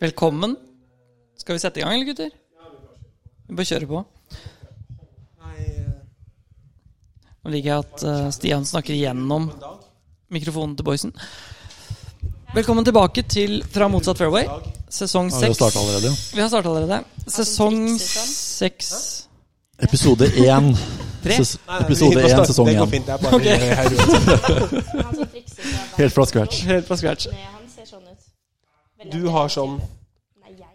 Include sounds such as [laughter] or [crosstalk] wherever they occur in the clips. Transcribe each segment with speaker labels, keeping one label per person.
Speaker 1: Velkommen. Skal vi sette i gang, eller, gutter? Vi bare kjører på.
Speaker 2: Nei, eh,
Speaker 1: Nå liker jeg at eh, Stian snakker gjennom
Speaker 2: dag.
Speaker 1: mikrofonen til boysen. Velkommen tilbake til Fra motsatt fairway, sesong
Speaker 3: Har vi
Speaker 1: seks.
Speaker 3: startet allerede? ja.
Speaker 1: Vi har starta allerede. Sesong
Speaker 4: trikser sånn?
Speaker 1: seks
Speaker 3: Episode én.
Speaker 1: Tre?
Speaker 3: Ses-
Speaker 2: Nei, nei, vi
Speaker 3: Episode
Speaker 2: går
Speaker 3: én,
Speaker 2: start.
Speaker 3: sesong
Speaker 2: Det går
Speaker 3: én.
Speaker 2: fint. Det er bare eh, her uansett.
Speaker 4: Han som trikser fra verden.
Speaker 3: Helt fra scratch.
Speaker 1: Helt fra scratch.
Speaker 4: Nei, han ser sånn ut. Veldig
Speaker 2: Du
Speaker 4: annerledes.
Speaker 2: har sånn
Speaker 4: Nei, jeg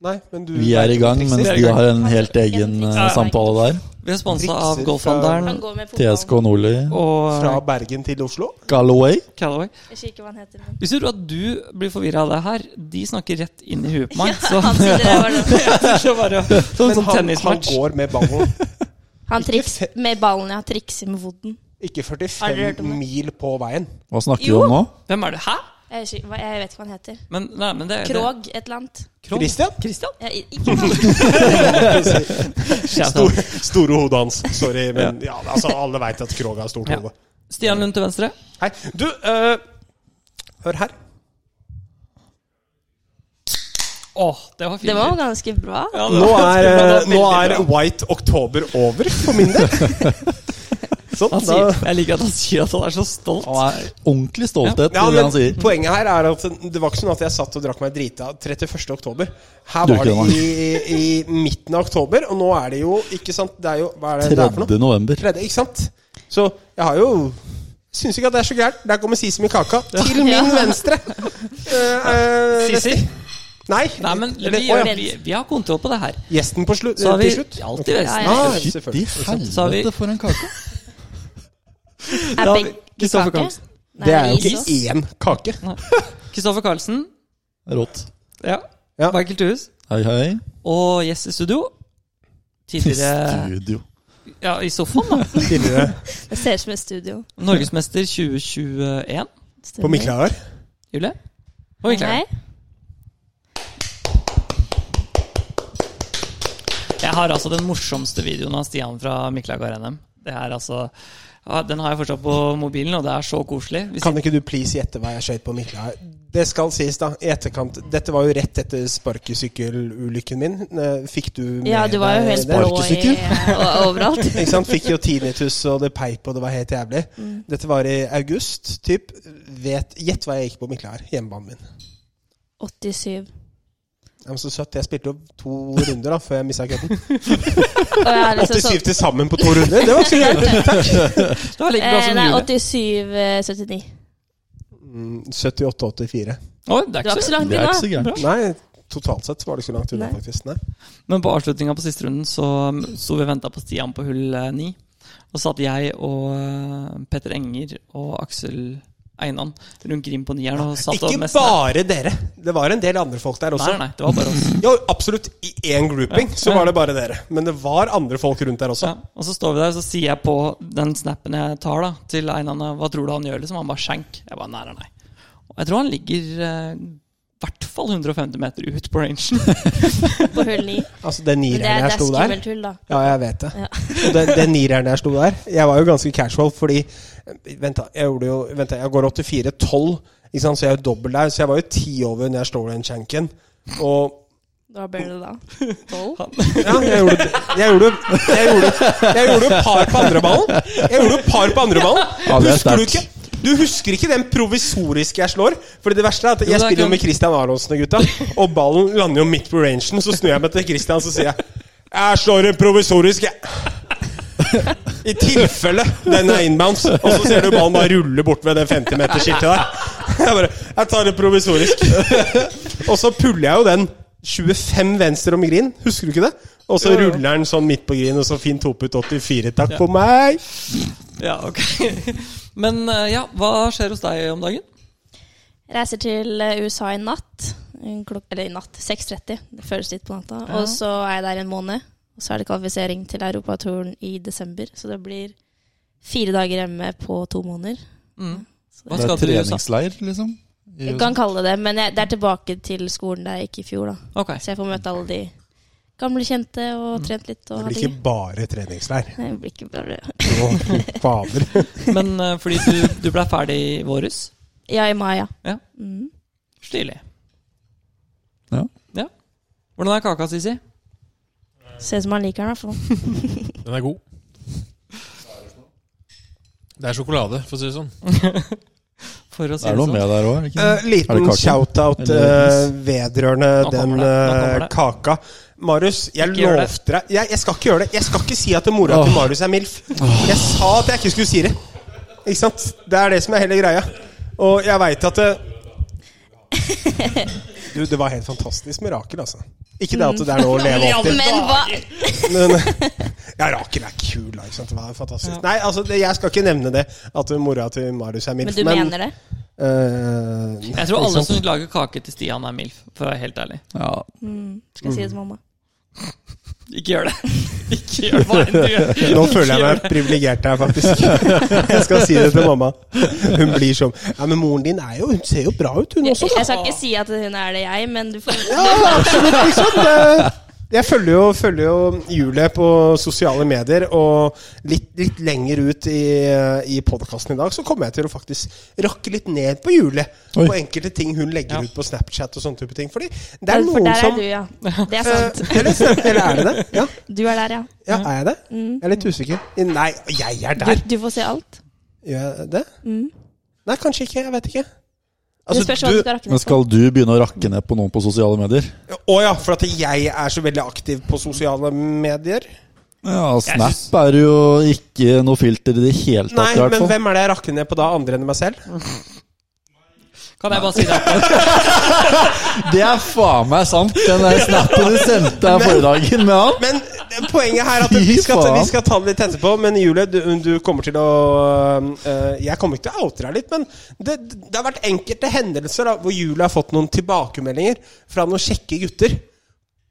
Speaker 4: nei.
Speaker 2: Nei, men du
Speaker 3: Vi er i gang, mens de har en helt egen eh, samtale der.
Speaker 1: Vi er sponsa av
Speaker 2: Trikser
Speaker 4: Han
Speaker 1: Golfhandelen
Speaker 4: går med
Speaker 3: TSK
Speaker 4: fotballen.
Speaker 3: Nordli.
Speaker 2: Fra
Speaker 1: og
Speaker 2: Bergen til
Speaker 3: [laughs]
Speaker 2: Oslo?
Speaker 3: Galloway.
Speaker 1: Callaway.
Speaker 4: Jeg husker ikke hva han heter, men
Speaker 1: Hvis du tror at du blir forvirra av det her, de snakker rett inn i huet på
Speaker 4: [laughs]
Speaker 1: meg. Så,
Speaker 4: han sitter der bare sånn.
Speaker 1: så bare, sånn
Speaker 2: Men
Speaker 1: som
Speaker 2: han, han
Speaker 1: tennismatch.
Speaker 2: går med ballen.
Speaker 4: Han triks med ballen, ja. Trikser med foten.
Speaker 2: Ikke
Speaker 4: Har dere hørt
Speaker 2: 45
Speaker 4: om det?
Speaker 2: mil på veien.
Speaker 3: Hva snakker vi om nå?
Speaker 1: Hvem er det? Hæ?
Speaker 4: Jeg, husker, hva- jeg vet ikke hva han heter.
Speaker 1: Men, nei, men det, det,
Speaker 4: Krog et eller annet.
Speaker 1: Krog?
Speaker 2: Christian?
Speaker 1: Christian?
Speaker 4: Jeg, ikke han.
Speaker 2: Stor, store hodet hans. Sorry, men ja, altså, alle veit at Krog har stort
Speaker 1: Ja.
Speaker 2: hode.
Speaker 1: Stian Lund til venstre.
Speaker 2: Hei. Du, eh, hør her.
Speaker 1: Åh, det var fint.
Speaker 4: Det var ganske bra.
Speaker 1: Ja, det
Speaker 2: Nå
Speaker 1: var-
Speaker 2: er,
Speaker 1: det var
Speaker 2: eh, nå er
Speaker 1: veldig bra.
Speaker 2: White Oktober over, for min [laughs] del. Sånn,
Speaker 1: han
Speaker 2: da
Speaker 1: sier, Jeg liker at han sier at han er så stolt.
Speaker 3: Han er ordentlig stolthet
Speaker 2: Ja,
Speaker 3: over det han
Speaker 2: men
Speaker 3: sier.
Speaker 2: Poenget her er at det var ikke sånn at jeg satt og drakk meg drita 31. oktober. Her
Speaker 3: Du
Speaker 2: var
Speaker 3: gjorde
Speaker 2: det i, i midten av oktober, og nå er det jo Ikke sant? Det er jo Hva er det det er for noe?
Speaker 3: 3. november.
Speaker 2: Tredje, ikke sant? Så jeg har jo Syns ikke at det er så gærent. Der kommer Sisem i kaka. Til
Speaker 1: [laughs]
Speaker 2: min
Speaker 4: Ja.
Speaker 2: venstre! Eh, eh,
Speaker 1: Sissi?
Speaker 2: Nei.
Speaker 1: Nei, men vi,
Speaker 2: Eller- å,
Speaker 1: gjør-
Speaker 2: ja.
Speaker 1: vi, vi har kontroll på det her.
Speaker 2: Gjesten på slutt.
Speaker 1: Så har vi
Speaker 2: til slutt.
Speaker 1: alltid
Speaker 4: Ja,
Speaker 1: resten.
Speaker 4: ja.
Speaker 2: Ah,
Speaker 3: Fytti
Speaker 2: selvfølgelig.
Speaker 1: Så har vi-
Speaker 3: helvete, for en kake.
Speaker 4: Er
Speaker 1: Da har vi
Speaker 4: begge
Speaker 1: Kristoffer
Speaker 4: kake?
Speaker 1: Karlsen.
Speaker 4: Nei,
Speaker 2: Det er jo
Speaker 4: is
Speaker 2: ikke én kake. [laughs]
Speaker 1: Kristoffer Karlsen.
Speaker 3: Rått.
Speaker 1: Ja.
Speaker 2: Ja.
Speaker 1: Michael Thues.
Speaker 3: Hei, hei.
Speaker 1: Og gjest i studio. Tidligere
Speaker 3: Studio.
Speaker 1: Ja, i sofaen, da.
Speaker 2: Tidligere
Speaker 4: også. Det ser ut som et studio.
Speaker 1: Norgesmester eh, 2021.
Speaker 2: på Miklahar.
Speaker 1: Julie? Og vi klarer.
Speaker 4: Hei.
Speaker 1: Jeg har altså den morsomste videoen av Stian fra Miklagard NM. Det er altså ja, Den har jeg fortsatt på mobilen, og det er så koselig. Vi
Speaker 2: Kan ikke du please gjette hva jeg skøyt på Miklahar? Det skal sies, da. I etterkant. Dette var jo rett etter sparkesykkelulykken min. Eh, Fikk du med
Speaker 4: Ja, du var jo
Speaker 2: deg
Speaker 4: helt
Speaker 2: det?
Speaker 4: blå i, [laughs] og-
Speaker 2: [laughs]
Speaker 4: overalt.
Speaker 2: Ikke sant? Fikk jo tinnitus, og det peip, og det var helt jævlig.
Speaker 4: Mm.
Speaker 2: Dette var i august, typ. Vet, gjett hva jeg gikk på Miklahar, hjemmebanen min.
Speaker 4: 87.
Speaker 2: Jeg var så søtt. Jeg spilte jo to runder da, før jeg mista cutten.
Speaker 4: Og jeg er liksom
Speaker 2: 87
Speaker 4: sånn
Speaker 2: til sammen på to runder, det var ikke så gærent.
Speaker 1: sitter- det var like bra
Speaker 4: eh,
Speaker 1: som
Speaker 4: Nei, eh,
Speaker 1: Julie.
Speaker 4: 87-79.
Speaker 2: Mm, 78-84.
Speaker 1: Oi, det er ikke
Speaker 4: Du var ikke
Speaker 1: så
Speaker 4: så langt
Speaker 3: Det er ikke så
Speaker 4: unna.
Speaker 3: gærent.
Speaker 2: Nei, totalt sett var det ikke så langt unna,
Speaker 4: Nei.
Speaker 2: faktisk. Nei.
Speaker 1: Men på avslutninga på siste runden så um, sto vi og venta på Stian på hull eh, ni. Og satt jeg og eh, Petter Enger og Aksel Einan rundt Grim på nieren og satt og
Speaker 2: Ikke
Speaker 1: mest-
Speaker 2: bare dere. Det var en del andre folk der også.
Speaker 1: Nei, nei, det var bare oss.
Speaker 2: Ja, absolutt. I én grouping
Speaker 1: Ja.
Speaker 2: så var det bare dere. Men det var andre folk rundt der også.
Speaker 1: Ja. Og så står vi der, og så sier jeg på den snappen jeg tar da til Einan Hva tror du han gjør? liksom Han bare skjenk. Jeg bare nei, nei, nei. Og jeg tror han ligger eh, i hvert fall 150 meter ut på rangen. [laughs]
Speaker 4: På hull 9.
Speaker 2: Altså, den
Speaker 4: Men det
Speaker 2: nireren
Speaker 4: er,
Speaker 2: jeg
Speaker 4: det er
Speaker 2: sto der
Speaker 4: skummelt hull, da.
Speaker 2: Ja, jeg vet det.
Speaker 4: Ja.
Speaker 2: Og den, den nireren jeg sto der Jeg var jo ganske casual, fordi Vent, da. Jeg, gjorde jo, vent da, jeg går 84-12, ikke sant, så jeg er jo dobbel der. Så jeg var jo ti over når jeg slår den shanken. Og
Speaker 4: Hva ble det da? 12?
Speaker 2: Ja, jeg gjorde Jeg gjorde Jeg gjorde, jeg gjorde par på andreballen. Jeg gjorde par på andreballen.
Speaker 3: Ja, det er
Speaker 2: Husker du
Speaker 3: sterkt.
Speaker 2: ikke? Du husker ikke den provisoriske jeg slår? Fordi det verste er at
Speaker 1: det
Speaker 2: Jeg
Speaker 1: er
Speaker 2: spiller jo
Speaker 1: ikke-
Speaker 2: med Christian Aronsen og gutta, og ballen lander jo midt på rangen. Så snur jeg meg til Christian så sier jeg Jeg slår en provisorisk, jeg. I tilfelle den er inbounds. Og så ser du ballen bare rulle bort ved den 50-metersskiltet der. Jeg bare Jeg tar det provisorisk. Og så puller jeg jo den 25 venstre om green, husker du ikke det? Og så ruller den sånn midt på green, og så fin toputt 84, takk på meg!
Speaker 1: ja, ok. [laughs] Men eh, ja, hva skjer hos deg om dagen?
Speaker 4: Reiser til eh, USA i natt. En Klok eller i natt 6.30. Det føles litt på natta.
Speaker 1: Ja.
Speaker 4: Og så er jeg der en måned. Og så er det kvalifisering til europaturen i desember. Så det blir fire dager hjemme på to måneder.
Speaker 1: Mm.
Speaker 4: Så
Speaker 1: Hva
Speaker 3: Det
Speaker 1: skal
Speaker 3: er
Speaker 1: du i USA?
Speaker 3: treningsleir, liksom. I
Speaker 4: Jeg
Speaker 3: USA.
Speaker 4: kan kalle det det, men jeg, det er tilbake til skolen der jeg gikk i fjor, da.
Speaker 1: Ok.
Speaker 4: Så jeg får møte alle de gamle kjente og trent litt og
Speaker 2: Det
Speaker 4: ha
Speaker 2: blir
Speaker 4: det
Speaker 2: ikke bare treningsleir.
Speaker 4: gøy. Nei, Det blir ikke bra.
Speaker 2: Å, fy fader.
Speaker 1: Men eh, fordi du, du ble ferdig i våres?
Speaker 4: Ja, i mai, ja.
Speaker 1: Ja.
Speaker 4: Mm.
Speaker 1: Stilig. Hvordan er kaka, Sisi?
Speaker 4: Ser ut som han liker den, i hvert fall.
Speaker 5: Den er god. Det er sjokolade, for å si det sånn.
Speaker 1: For å si sånn.
Speaker 3: Det er noe med der
Speaker 2: [laughs]
Speaker 3: òg?
Speaker 2: Eh,
Speaker 3: Er det
Speaker 2: liten
Speaker 3: kaken?
Speaker 2: shout-out
Speaker 3: Eller-
Speaker 2: eh, vedrørende
Speaker 1: Nå
Speaker 2: den
Speaker 1: kommer det, nå kommer
Speaker 2: eh,
Speaker 1: det.
Speaker 2: kaka. Marius, jeg
Speaker 1: Ikke gjør det.
Speaker 2: lovte deg jeg, jeg skal ikke gjøre det. Jeg skal ikke si at mora til
Speaker 3: Åh.
Speaker 2: Marius er MILF. Jeg sa at jeg ikke skulle si det. Ikke sant? Det er det som er hele greia. Og jeg veit at det Du, det var helt fantastisk med Rakel, altså. Ikke det at det er noe å
Speaker 1: Mm.
Speaker 2: leve opp til.
Speaker 4: Men hva
Speaker 2: Men eh, ja, Rakel er kul, da. Ikke sant? Det var fantastisk. Nei, altså, det, jeg skal ikke nevne det. At mora til Marius er
Speaker 4: Men
Speaker 2: MILF.
Speaker 4: du mener det?
Speaker 2: eh,
Speaker 1: Jeg tror
Speaker 2: ikke
Speaker 1: alle
Speaker 2: sant?
Speaker 1: som lager kake til Stian, er MILF, for å være helt ærlig.
Speaker 3: Ja.
Speaker 4: Skal jeg si det til mamma?
Speaker 2: Mm.
Speaker 1: Ikke gjør det. [laughs] Ikke gjør det. Hva
Speaker 2: [laughs]
Speaker 1: enn du gjør.
Speaker 2: Nå føler jeg meg privilegert her, faktisk. Jeg skal si det til mamma. Hun blir sånn Ja, men moren din er jo Hun ser jo bra ut, hun
Speaker 4: Jeg,
Speaker 2: også, da.
Speaker 4: jeg skal ikke si at hun er det, jeg, men du får
Speaker 2: Ja, absolutt, liksom. Det- Jeg følger jo, følger jo hjulet på sosiale medier, og litt, litt lenger ut i, i podkasten i dag så kommer jeg til å faktisk rakke litt ned på hjulet
Speaker 3: Oi.
Speaker 2: på enkelte ting hun
Speaker 1: Ja.
Speaker 2: legger ut på Snapchat og sånne type ting. Fordi det er
Speaker 4: For
Speaker 2: noen
Speaker 4: der er
Speaker 2: som
Speaker 4: du, ja. Det er sant.
Speaker 2: Eh, eller, [laughs] eller er det det? Ja,
Speaker 4: Du er der, ja.
Speaker 2: ja er jeg det? Jeg er litt usikker. Nei, jeg er der.
Speaker 4: Du, du får se alt.
Speaker 2: Gjør jeg det? Nei, kanskje ikke. Jeg vet ikke. Altså,
Speaker 4: det spørs hva du skal rakke
Speaker 3: Men
Speaker 4: ned på.
Speaker 3: skal du begynne å rakke ned på noen på sosiale medier?
Speaker 2: Å ja, for at jeg er så veldig aktiv på sosiale medier.
Speaker 3: Ja,
Speaker 1: Jeg
Speaker 3: Snap er jo ikke noe filter i det hele tatt,
Speaker 2: Nei,
Speaker 3: i hvert
Speaker 2: men
Speaker 3: fall.
Speaker 2: hvem er det jeg rakker ned på da, andre enn meg selv?
Speaker 1: Kan jeg bare si det?
Speaker 3: Det er faen meg sant, den der snappen du sendte her forrige dagen med han.
Speaker 2: Men poenget her er at vi
Speaker 3: Fy
Speaker 2: skal,
Speaker 3: faen.
Speaker 2: vi skal ta det litt etterpå. Men Julie, du, du kommer til å øh, Jeg kommer ikke til å oute deg litt, men det, det har vært enkelte hendelser da, hvor Julie har fått noen tilbakemeldinger fra noen kjekke gutter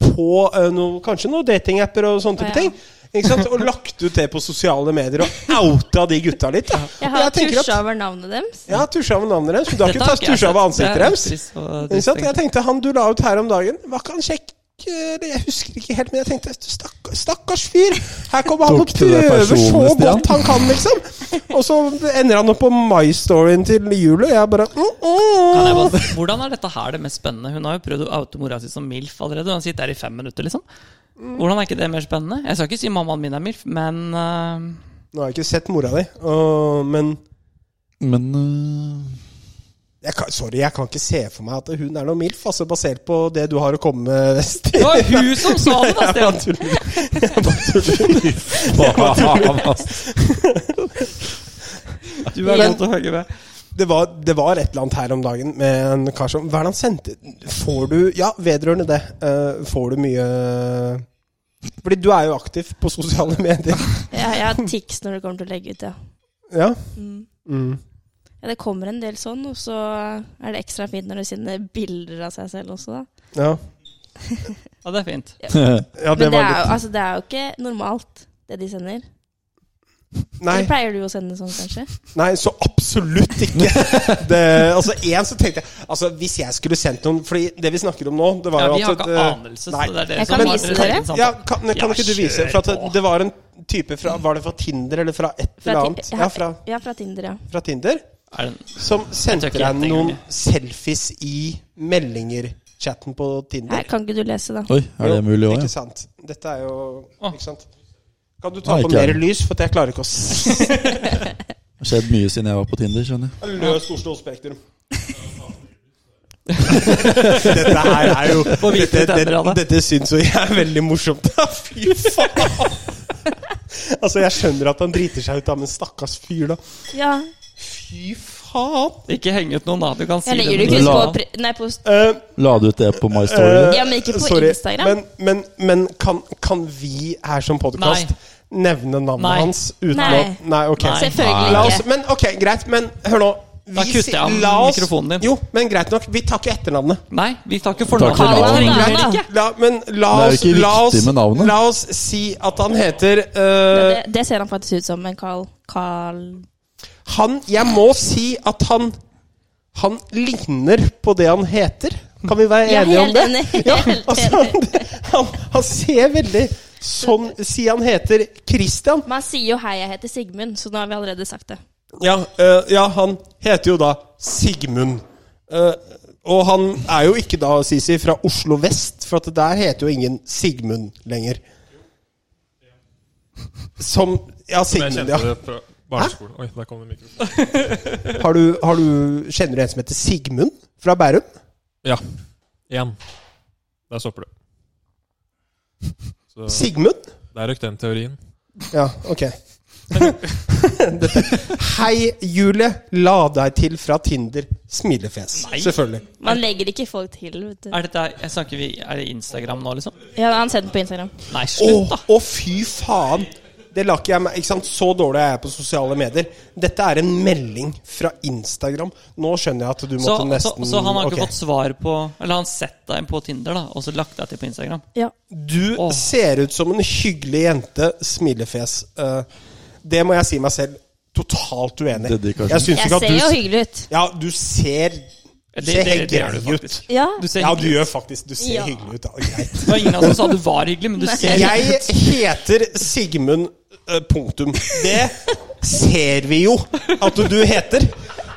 Speaker 2: på øh, noe, kanskje noen datingapper og sånne type
Speaker 4: Å, ja.
Speaker 2: ting. Ikke sant? Og lagt ut det på sosiale medier og outa de gutta litt. Da.
Speaker 4: Jeg
Speaker 2: Og
Speaker 4: har
Speaker 2: tenker at-
Speaker 4: tusja over navnet deres.
Speaker 2: Ja, tusja over navnet deres. men Du har ikke
Speaker 1: Dette har
Speaker 2: tatt
Speaker 1: ikke jeg
Speaker 2: tusja
Speaker 1: sett.
Speaker 2: over
Speaker 1: Det
Speaker 2: ansiktet
Speaker 1: er
Speaker 2: deres.
Speaker 1: trist og
Speaker 2: Ikke sant?
Speaker 1: distinkt.
Speaker 2: Jeg tenkte han du la ut her om dagen, var ikke han kjekk? Eller Jeg husker ikke helt, men jeg tenkte stakkars, stakkars fyr! Her kommer han og
Speaker 3: Tok du det
Speaker 2: prøver så
Speaker 3: personlig, Stian?
Speaker 2: godt han kan, liksom! Og så ender han opp på my storyen til jul, og jeg bare mm,
Speaker 1: Kan jeg
Speaker 2: mm.
Speaker 1: bare, hvordan er dette her det mest spennende? Hun har jo prøvd å oute mora si som MILF allerede. og Hun sitter her i fem minutter, liksom. Hvordan er ikke det mer spennende? Jeg skal ikke si mammaen min er MILF, men øh,
Speaker 2: Nå har jeg ikke sett mora di, og, men
Speaker 3: Men øh,
Speaker 2: jeg kan, sorry, jeg kan ikke se for meg at hun er noe MILF, altså basert på det du har å komme med.
Speaker 1: Det
Speaker 2: Stian.
Speaker 1: var hun som sa det,
Speaker 2: [laughs]
Speaker 1: da,
Speaker 2: Jeg
Speaker 1: Stian! [laughs]
Speaker 2: bare tuller.
Speaker 3: faen, ass. [laughs]
Speaker 1: Du er god til å hogge med.
Speaker 2: det var, det var et eller annet her om dagen med en kar som Hva er det han sendte? Får du Ja, vedrørende det. eh, får du mye Fordi du er jo aktiv på sosiale [laughs] medier.
Speaker 4: Ja, jeg har tics når det kommer til å legge ut, ja.
Speaker 2: Ja.
Speaker 4: Mm.
Speaker 2: Mm.
Speaker 4: ja. Det kommer en del sånn, og så er det ekstra fint når du sender bilder av seg selv også, da.
Speaker 2: Ja.
Speaker 1: Ja, det er fint.
Speaker 2: ja, det
Speaker 4: Men det
Speaker 2: var
Speaker 4: er, jo,
Speaker 2: litt
Speaker 4: altså, det er jo ikke normalt, det de sender.
Speaker 2: Nei,
Speaker 4: Eller pleier du å sende sånn, kanskje?
Speaker 2: nei så absolutt [laughs] ikke. Det, altså, én så tenkte jeg Altså, hvis jeg skulle sendt noen Fordi det vi snakker om nå, det
Speaker 1: Ja,
Speaker 2: var jo
Speaker 1: vi har
Speaker 2: at
Speaker 1: ikke
Speaker 2: eh,
Speaker 1: anelse, så det er dere
Speaker 4: Jeg
Speaker 1: som
Speaker 4: kan
Speaker 1: har
Speaker 4: vise
Speaker 1: deres
Speaker 4: dere.
Speaker 1: egen samtale.
Speaker 2: ja, kan, kan
Speaker 1: Ja,
Speaker 2: ikke du vise? For
Speaker 1: kjør på.
Speaker 2: at det var en type fra Var det fra Tinder eller fra et
Speaker 4: Fra
Speaker 2: eller
Speaker 4: Ti-
Speaker 2: annet?
Speaker 4: ja,
Speaker 2: Ja, fra,
Speaker 4: Ja, fra Tinder, ja.
Speaker 2: fra Tinder.
Speaker 1: Er det en-
Speaker 2: Som sendte
Speaker 1: Jeg tør ikke
Speaker 2: deg
Speaker 1: gjette
Speaker 2: noen
Speaker 1: engang,
Speaker 2: selfies i meldinger-chatten på
Speaker 4: Nei,
Speaker 2: Tinder.
Speaker 4: kan ikke du lese, da?
Speaker 3: Oi, er det
Speaker 2: Jo,
Speaker 3: mulig òg,
Speaker 2: Ikke
Speaker 3: ja?
Speaker 2: sant. Dette er jo
Speaker 1: Å.
Speaker 2: Ikke sant. Kan du ta
Speaker 3: Nei,
Speaker 2: på
Speaker 3: ikke
Speaker 2: mer
Speaker 3: jeg.
Speaker 2: lys, for at jeg klarer ikke å s-
Speaker 3: Det har skjedd mye siden jeg var på Tinder, skjønner jeg.
Speaker 2: Løst Oslo Spektrum. dette her er jo
Speaker 1: Få vite
Speaker 2: Dette,
Speaker 1: tenner av
Speaker 2: dette,
Speaker 1: det.
Speaker 2: dette syns jo jeg er veldig morsomt. [laughs] Fy faen! Altså, jeg skjønner at han driter seg ut, da, men stakkars fyr, da.
Speaker 4: Ja.
Speaker 2: Fy faen!
Speaker 1: Ikke heng ut noen, da. Du kan si
Speaker 4: Jeg legger det
Speaker 1: det.
Speaker 4: ikke
Speaker 1: men-
Speaker 4: ut på,
Speaker 3: La-
Speaker 4: pri- nei, på
Speaker 2: Eh,
Speaker 3: La du ut det på My Story? da?
Speaker 4: Ja, men ikke på Instagram.
Speaker 2: Men, men, men kan, kan vi her som podkast nevne navnet
Speaker 1: Nei.
Speaker 2: hans uten
Speaker 4: Nei.
Speaker 2: å Nei, ok.
Speaker 1: Nei.
Speaker 2: La
Speaker 4: Selvfølgelig
Speaker 2: oss,
Speaker 4: ikke.
Speaker 2: men ok, greit. Men hør nå.
Speaker 1: Da kutter jeg av
Speaker 2: si- la oss-
Speaker 1: mikrofonen din.
Speaker 2: Jo, men greit nok. Vi tar ikke etternavnet.
Speaker 1: Nei, vi tar ikke
Speaker 3: Tar ikke
Speaker 1: fornavnet.
Speaker 3: navnet.
Speaker 1: Vi trenger
Speaker 4: Nei,
Speaker 1: det
Speaker 4: da.
Speaker 1: ikke.
Speaker 2: La, men la
Speaker 3: Det er
Speaker 2: oss,
Speaker 3: jo ikke
Speaker 2: la, oss,
Speaker 3: viktig med navnet.
Speaker 2: la oss si at han heter
Speaker 4: Ja,
Speaker 2: eh,
Speaker 4: det, det ser han faktisk ut som en Carl Carl
Speaker 2: Han Jeg må si at han Han ligner på det han heter. Kan vi være
Speaker 4: Ja,
Speaker 2: enige om
Speaker 4: helt
Speaker 2: det? [laughs]
Speaker 4: enig.
Speaker 2: Ja,
Speaker 4: Helt
Speaker 2: altså,
Speaker 4: enig.
Speaker 2: han, han ser veldig sånn Si han heter Christian.
Speaker 4: Man sier jo 'hei, jeg heter Sigmund', så nå har vi allerede sagt det.
Speaker 2: Ja, eh, ja, han heter jo da Sigmund. Eh, og han er jo ikke da, Sisi, fra Oslo vest, For at der heter jo ingen Sigmund lenger. Som Ja,
Speaker 5: Som jeg
Speaker 2: Sigmund,
Speaker 5: kjente
Speaker 2: ja.
Speaker 5: det fra barneskolen. Oi, der kom det mikrofonen.
Speaker 2: Har du, har du, kjenner du en som heter Sigmund fra Bærum?
Speaker 5: Ja. Én. Der stopper det. Så
Speaker 2: Sigmund?
Speaker 5: der røk den teorien.
Speaker 2: Ja, ok. [laughs] Dette. Hei, Julie. La deg til fra Tinder. Smilefjes.
Speaker 1: Nei.
Speaker 2: Selvfølgelig.
Speaker 4: Man legger ikke folk til, vet du.
Speaker 1: Er, dette, jeg snakker vi, er det Instagram nå, liksom?
Speaker 4: Ja, han sendte den på Instagram.
Speaker 1: Nei,
Speaker 2: Å,
Speaker 1: slutt, da!
Speaker 2: å, fy faen! Det la ikke jeg meg Ikke sant? Så dårlig er jeg på sosiale medier. Dette er en melding fra Instagram. Nå skjønner jeg at du
Speaker 1: Så,
Speaker 2: måtte
Speaker 1: så,
Speaker 2: nesten
Speaker 1: så han har ikke
Speaker 2: ok.
Speaker 1: fått svar på Eller han har sett deg på Tinder, da, og så lagt deg til på Instagram?
Speaker 4: Ja.
Speaker 2: Du
Speaker 1: Åh.
Speaker 2: ser ut som en hyggelig jente. Smilefjes. Eh, det må jeg si meg selv totalt uenig i.
Speaker 3: Dedikasjon.
Speaker 2: Jeg syns
Speaker 4: Jeg
Speaker 2: ikke at
Speaker 4: ser jo
Speaker 2: du
Speaker 4: hyggelig ut.
Speaker 2: Ja, du ser
Speaker 1: Det-
Speaker 2: Du ser
Speaker 1: det-
Speaker 2: helt
Speaker 1: det er du
Speaker 2: grei ut.
Speaker 1: faktisk.
Speaker 4: Ja.
Speaker 1: Du ser
Speaker 2: Ja, du
Speaker 1: hyggelig
Speaker 2: gjør faktisk Du ser
Speaker 4: Ja.
Speaker 2: hyggelig ut. Ja, greit.
Speaker 1: Det var ingen av oss som sa du var hyggelig, men du ser
Speaker 2: [laughs] Jeg heter Sigmund eh, punktum. Det ser vi jo at du heter.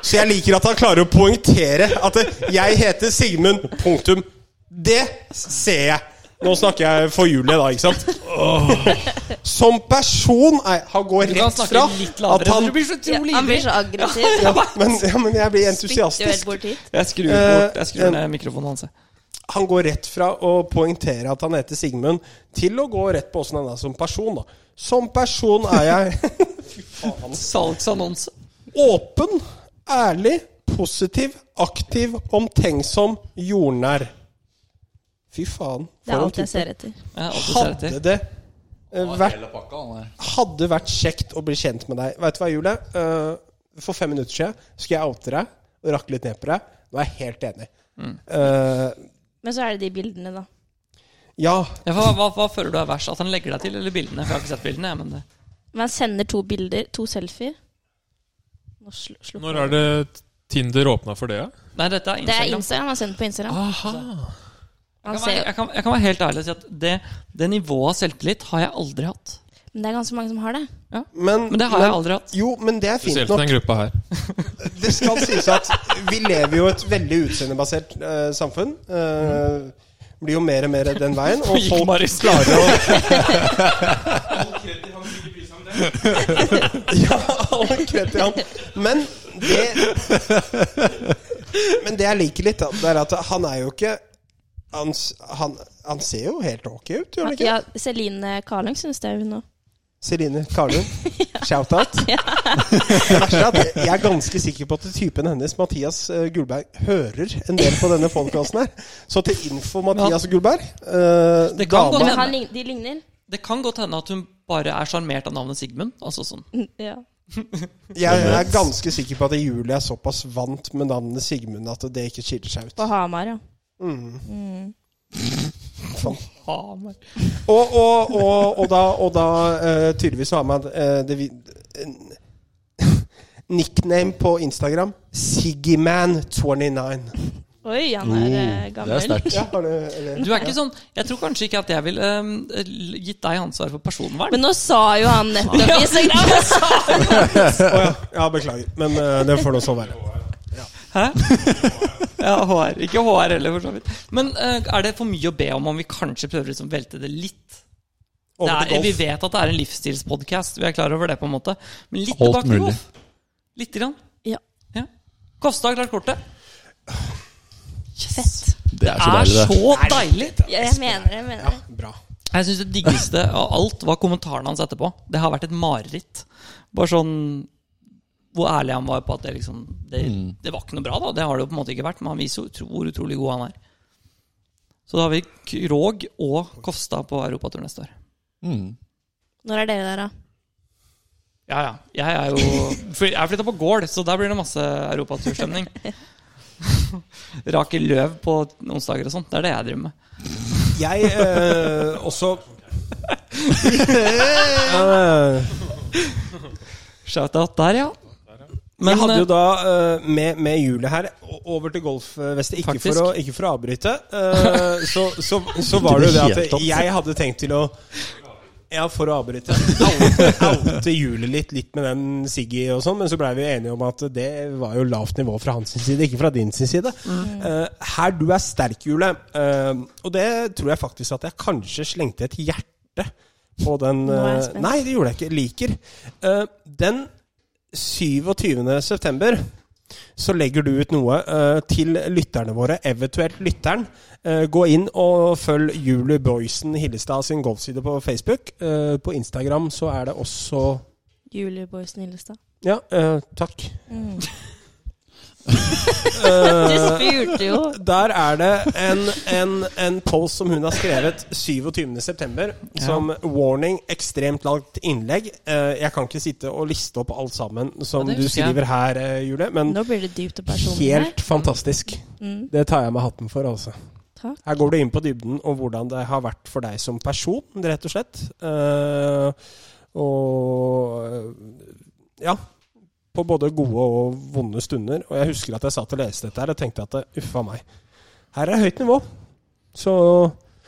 Speaker 2: Så jeg liker at han klarer å poengtere at det- jeg heter Sigmund punktum. Det ser jeg. Nå snakker jeg for Julie, da, ikke sant? Som person nei, Han går
Speaker 1: Du kan
Speaker 2: rett
Speaker 1: snakke
Speaker 2: fra
Speaker 1: litt
Speaker 2: at
Speaker 1: lavere.
Speaker 2: han
Speaker 1: Du blir så
Speaker 4: Ja,
Speaker 1: utrolig
Speaker 4: han blir
Speaker 1: ivrig.
Speaker 4: så aggressiv. [laughs]
Speaker 2: men, ja, men jeg blir
Speaker 4: Spytter jo helt
Speaker 2: entusiastisk.
Speaker 4: bort hit.
Speaker 1: Jeg skrur,
Speaker 2: Eh,
Speaker 1: bort, jeg skrur ned mikrofonen hans. jeg.
Speaker 2: Han går rett fra å poengtere at han heter Sigmund, til å gå rett på åssen han er som person. da Som person er jeg
Speaker 1: [laughs] Salgsannonse.
Speaker 2: Åpen, ærlig, positiv, aktiv, omtenksom, jordnær. Fy faen.
Speaker 4: Det er
Speaker 2: for en
Speaker 4: alt jeg
Speaker 2: type.
Speaker 4: ser etter.
Speaker 1: Ja, alt du ser etter.
Speaker 2: Hadde det eh, vært,
Speaker 3: Hele pakka, han der.
Speaker 2: hadde vært kjekt å bli kjent med deg. Veit du hva, Julie? Eh, for fem minutter siden skulle jeg oute deg og rakke litt ned på deg. Nå er jeg helt enig.
Speaker 1: Mm.
Speaker 2: Eh,
Speaker 4: Men så er det de bildene, da.
Speaker 2: ja,
Speaker 1: Ja, hva, hva, hva føler du er verst? At han legger deg til, eller bildene? For jeg har ikke sett bildene. jeg, Men det.
Speaker 4: Man sender to bilder, to selfier. Nå sl- slukker
Speaker 5: Når er det Tinder åpna for det? Ja?
Speaker 1: Nei, dette er
Speaker 4: Det er
Speaker 1: Instagram.
Speaker 4: Instagram. Han sender på Instagram.
Speaker 5: Aha.
Speaker 4: Han
Speaker 1: Jeg kan, være,
Speaker 4: ser,
Speaker 1: jeg, kan, jeg kan være helt ærlig og si at det, det nivået av selvtillit har jeg aldri hatt.
Speaker 4: men det er ganske mange som har det.
Speaker 2: men,
Speaker 1: Men det har jeg aldri hatt.
Speaker 2: Jo, men det er fint
Speaker 5: Spesielt
Speaker 2: nok.
Speaker 5: den gruppa her.
Speaker 2: Det skal sies at vi lever jo i et veldig utseendebasert eh, samfunn. Eh, blir jo mer og mer den veien. Og
Speaker 1: [laughs] Gikk
Speaker 2: folk
Speaker 1: Marius
Speaker 2: klarer å [laughs] Ja, alle kvetter han. Men det Men det jeg liker litt, da, det er at han er jo ikke Han, s- han, han ser jo helt ok ut, gjør han ikke?
Speaker 4: Ja, Celine Karlung syns det er hun òg.
Speaker 2: Celine Karlund, [laughs] shout-out. Det verste er at jeg er ganske sikker på at typen hennes, Mathias eh, Gullberg, hører en del på denne podkasten her. Så til info, Mathias Gullberg. eh,
Speaker 1: Det kan
Speaker 2: dama-
Speaker 1: godt-
Speaker 4: Men han, lign- de ligner.
Speaker 1: Det kan godt hende at hun bare er sjarmert av navnet Sigmund. Altså sånn.
Speaker 4: Ja.
Speaker 2: jeg er ganske sikker på at Julie er såpass vant med navnet Sigmund at det ikke skiller seg ut.
Speaker 4: På Hamar, ja.
Speaker 2: Og, og, og, og da, og da eh, tydeligvis har man eh, det, vi- en- Nickname på Instagram Siggyman29.
Speaker 4: Oi, han
Speaker 2: Oh,
Speaker 4: er eh,
Speaker 3: Det er
Speaker 4: gammel.
Speaker 3: sterkt.
Speaker 2: Ja, har du eller?
Speaker 1: Du er ikke sånn Jeg tror kanskje ikke at jeg ville ehm, l- gitt deg ansvar for personvern.
Speaker 4: Men nå sa jo han nettopp [laughs]
Speaker 2: Å
Speaker 4: Instagram!
Speaker 2: ja. ja, beklager. Men eh, det får nå så være.
Speaker 1: Hæ? Ja, HR. Ikke HR heller, for så vidt. Men eh, er det for mye å be om om vi kanskje prøver å liksom velte det litt? Det
Speaker 2: Over
Speaker 1: er,
Speaker 2: til
Speaker 1: vi
Speaker 2: golf.
Speaker 1: vet at det er en livsstilspodkast, vi er klar over det, på en måte. Men litt
Speaker 3: Alt
Speaker 1: tilbake til
Speaker 3: mulig.
Speaker 1: golf. Lite grann.
Speaker 4: Ja.
Speaker 1: Ja. Kofstad har klart kortet.
Speaker 4: Fett.
Speaker 3: Det er så
Speaker 1: er
Speaker 3: deilig,
Speaker 1: så
Speaker 3: det.
Speaker 1: deilig!
Speaker 4: Ja, jeg mener det. jeg mener det.
Speaker 2: Bra.
Speaker 1: Jeg syns det diggeste av alt var kommentaren hans etterpå. Det har vært et mareritt. Bare sånn hvor ærlig han var på at det liksom Det, det var ikke noe bra, da. Det har det jo på en måte ikke vært, men han viser jo utro, hvor utrolig god han er. Så da har vi Krog og Kofstad på europatur neste år.
Speaker 3: Mm.
Speaker 4: Når er dere der, da?
Speaker 1: Ja, ja. Jeg er jo for Jeg er flytta på gård, så der blir det masse [laughs] europaturstemning. Rake løv på onsdager og sånt. Det er det jeg driver med.
Speaker 2: Jeg eh, også Eh,
Speaker 1: Shout-out der, ja.
Speaker 2: Jeg hadde
Speaker 1: eh,
Speaker 2: jo da eh, med, med hjulet her o- over til golfvestet, ikke,
Speaker 1: Faktisk.
Speaker 2: for å- ikke for å avbryte, eh, så, så, så var det jo det
Speaker 3: Helt
Speaker 2: at
Speaker 3: opp.
Speaker 2: jeg hadde tenkt til å Ja, for å avbryte. Oute- Oute Julie litt, litt med den Siggy og sånn, men så blei vi enige om at det var jo lavt nivå fra hans sin side, ikke fra din sin side. Eh, her du er sterk, Jule, eh, og det tror jeg faktisk at jeg kanskje slengte et hjerte på den
Speaker 4: Nå er jeg
Speaker 2: eh,
Speaker 4: spent.
Speaker 2: Nei, det gjorde jeg ikke. Liker. Eh, den 27. september så legger du ut noe eh, til lytterne våre, eventuelt lytteren. Eh, gå inn og følg Julie Boysen Hillestad sin golfside på Facebook. Eh, på Instagram så er det også
Speaker 4: Julie Boysen Hillestad.
Speaker 2: Ja, eh, takk.
Speaker 4: Mm. [laughs] Du
Speaker 2: Eh,
Speaker 4: spurte jo!
Speaker 2: der er det en, en, en post som hun har skrevet 27.9. Som warning, ekstremt langt innlegg. Eh, jeg kan ikke sitte og liste opp alt sammen som
Speaker 1: Ja, det
Speaker 2: du
Speaker 1: husker jeg.
Speaker 2: skriver her, eh, Julie, men
Speaker 4: Nå blir det dypt og personlig. her.
Speaker 2: helt fantastisk.
Speaker 4: Mm,
Speaker 2: Det tar jeg med hatten for, altså.
Speaker 4: takk.
Speaker 2: Her går du inn på dybden og hvordan det har vært for deg som person, rett og slett. Eh, og eh, ja. På både gode og vonde stunder. Og jeg husker at jeg satt og leste dette her og tenkte at uffa meg. Her er høyt nivå. Så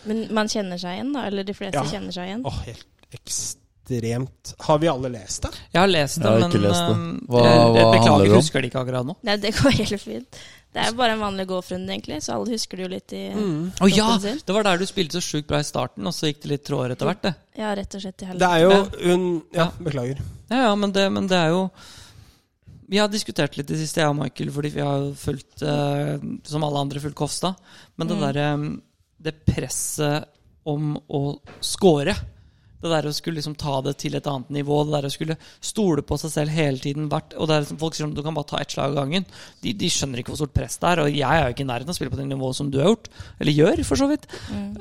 Speaker 4: Men man kjenner seg igjen, da? Eller de fleste
Speaker 2: Ja.
Speaker 4: kjenner seg igjen?
Speaker 2: Å, helt ekstremt Har vi alle lest det?
Speaker 1: Jeg har lest det,
Speaker 3: Jeg har
Speaker 1: men
Speaker 3: ikke lest det.
Speaker 1: ehm,
Speaker 3: Hva-
Speaker 1: jeg, jeg
Speaker 3: hva handler det
Speaker 1: beklager,
Speaker 3: om?
Speaker 1: husker det ikke akkurat nå.
Speaker 4: Nei, det går helt fint. Det er bare en vanlig golfrunde, egentlig, så alle husker det jo litt i
Speaker 2: Mm.
Speaker 1: Å ja!
Speaker 4: kroppen sin.
Speaker 1: Det var der du spilte så sjukt bra i starten, og så gikk det litt tråere etter hvert, det.
Speaker 4: Ja, rett og slett i
Speaker 2: Det
Speaker 4: helvete.
Speaker 2: er jo hun Ja,
Speaker 1: Ja.
Speaker 2: beklager.
Speaker 1: Ja, ja, men det, men det er jo Vi har diskutert litt det siste, jeg og Michael, fordi vi har jo fulgt, eh, som alle andre, fulgt Kofstad. Men det
Speaker 4: Mm.
Speaker 1: derre Det presset om å score. Det der å skulle liksom ta det til et annet nivå, det der å skulle stole på seg selv hele tiden hvert, og det er liksom Folk sier om du kan bare ta ett slag av gangen. De, de skjønner ikke hvor stort press det er. Og jeg er jo ikke i nærheten av å spille på det nivået som du har gjort. Eller gjør, for så vidt.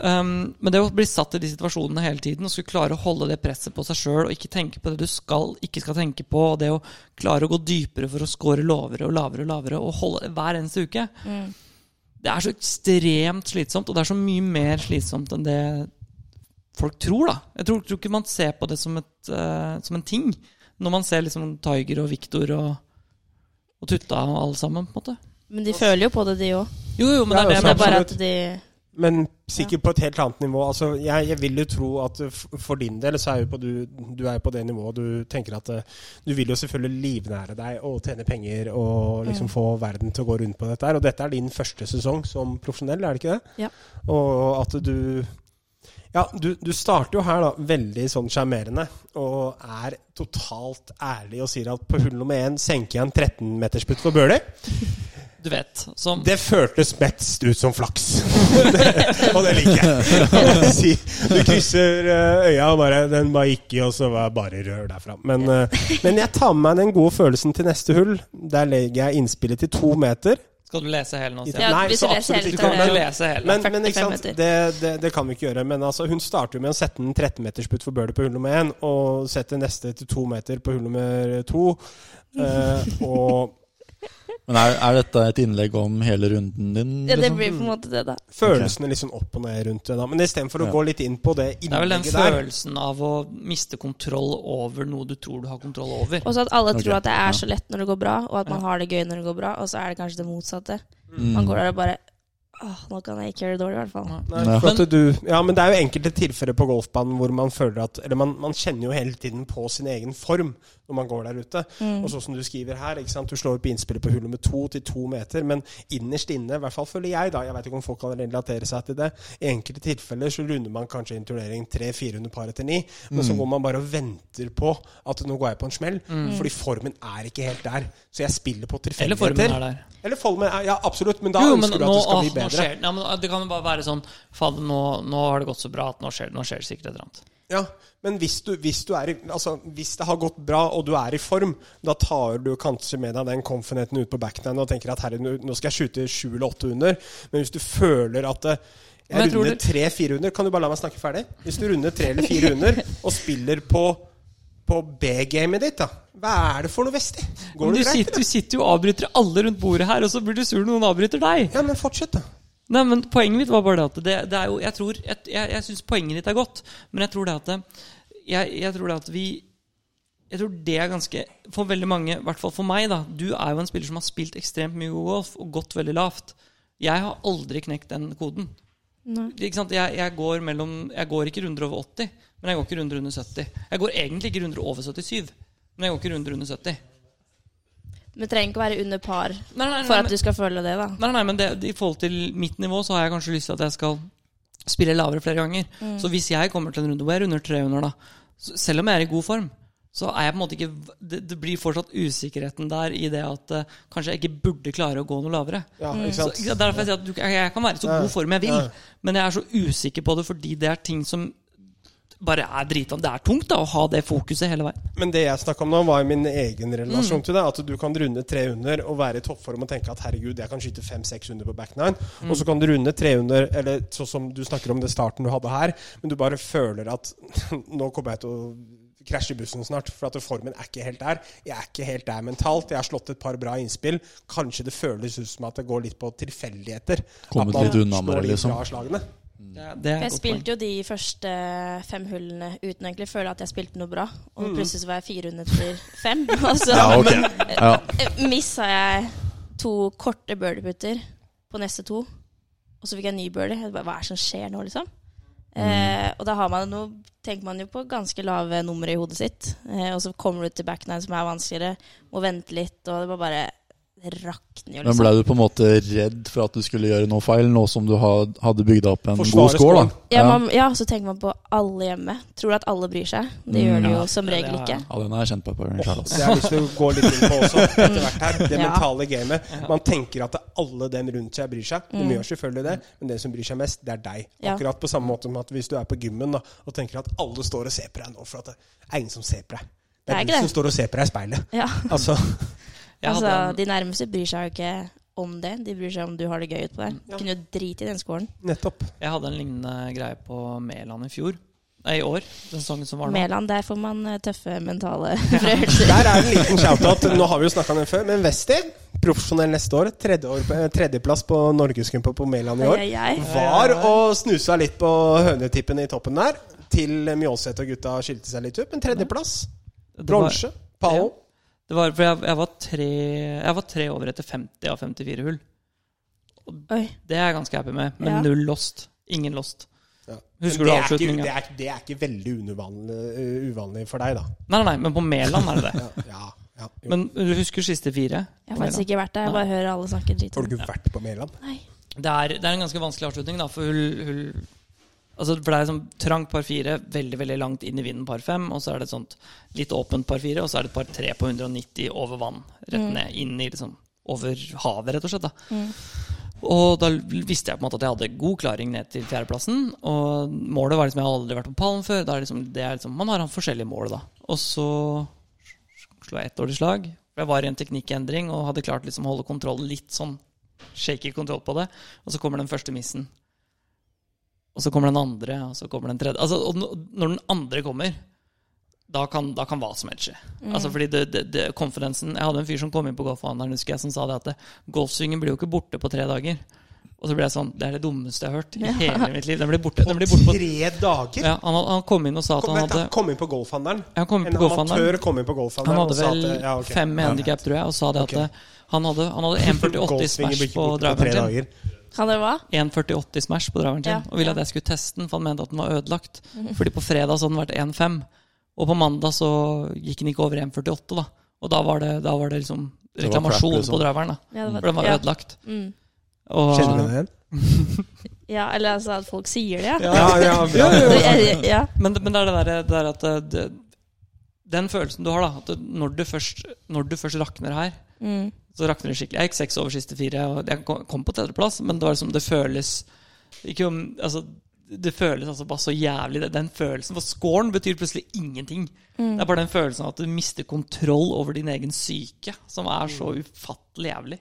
Speaker 1: Um, men det å bli satt i de situasjonene hele tiden og skulle klare å holde det presset på seg sjøl og ikke tenke på det du skal, ikke skal tenke på, og det å klare å gå dypere for å score lavere og lavere og lavere og holde det hver eneste uke,
Speaker 4: Mm.
Speaker 1: det er så ekstremt slitsomt, og det er så mye mer slitsomt enn det folk tror, da. Jeg tror, tror ikke man ser på det som, et, eh, som en ting, når man ser liksom Tiger og Victor og, og Tutta og alle sammen, på en måte.
Speaker 4: Men de føler jo på det, de òg.
Speaker 1: Jo, jo, men det er
Speaker 2: Ja,
Speaker 1: det
Speaker 4: Det
Speaker 2: altså,
Speaker 1: jeg
Speaker 4: er bare at
Speaker 2: absolutt. Mm,
Speaker 4: de
Speaker 2: Men sikkert på et helt annet nivå. Altså, jeg, jeg vil jo tro at eh, f- for din del så er jo på du, du er jo på det nivået du tenker at eh, du vil jo selvfølgelig livnære deg og tjene penger og liksom
Speaker 4: Mm.
Speaker 2: få verden til å gå rundt på dette her. Og dette er din første sesong som profesjonell, er det ikke det?
Speaker 4: Ja.
Speaker 2: Og at du ja, du, du starter jo her da, veldig sånn sjarmerende og er totalt ærlig og sier at på hull nummer én senker jeg en 13-metersputt for Bøhler.
Speaker 1: Du vet. Som
Speaker 2: Det føltes mest ut som flaks. [laughs] det, og det liker jeg. Kan jeg si. Du krysser eh, øya, og bare, den bare gikk i, og så var det bare rør derfra. Men, eh, men jeg tar med meg den gode følelsen til neste hull. Der legger jeg innspillet til to meter.
Speaker 1: Skal du lese hele nå? Stian?
Speaker 4: Ja, hvis
Speaker 2: så
Speaker 4: du leser
Speaker 2: absolutt
Speaker 4: hele
Speaker 1: Du
Speaker 2: ikke.
Speaker 1: kan
Speaker 4: Ja.
Speaker 1: ikke lese hele.
Speaker 2: Men, men ikke sant?
Speaker 4: 45 eh, meter.
Speaker 2: Det, det, det kan vi ikke gjøre. Men altså, hun starter jo med å sette en 13-metersputt for Bøhler på hull nummer én, og setter neste til to meter på hull nummer to. Eh, og
Speaker 3: Men er, er dette et innlegg om hele runden din?
Speaker 4: Ja, det
Speaker 3: liksom?
Speaker 4: blir på en måte det, da.
Speaker 2: følelsene liksom opp og ned rundt det. da Men istedenfor å
Speaker 3: Ja.
Speaker 2: gå litt inn på det
Speaker 1: Det er vel den
Speaker 2: innlegget der
Speaker 1: følelsen av å miste kontroll over noe du tror du har kontroll over.
Speaker 4: Og så at alle
Speaker 3: Ok,
Speaker 4: tror at det
Speaker 3: ja.
Speaker 4: er så lett når det går bra, og at man
Speaker 1: Ja.
Speaker 4: har det gøy når det går bra, og så er det kanskje det motsatte.
Speaker 3: Mm.
Speaker 4: Man går der og bare Åh, nå kan jeg ikke gjøre det dårlig, i hvert fall.
Speaker 1: Nei.
Speaker 2: Nei,
Speaker 3: Nei.
Speaker 2: for at du, ja, men det er jo enkelte tilfeller på golfbanen hvor man føler at Eller man, man kjenner jo hele tiden på sin egen form når man går der ute.
Speaker 1: Mm.
Speaker 2: Og sånn som du skriver her, ikke sant? du slår opp innspillet på hull nummer to til to meter, men innerst inne, i hvert fall føler jeg, da, jeg veit ikke om folk kan relatere seg til det, i enkelte tilfeller så runder man kanskje inn turnering 300-400 par etter ni, men så går man bare og venter på at nå går jeg på en smell, fordi formen er ikke helt der. Så jeg spiller på
Speaker 1: Mm. Eller formen
Speaker 2: tilfeldigheter.
Speaker 1: er der.
Speaker 2: Eller formen er Ja, absolutt, men da
Speaker 1: Jo, men
Speaker 2: ønsker du
Speaker 1: nå,
Speaker 2: at det skal
Speaker 1: åh,
Speaker 2: bli
Speaker 1: nå
Speaker 2: bedre.
Speaker 1: skjer, ja, men ah, det kan jo bare være sånn Fader, nå, nå har det gått så bra at nå skjer, nå skjer det sikkert et eller annet.
Speaker 2: Ja, men hvis, du, hvis, du er i, altså, hvis det har gått bra, og du er i form, da tar du kanskje med deg den confidenten ut på backhand og tenker at herre, nå nå skal jeg skyte sju eller åtte under. Men hvis du føler at eh,
Speaker 1: Men
Speaker 2: jeg
Speaker 1: jeg tror
Speaker 2: runder
Speaker 1: det-
Speaker 2: tre-fire under Kan du bare la meg snakke ferdig? Hvis du runder tre eller
Speaker 1: [laughs]
Speaker 2: fire under og spiller på, på B-gamet ditt, da, hva er det for noe vesti?
Speaker 1: Men
Speaker 2: Går
Speaker 1: du,
Speaker 2: det greit?
Speaker 1: sitter, du sitter jo og avbryter alle rundt bordet her, og så blir du sur når noen avbryter deg.
Speaker 2: Ja, men fortsett, da.
Speaker 1: Nei, men Poenget mitt var bare det at det, det er jo, Jeg tror, jeg, jeg, jeg syns poenget ditt er godt, men jeg tror det at det, jeg, jeg tror det at vi jeg tror det er ganske For veldig mange, i hvert fall for meg, da Du er jo en spiller som har spilt ekstremt mye god golf og gått veldig lavt. Jeg har aldri knekt den koden.
Speaker 4: Nei.
Speaker 1: Ikke sant? Jeg, jeg, går mellom, jeg går ikke runder over 80, men jeg går ikke runder under 70. Jeg går egentlig ikke runder over 77, men jeg går ikke runder under 70.
Speaker 4: Men trenger ikke å være under par
Speaker 1: Nei, nei, nei,
Speaker 4: for at
Speaker 1: men-
Speaker 4: du skal føle det, da.
Speaker 1: Nei, nei, men det, i forhold til mitt nivå så har jeg kanskje lyst til at jeg skal spille lavere flere ganger.
Speaker 4: Mm.
Speaker 1: Så hvis jeg kommer til en runde hvor jeg runder 300, da, så selv om jeg er i god form, så er jeg på en måte ikke Det, det blir fortsatt usikkerheten der i det at eh, kanskje jeg ikke burde klare å gå noe lavere.
Speaker 2: Ja,
Speaker 1: Mm.
Speaker 2: ikke
Speaker 1: Så,
Speaker 2: sant?
Speaker 1: ikke sant, derfor jeg sier at du, jeg, jeg kan være i så
Speaker 2: Ja.
Speaker 1: god form jeg vil,
Speaker 2: Ja.
Speaker 1: men jeg er så usikker på det fordi det er ting som bare er dritvann. Det er tungt da å ha det fokuset hele veien.
Speaker 2: Men det jeg snakka om nå, var min egen relasjon til det. At du kan runde 300 og være i toppform og tenke at herregud, jeg kan skyte 500-600 på back nine. Og så kan du runde 300, eller sånn som du snakker om det starten du hadde her, men du bare føler at [laughs] nå kommer jeg til å krasje i bussen snart, for at formen er ikke helt der. Jeg er ikke helt der mentalt. Jeg har slått et par bra innspill. Kanskje det føles ut som at det går litt på tilfeldigheter.
Speaker 3: Kommet
Speaker 2: at man
Speaker 3: litt unna med
Speaker 2: slår
Speaker 3: det,
Speaker 2: litt
Speaker 3: liksom.
Speaker 2: bra slagene.
Speaker 1: Det, det er
Speaker 4: Mm. Jeg
Speaker 1: et godt poeng.
Speaker 4: spilte jo de første fem hullene uten egentlig å føle at jeg spilte noe bra. Og plutselig så var jeg fire under etter fem. [laughs] Og så
Speaker 3: Mm. Ja, ok. Ja.
Speaker 4: missa jeg to korte birdieputter på neste to. Og så fikk jeg en ny birdie. Jeg bare, Hva er det som skjer nå, liksom?
Speaker 1: Mm.
Speaker 4: Eh, og da har man jo, tenker man jo på ganske lave numre i hodet sitt. Eh, og så kommer du til back nine som er vanskeligere, må vente litt, og det var bare Det rakner jo,
Speaker 3: Men
Speaker 4: liksom.
Speaker 3: ble du på en måte redd for at du skulle gjøre noe feil, nå som du ha- hadde bygd opp en
Speaker 2: Forsvare
Speaker 3: god score?
Speaker 2: scoren.
Speaker 3: da?
Speaker 4: Ja, man, ja, så tenker man på alle hjemme. Tror du at alle bryr seg? Det gjør de jo som
Speaker 1: Mm. det er-
Speaker 4: regel ikke.
Speaker 3: Ja, den har jeg kjent på. på den selv, altså.
Speaker 2: Det har jeg lyst til å gå litt inn på også, etter hvert her. Det
Speaker 4: Mm. Ja. Mm.
Speaker 2: mentale gamet. Man tenker at det er alle dem rundt seg bryr seg. De gjør selvfølgelig det, men den som bryr seg mest, det er deg.
Speaker 4: Ja.
Speaker 2: Akkurat på samme måte som at hvis du er på gymmen da, og tenker at alle står og ser på deg nå, for at det er ingen som ser på deg. Det
Speaker 4: Det er
Speaker 2: er,
Speaker 4: ikke det.
Speaker 2: du som står og ser på deg i speilet.
Speaker 4: Ja.
Speaker 2: Altså, [laughs]
Speaker 1: Jeg hadde
Speaker 4: Altså,
Speaker 1: en-
Speaker 4: de nærmeste bryr seg jo ikke om det. De bryr seg om du har det gøy utpå der.
Speaker 1: Mm.
Speaker 2: Ja.
Speaker 4: Kunne jo drite i den skålen.
Speaker 2: nettopp.
Speaker 1: Jeg hadde en lignende greie på Mæland i fjor. Nei, i år. Den sangen som var nå.
Speaker 4: Mæland, der får man eh,
Speaker 1: [laughs]
Speaker 4: tøffe mentale [laughs]
Speaker 2: Der
Speaker 4: prøvelser.
Speaker 2: er en liten shout-out. Nå har vi jo snakka om den før, men Wester, profesjonell neste år, tredje år eh, tredjeplass på norgescupen på Mæland i år,
Speaker 4: Ai, ai, ai.
Speaker 2: var og snusa litt på hønetippene i toppen der. Til Mjåseth og gutta skilte seg litt ut, men tredjeplass.
Speaker 1: Det var-
Speaker 2: Bronse. Pallen.
Speaker 1: Det var, for jeg, jeg, var tre, jeg var tre over etter 50 av 54 hull.
Speaker 4: Oi.
Speaker 1: Det er jeg ganske happy med, men
Speaker 4: Ja.
Speaker 1: null lost. Ingen lost.
Speaker 2: Ja.
Speaker 1: Husker du
Speaker 2: Men det er ikke-
Speaker 1: avslutningen?
Speaker 2: Det, er- det er ikke veldig uvanlig, uh, uvanlig for deg, da.
Speaker 1: Nei, nei, nei, men på Mæland er det
Speaker 4: [laughs]
Speaker 1: det.
Speaker 2: Ja, ja. jo.
Speaker 1: Men du husker siste fire?
Speaker 4: Jeg
Speaker 1: på
Speaker 4: har faktisk
Speaker 1: Mæland?
Speaker 4: ikke vært der. Jeg bare hører alle snakke dritt
Speaker 2: har
Speaker 4: om
Speaker 2: du
Speaker 4: det.
Speaker 2: ikke vært på Mæland?
Speaker 4: Nei.
Speaker 1: Det er, det er en ganske vanskelig avslutning, da, for hull, hull Altså, for det er sånn trangt par fire, veldig veldig langt inn i vinden par fem, og så er det et sånt litt åpent par fire, og så er det et par tre på 190 over vann, rett ned, inn i liksom over havet, rett og slett. da. Og da visste jeg på en måte at jeg hadde god klaring ned til fjerdeplassen. Og målet var liksom Jeg har aldri vært på pallen før. Da er det liksom, det er liksom, man har hatt forskjellige mål, da. Og så slo jeg ett dårlig slag. For jeg var i en teknikkendring og hadde klart liksom å holde kontrollen litt sånn shaky kontroll på det. Og så kommer den første missen. Og så kommer den andre, og så kommer den tredje. Altså, og n- når den andre kommer, da kan, da kan hva som helst skje.
Speaker 2: Mm.
Speaker 1: Altså, fordi det, det, det, konferansen, Jeg hadde en fyr som kom inn på golfhandelen husker jeg, som sa det at det, golfsvingen blir jo ikke borte på tre dager. Og så ble jeg sånn Det er det dummeste jeg har
Speaker 2: [laughs]
Speaker 1: hørt i hele mitt liv. Den blir borte, den blir borte på
Speaker 2: Tre dager?
Speaker 1: ja, han, had- han kom inn og sa at
Speaker 2: Kom,
Speaker 1: han
Speaker 2: vent,
Speaker 1: hadde
Speaker 2: da, kom inn på golfhandelen.
Speaker 1: Ja, han kom inn
Speaker 2: En
Speaker 1: på golfhandelen.
Speaker 2: amatør kom inn på golfhandelen.
Speaker 1: Han
Speaker 2: og
Speaker 1: hadde
Speaker 2: sa
Speaker 1: vel
Speaker 2: at, ja, ok.
Speaker 1: fem med handikap, tror jeg, og sa det at
Speaker 2: Ok.
Speaker 1: eh, han hadde, han hadde
Speaker 2: [laughs]
Speaker 1: 1,48 i
Speaker 2: Golfsvinger blir
Speaker 1: smash
Speaker 2: ikke
Speaker 1: på
Speaker 2: borte på tre
Speaker 1: driveren sin.
Speaker 2: dager.
Speaker 4: Kan dere hva?
Speaker 1: 1,48 i smash på driveren sin,
Speaker 4: Ja,
Speaker 1: og ville at jeg skulle teste den, for han mente at den var ødelagt. Fordi på fredag så hadde den vært 1,5, og på mandag så gikk den ikke over 1,48, da. Og da var det, da var det liksom
Speaker 3: var crap,
Speaker 1: reklamasjon
Speaker 3: liksom.
Speaker 1: på driveren, da.
Speaker 4: [laughs] Ja, det var-
Speaker 1: For den var
Speaker 4: ja.
Speaker 1: ødelagt.
Speaker 4: Mm.
Speaker 1: Og,
Speaker 2: Kjenner du det igjen?
Speaker 4: Ja, eller altså at folk sier det, ja.
Speaker 2: Ja, ja, bra.
Speaker 4: [laughs] Det er- ja.
Speaker 1: Men, men det er det der, det der at eh, det, Den følelsen du har, da. At det- når du først, når du først rakner her,
Speaker 4: Mm.
Speaker 1: så rakner det skikkelig. Jeg gikk seks over siste fire. Og jeg kom- kom på tredjeplass, men det var liksom, det føles ikke om, altså, det føles altså bare så jævlig. det- Den følelsen For scoren betyr plutselig ingenting.
Speaker 4: Mm.
Speaker 1: Det er bare den følelsen av at du mister kontroll over din egen syke, som er så
Speaker 4: Mm.
Speaker 1: ufattelig jævlig.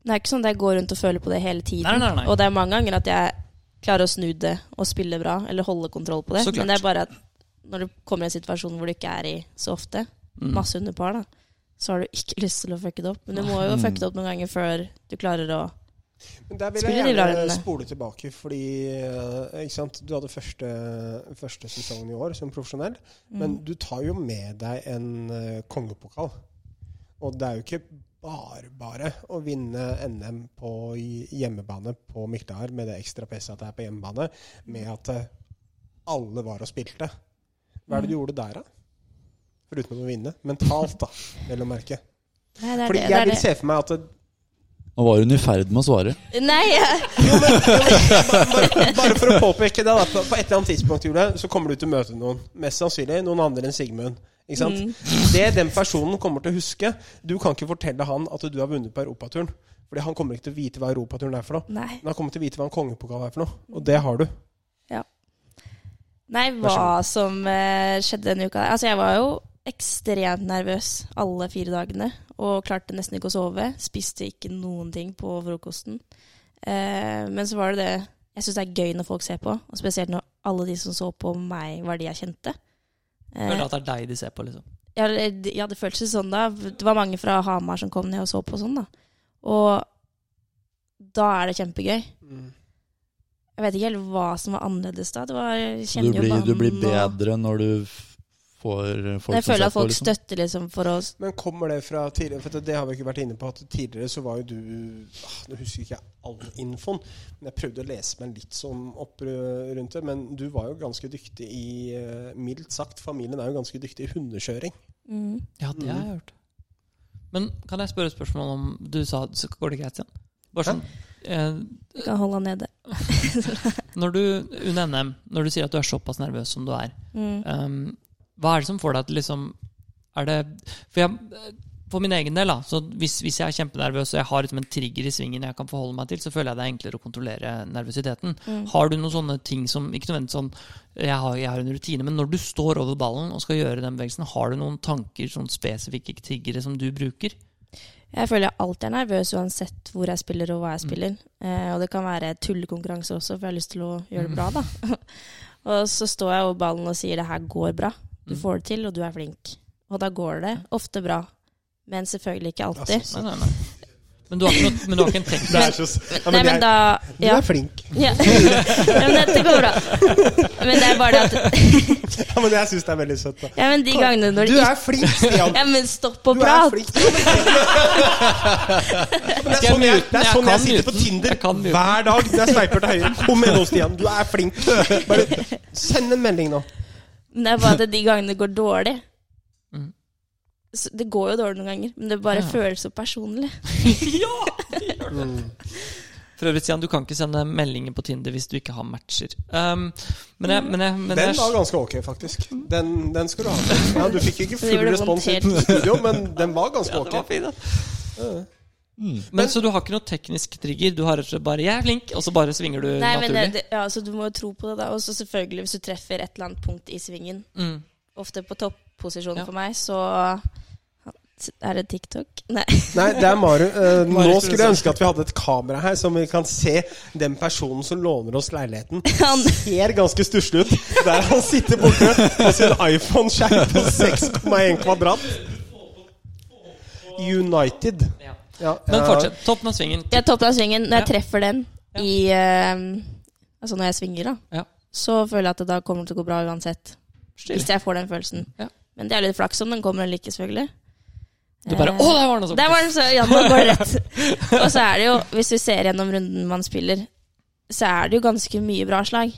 Speaker 4: Det er ikke sånn at jeg går rundt og føler på det hele tiden.
Speaker 1: Nei, nei, nei.
Speaker 4: Og det er mange ganger at jeg klarer å snu det og spille bra, eller holde kontroll på det.
Speaker 1: Så klart.
Speaker 4: Men det er bare at når du kommer i en situasjon hvor du ikke er i så ofte,
Speaker 1: Mm.
Speaker 4: masse underpar, da, så har du ikke [laughs] lyst til å fucke det opp. Men du må
Speaker 1: Ah.
Speaker 4: jo fucke det opp noen ganger før du klarer å
Speaker 2: Men Der vil jeg
Speaker 4: Spiller de bra
Speaker 2: gjerne
Speaker 4: rundene?
Speaker 2: spole tilbake, fordi eh, ikke sant? du hadde første, første sesongen i år som profesjonell.
Speaker 4: Mm.
Speaker 2: Men du tar jo med deg en eh, kongepokal. Og det er jo ikke bare, bare å vinne NM på hjemmebane på Mykdar med det ekstra presset at det er på hjemmebane, med at eh, alle var og spilte. Hva er det du
Speaker 4: Mm.
Speaker 2: gjorde der, da? Foruten å vinne. Mentalt, da, vel å merke.
Speaker 4: Nei, det er
Speaker 2: Fordi
Speaker 4: det, det
Speaker 2: jeg
Speaker 4: er
Speaker 2: vil se for meg at det-
Speaker 3: Nå var hun i ferd med å svare.
Speaker 4: det. Nei, jeg- [laughs]
Speaker 2: bare, bare for å påpeke det, da. På, på et eller annet tidspunkt Jule, så kommer du til å møte noen. Mest sannsynlig noen andre enn Sigmund. Ikke
Speaker 4: Mm.
Speaker 2: sant? Det den personen kommer til å huske Du kan ikke fortelle han at du har vunnet på europaturen. Fordi han kommer ikke til å vite hva europaturen er for noe.
Speaker 4: nei.
Speaker 2: Men han kommer til å vite hva en kongepokal er for noe. Og det har du.
Speaker 4: Nei, hva som eh, skjedde denne uka. Altså, jeg var jo ekstremt nervøs alle fire dagene. Og klarte nesten ikke å sove. Spiste ikke noen ting på frokosten. Eh, men så var det det jeg syns det er gøy når folk ser på. Og spesielt når alle de som så på meg, var de jeg kjente. Eh,
Speaker 1: Føler at det er deg de ser på, liksom.
Speaker 4: ja, det- ja, det føltes litt sånn da. Det var mange fra Hamar som kom ned og så på sånn, da. Og da er det kjempegøy. Jeg vet ikke helt hva som var annerledes da. Det var, jeg
Speaker 3: Du
Speaker 4: kjenner jo
Speaker 3: blir, du blir
Speaker 4: banen og-
Speaker 3: bedre når du f- får folk
Speaker 4: jeg føler at folk
Speaker 3: liksom.
Speaker 4: støtter liksom for å
Speaker 2: Men kommer det fra tidligere For det har vi ikke vært inne på. At tidligere så var jo du ah, Nå husker ikke jeg all infoen, men jeg prøvde å lese meg litt sånn opp eh, rundt det. Men du var jo ganske dyktig i eh, Mildt sagt, familien er jo ganske dyktig i hundekjøring.
Speaker 4: mm,
Speaker 1: Ja, det har jeg hørt. Men kan jeg spørre et spørsmål om Du sa så går det greit igjen? Bare sånn eh,
Speaker 4: Du kan holde han nede.
Speaker 1: Når du under NM, når du sier at du er såpass nervøs som du er,
Speaker 4: Mm,
Speaker 1: ehm, hva er det som får deg til liksom Er det For, jeg, for min egen del, da, så hvis, hvis jeg er kjempenervøs og jeg har liksom en trigger i svingen jeg kan forholde meg til, så føler jeg det er enklere å kontrollere nervøsiteten.
Speaker 4: mm.
Speaker 1: Har du noen sånne ting som Ikke nødvendigvis sånn jeg har, jeg har en rutine, men når du står over ballen og skal gjøre den bevegelsen, har du noen tanker, sånn spesifikke triggere som du bruker?
Speaker 4: Jeg føler jeg alltid er nervøs uansett hvor jeg spiller og hva jeg spiller. Eh, og det kan være tullekonkurranser også, for jeg har lyst til å gjøre det bra, da. og så står jeg over ballen og sier det her går bra. Du får det til, og du er flink. Og da går det ofte bra. Men selvfølgelig ikke alltid.
Speaker 1: Nei, nei, nei. Men du har ikke, noe, men du har ikke en [laughs] tekst
Speaker 2: Det er så, ja, men
Speaker 4: Nei,
Speaker 2: det
Speaker 4: men
Speaker 2: er-
Speaker 4: da
Speaker 2: Du
Speaker 4: ja.
Speaker 2: er flink. [laughs]
Speaker 4: ja. [laughs] Men dette går
Speaker 3: [laughs]
Speaker 4: bra. Men det er bare det at
Speaker 2: Ja, men jeg syns det er veldig søtt. Da.
Speaker 4: Ja, men de gangene når
Speaker 2: Du
Speaker 4: de
Speaker 2: er flink, Stian.
Speaker 4: [laughs] Ja, men stopp og
Speaker 2: Du er
Speaker 4: prat!
Speaker 2: flink. [laughs] Men Det er sånn jeg, det er
Speaker 1: Jeg
Speaker 2: sånn jeg
Speaker 1: kan
Speaker 2: sitter på
Speaker 1: muten.
Speaker 2: Tinder
Speaker 1: Jeg kan muten.
Speaker 2: hver dag. Det er sveiper til høyre. Kom igjen nå, Stian. Du er flink. Bare send en melding
Speaker 1: Mm.
Speaker 2: nå.
Speaker 4: Men det er bare at de gangene det går dårlig så Det går jo dårlig noen ganger, men det bare
Speaker 1: Mm. Ja.
Speaker 4: føles så personlig.
Speaker 1: For øvrig, Stian, du kan ikke sende meldinger på Tinder hvis du ikke har matcher. Um, men jeg, men jeg, men
Speaker 2: Den
Speaker 1: jeg
Speaker 2: var ganske ok, faktisk. Den, den skal du ha. Ja, du fikk
Speaker 4: [laughs]
Speaker 2: ikke
Speaker 4: Det
Speaker 2: full
Speaker 4: gjorde
Speaker 2: respons i
Speaker 4: vondt helt.
Speaker 2: studio, men den var ganske
Speaker 1: ja, det var
Speaker 2: ok.
Speaker 1: fint, da. Men så du har ikke noe teknisk trigger? Du har rett og slett bare 'jeg er flink', og så bare svinger du
Speaker 4: Nei, men
Speaker 1: naturlig?
Speaker 4: det, det, ja, så Du må jo tro på det, da. Og så selvfølgelig, hvis du treffer et eller annet punkt i svingen,
Speaker 1: Mm.
Speaker 4: ofte på topposisjon
Speaker 1: Ja.
Speaker 4: for meg, så Er det TikTok? Nei. [laughs]
Speaker 2: Nei, det er Maru. Eh, nå
Speaker 1: Maru
Speaker 2: skulle jeg ønske at vi hadde et kamera her, som vi kan se den personen som låner oss leiligheten.
Speaker 4: Han,
Speaker 2: Ser ganske stusslig ut. Der han sitter borte med sin iPhone-skjerm på 6,1 kvadrat. United.
Speaker 1: Ja.
Speaker 2: Ja,
Speaker 1: Men
Speaker 2: ja.
Speaker 1: fortsett. Topp med svingen.
Speaker 4: jeg topper av svingen. Når jeg
Speaker 1: Ja.
Speaker 4: treffer den
Speaker 1: Ja.
Speaker 4: i eh, Altså når jeg svinger, da,
Speaker 1: Ja.
Speaker 4: så føler jeg at det da kommer det til å gå bra uansett.
Speaker 1: Stilig.
Speaker 4: Hvis jeg får den følelsen.
Speaker 1: Ja.
Speaker 4: Men det er litt flaks om den kommer eller ikke, selvfølgelig.
Speaker 1: Du bare 'Å, der var den!'
Speaker 4: Der var den så, ja, nå går
Speaker 1: [laughs]
Speaker 4: det rett. Og så er det jo, hvis du ser gjennom runden man spiller, så er det jo ganske mye bra slag.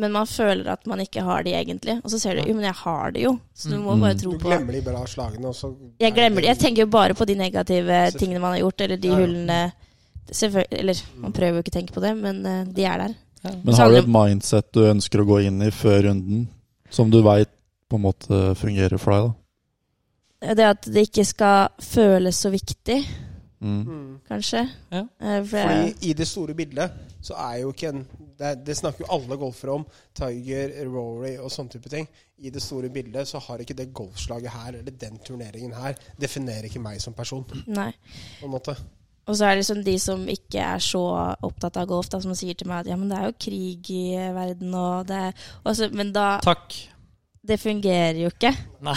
Speaker 4: Men man føler at man ikke har de egentlig. Og så ser du jo, men jeg har det jo. Så du
Speaker 1: Mm.
Speaker 4: må bare tro
Speaker 2: Mm. Du
Speaker 4: på
Speaker 2: glemmer de bra slagene, og så
Speaker 4: Jeg glemmer det. Jeg tenker jo bare på de negative tingene man har gjort, eller de
Speaker 2: Ja, ja.
Speaker 4: hullene Selvfølgelig, eller man prøver jo ikke å tenke på det, men eh, de er der.
Speaker 3: Men har du et mindset du ønsker å gå inn i før runden, som du veit på en måte fungerer for deg? da?
Speaker 4: Det at det ikke skal føles så viktig,
Speaker 3: Mm.
Speaker 4: kanskje.
Speaker 1: Ja.
Speaker 4: Eh, For jeg,
Speaker 2: Fordi i det store bildet så er jo ikke en Det, det snakker jo alle golfere om. Tiger, Rory og sånne type ting. I det store bildet så har ikke det golfslaget her eller den turneringen her definerer ikke meg som person. på
Speaker 4: nei.
Speaker 2: en måte.
Speaker 4: Og så er det liksom de som ikke er så opptatt av golf, da, som sier til meg at ja, men det er jo krig i eh, verden og det er og så- Men da
Speaker 1: Takk.
Speaker 4: Det fungerer jo ikke.
Speaker 1: Nei.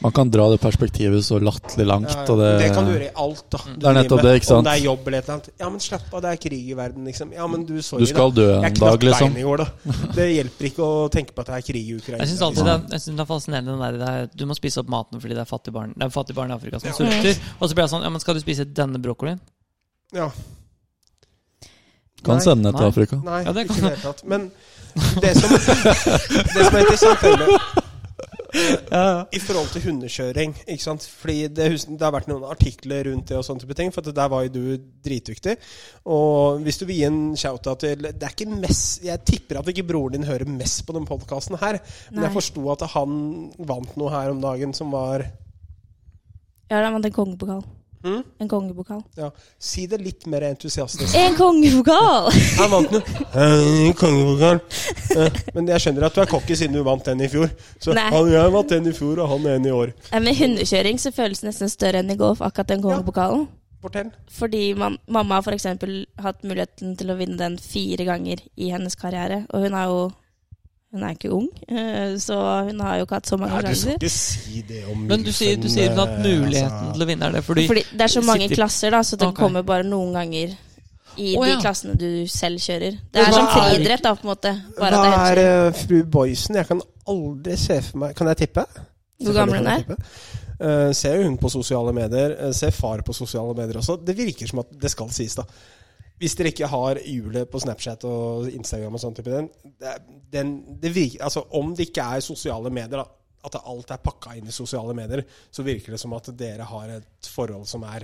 Speaker 3: Man kan dra det perspektivet så latterlig langt.
Speaker 2: Ja,
Speaker 3: Og det, Mm.
Speaker 2: det kan du gjøre i alt, da. Du
Speaker 3: Det er nettopp
Speaker 2: driver med.
Speaker 3: det, ikke sant?
Speaker 2: Om det er jobb eller et eller annet. Ja, men slapp av, det er krig i verden, liksom. Ja, men du, sorry,
Speaker 3: Du skal dø
Speaker 2: da.
Speaker 3: en
Speaker 2: Jeg knakk
Speaker 3: dag, liksom.
Speaker 2: beinet i
Speaker 3: [laughs]
Speaker 2: går, da. Det hjelper ikke å tenke på at det er krig i Ukraina.
Speaker 1: Jeg syns alltid det, er- jeg synes det er fascinerende den der, det er, Du må spise opp maten fordi det er fattige barn, det er fattige barn i Afrika som sulter. Og så blir jeg sånn Ja, men skal du spise denne brokkolien?
Speaker 2: Ja.
Speaker 3: Kan
Speaker 2: Nei.
Speaker 3: sende det
Speaker 1: Nei.
Speaker 3: til Afrika.
Speaker 2: Nei,
Speaker 1: Ja, det
Speaker 2: ikke
Speaker 1: kan
Speaker 2: i det hele tatt. Men det som, det som er interessant er jo, eh, I forhold til hundekjøring ikke sant? Fordi det, hus- det har vært noen artikler rundt det, og sånne type ting for at der var jo du dritdyktig. Og hvis du vil gi en shout-out til det er ikke mest, Jeg tipper at ikke broren din hører mest på denne podkasten her, men
Speaker 4: Nei.
Speaker 2: jeg forsto at han vant noe her om dagen som var
Speaker 4: Ja, da vant en kongepokal.
Speaker 2: Mm?
Speaker 4: En kongepokal.
Speaker 2: ja, Si det litt mer entusiastisk.
Speaker 4: En kongepokal!
Speaker 2: Han vant den. Eh, Kongepokal. Eh, Men jeg skjønner at du er cocky siden du vant den i fjor. Så
Speaker 4: Nei.
Speaker 2: han, jeg vant den i fjor, og han en i år.
Speaker 4: Nei, Med hundekjøring så føles det nesten større enn i golf, akkurat den kongepokalen.
Speaker 2: Fortell.
Speaker 4: Fordi mam mamma har f.eks. hatt muligheten til å vinne den fire ganger i hennes karriere. Og hun er jo Hun er ikke ung, eh, så hun har jo ikke hatt så mange sjanser.
Speaker 2: ikke si det om liksom, eh,
Speaker 1: Men du sier, du sier at
Speaker 2: altså.
Speaker 1: muligheten til å vinne er det fordi
Speaker 4: Fordi det er så mange
Speaker 1: Sitter-
Speaker 4: klasser, da, så det
Speaker 1: Ok.
Speaker 4: kommer bare noen ganger i
Speaker 1: Å,
Speaker 4: de
Speaker 1: ja.
Speaker 4: klassene du selv kjører.
Speaker 2: Men
Speaker 4: Det er
Speaker 2: hva
Speaker 4: som
Speaker 2: er-
Speaker 4: friidrett, da, på en måte.
Speaker 2: Hva
Speaker 4: Bare at
Speaker 2: er
Speaker 4: det er hundekjøring.
Speaker 2: eh, fru Boysen? Jeg kan aldri se for meg Kan jeg tippe?
Speaker 4: Hvor gammel hun
Speaker 2: Selvfølgelig
Speaker 4: er?
Speaker 2: kan jeg tippe. Eh, ser jo hun på sosiale medier. eh, ser far på sosiale medier også. Det virker som at det skal sies, da. Hvis dere ikke har hjulet på Snapchat og Instagram og sånn type den, det, er- den det virker, altså, Om det ikke er sosiale medier, da, at det alt er pakka inn i sosiale medier, så virker det som at dere har et forhold som er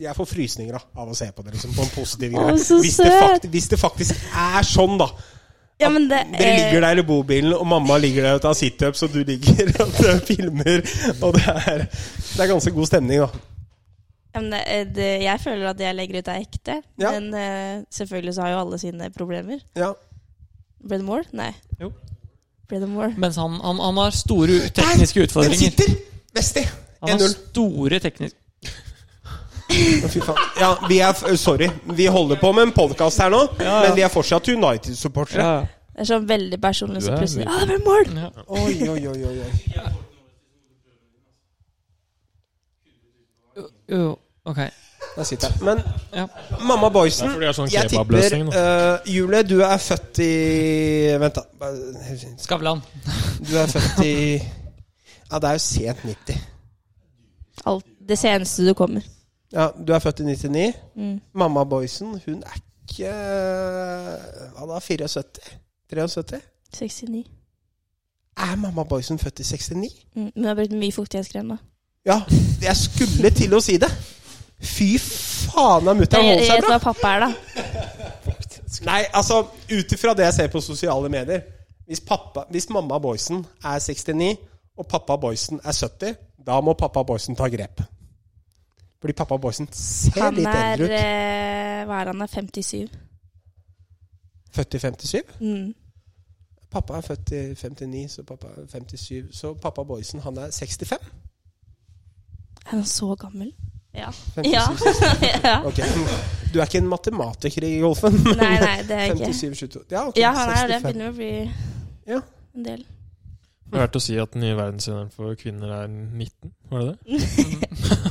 Speaker 2: jeg får frysninger da, av å se på det, liksom, på en positiv
Speaker 4: Å,
Speaker 2: greie.
Speaker 4: så
Speaker 2: Hvis det,
Speaker 4: søt!
Speaker 2: fakt, hvis det faktisk er sånn, da.
Speaker 4: Ja, men det, eh,
Speaker 2: Dere ligger der i bobilen, og mamma ligger der og tar situps, og du ligger [laughs] og tar filmer. Og det er, det er ganske god stemning, da.
Speaker 4: Ja, men det, eh, det, jeg føler at det jeg legger ut, er ekte.
Speaker 2: Ja.
Speaker 4: Men eh, selvfølgelig så har jo alle sine problemer.
Speaker 2: Ja.
Speaker 4: Ble det more? Nei.
Speaker 1: Jo.
Speaker 4: Ble det more?
Speaker 1: Mens han, han, han har store tekniske
Speaker 2: Den
Speaker 1: utfordringer.
Speaker 2: sitter! Vesti!
Speaker 1: Han
Speaker 2: 1-0.
Speaker 1: har store tekniske
Speaker 2: Å, Fy faen. Ja, vi er f- Sorry. Vi holder på med en podkast her nå,
Speaker 1: Ja, ja.
Speaker 2: men vi er fortsatt United-supportere.
Speaker 1: ja.
Speaker 4: Det er sånn veldig personlig
Speaker 5: Du
Speaker 4: som
Speaker 5: er
Speaker 4: plutselig Å,
Speaker 5: mye-
Speaker 4: det ble mål!
Speaker 1: ja.
Speaker 2: Oi, oi, oi, oi, oi.
Speaker 1: Jo, ok.
Speaker 2: Der sitter jeg. Men
Speaker 1: Ja.
Speaker 2: mamma
Speaker 5: Det er
Speaker 2: Boysen,
Speaker 5: fordi det er sånn
Speaker 2: jeg tipper
Speaker 5: kebabløsning,
Speaker 2: eh, Julie, du er født i Vent, da.
Speaker 1: [laughs] Skavlan.
Speaker 2: Du er født i Ja, det er jo sent 90.
Speaker 4: Alt, det seneste du kommer.
Speaker 2: Ja, du er født i 99.
Speaker 4: Mm.
Speaker 2: Mamma Boysen, hun er ikke eh, Hva da, 74? 73?
Speaker 4: 69.
Speaker 2: Er mamma Boysen født i 69?
Speaker 4: Mm. Men jeg har brukt mye fuktighetskrem, da.
Speaker 2: Ja, jeg skulle til å si det! Fy faen, har mutter'n
Speaker 4: Jeg
Speaker 2: holdt seg
Speaker 4: vet
Speaker 2: bra!
Speaker 4: hva pappa er, da.
Speaker 2: Nei, altså, ut ifra det jeg ser på sosiale medier Hvis, pappa, hvis mamma Boysen er 69, og pappa Boysen er 70, da må pappa Boysen ta grep. Fordi pappa Boysen ser
Speaker 4: Han
Speaker 2: litt
Speaker 4: er
Speaker 2: eldre ut.
Speaker 4: eh, Hva er han, da? 57?
Speaker 2: Født i 57?
Speaker 4: Mm.
Speaker 2: Pappa er født i 59, så pappa er 57. Så pappa Boysen, han er 65?
Speaker 4: Er han så gammel? Ja.
Speaker 2: 57,
Speaker 4: Ja. [laughs] ja.
Speaker 2: Ok, Du er ikke en matematiker i golfen. men
Speaker 4: Nei, nei, det er jeg ikke.
Speaker 2: 57, 22 Ja, ok,
Speaker 4: Ja, han er det.
Speaker 2: 65.
Speaker 4: Begynner å bli
Speaker 2: Ja.
Speaker 4: en [laughs] del.
Speaker 5: Jeg hørte å si at den nye verdensrekorden for kvinner er 19, var det det?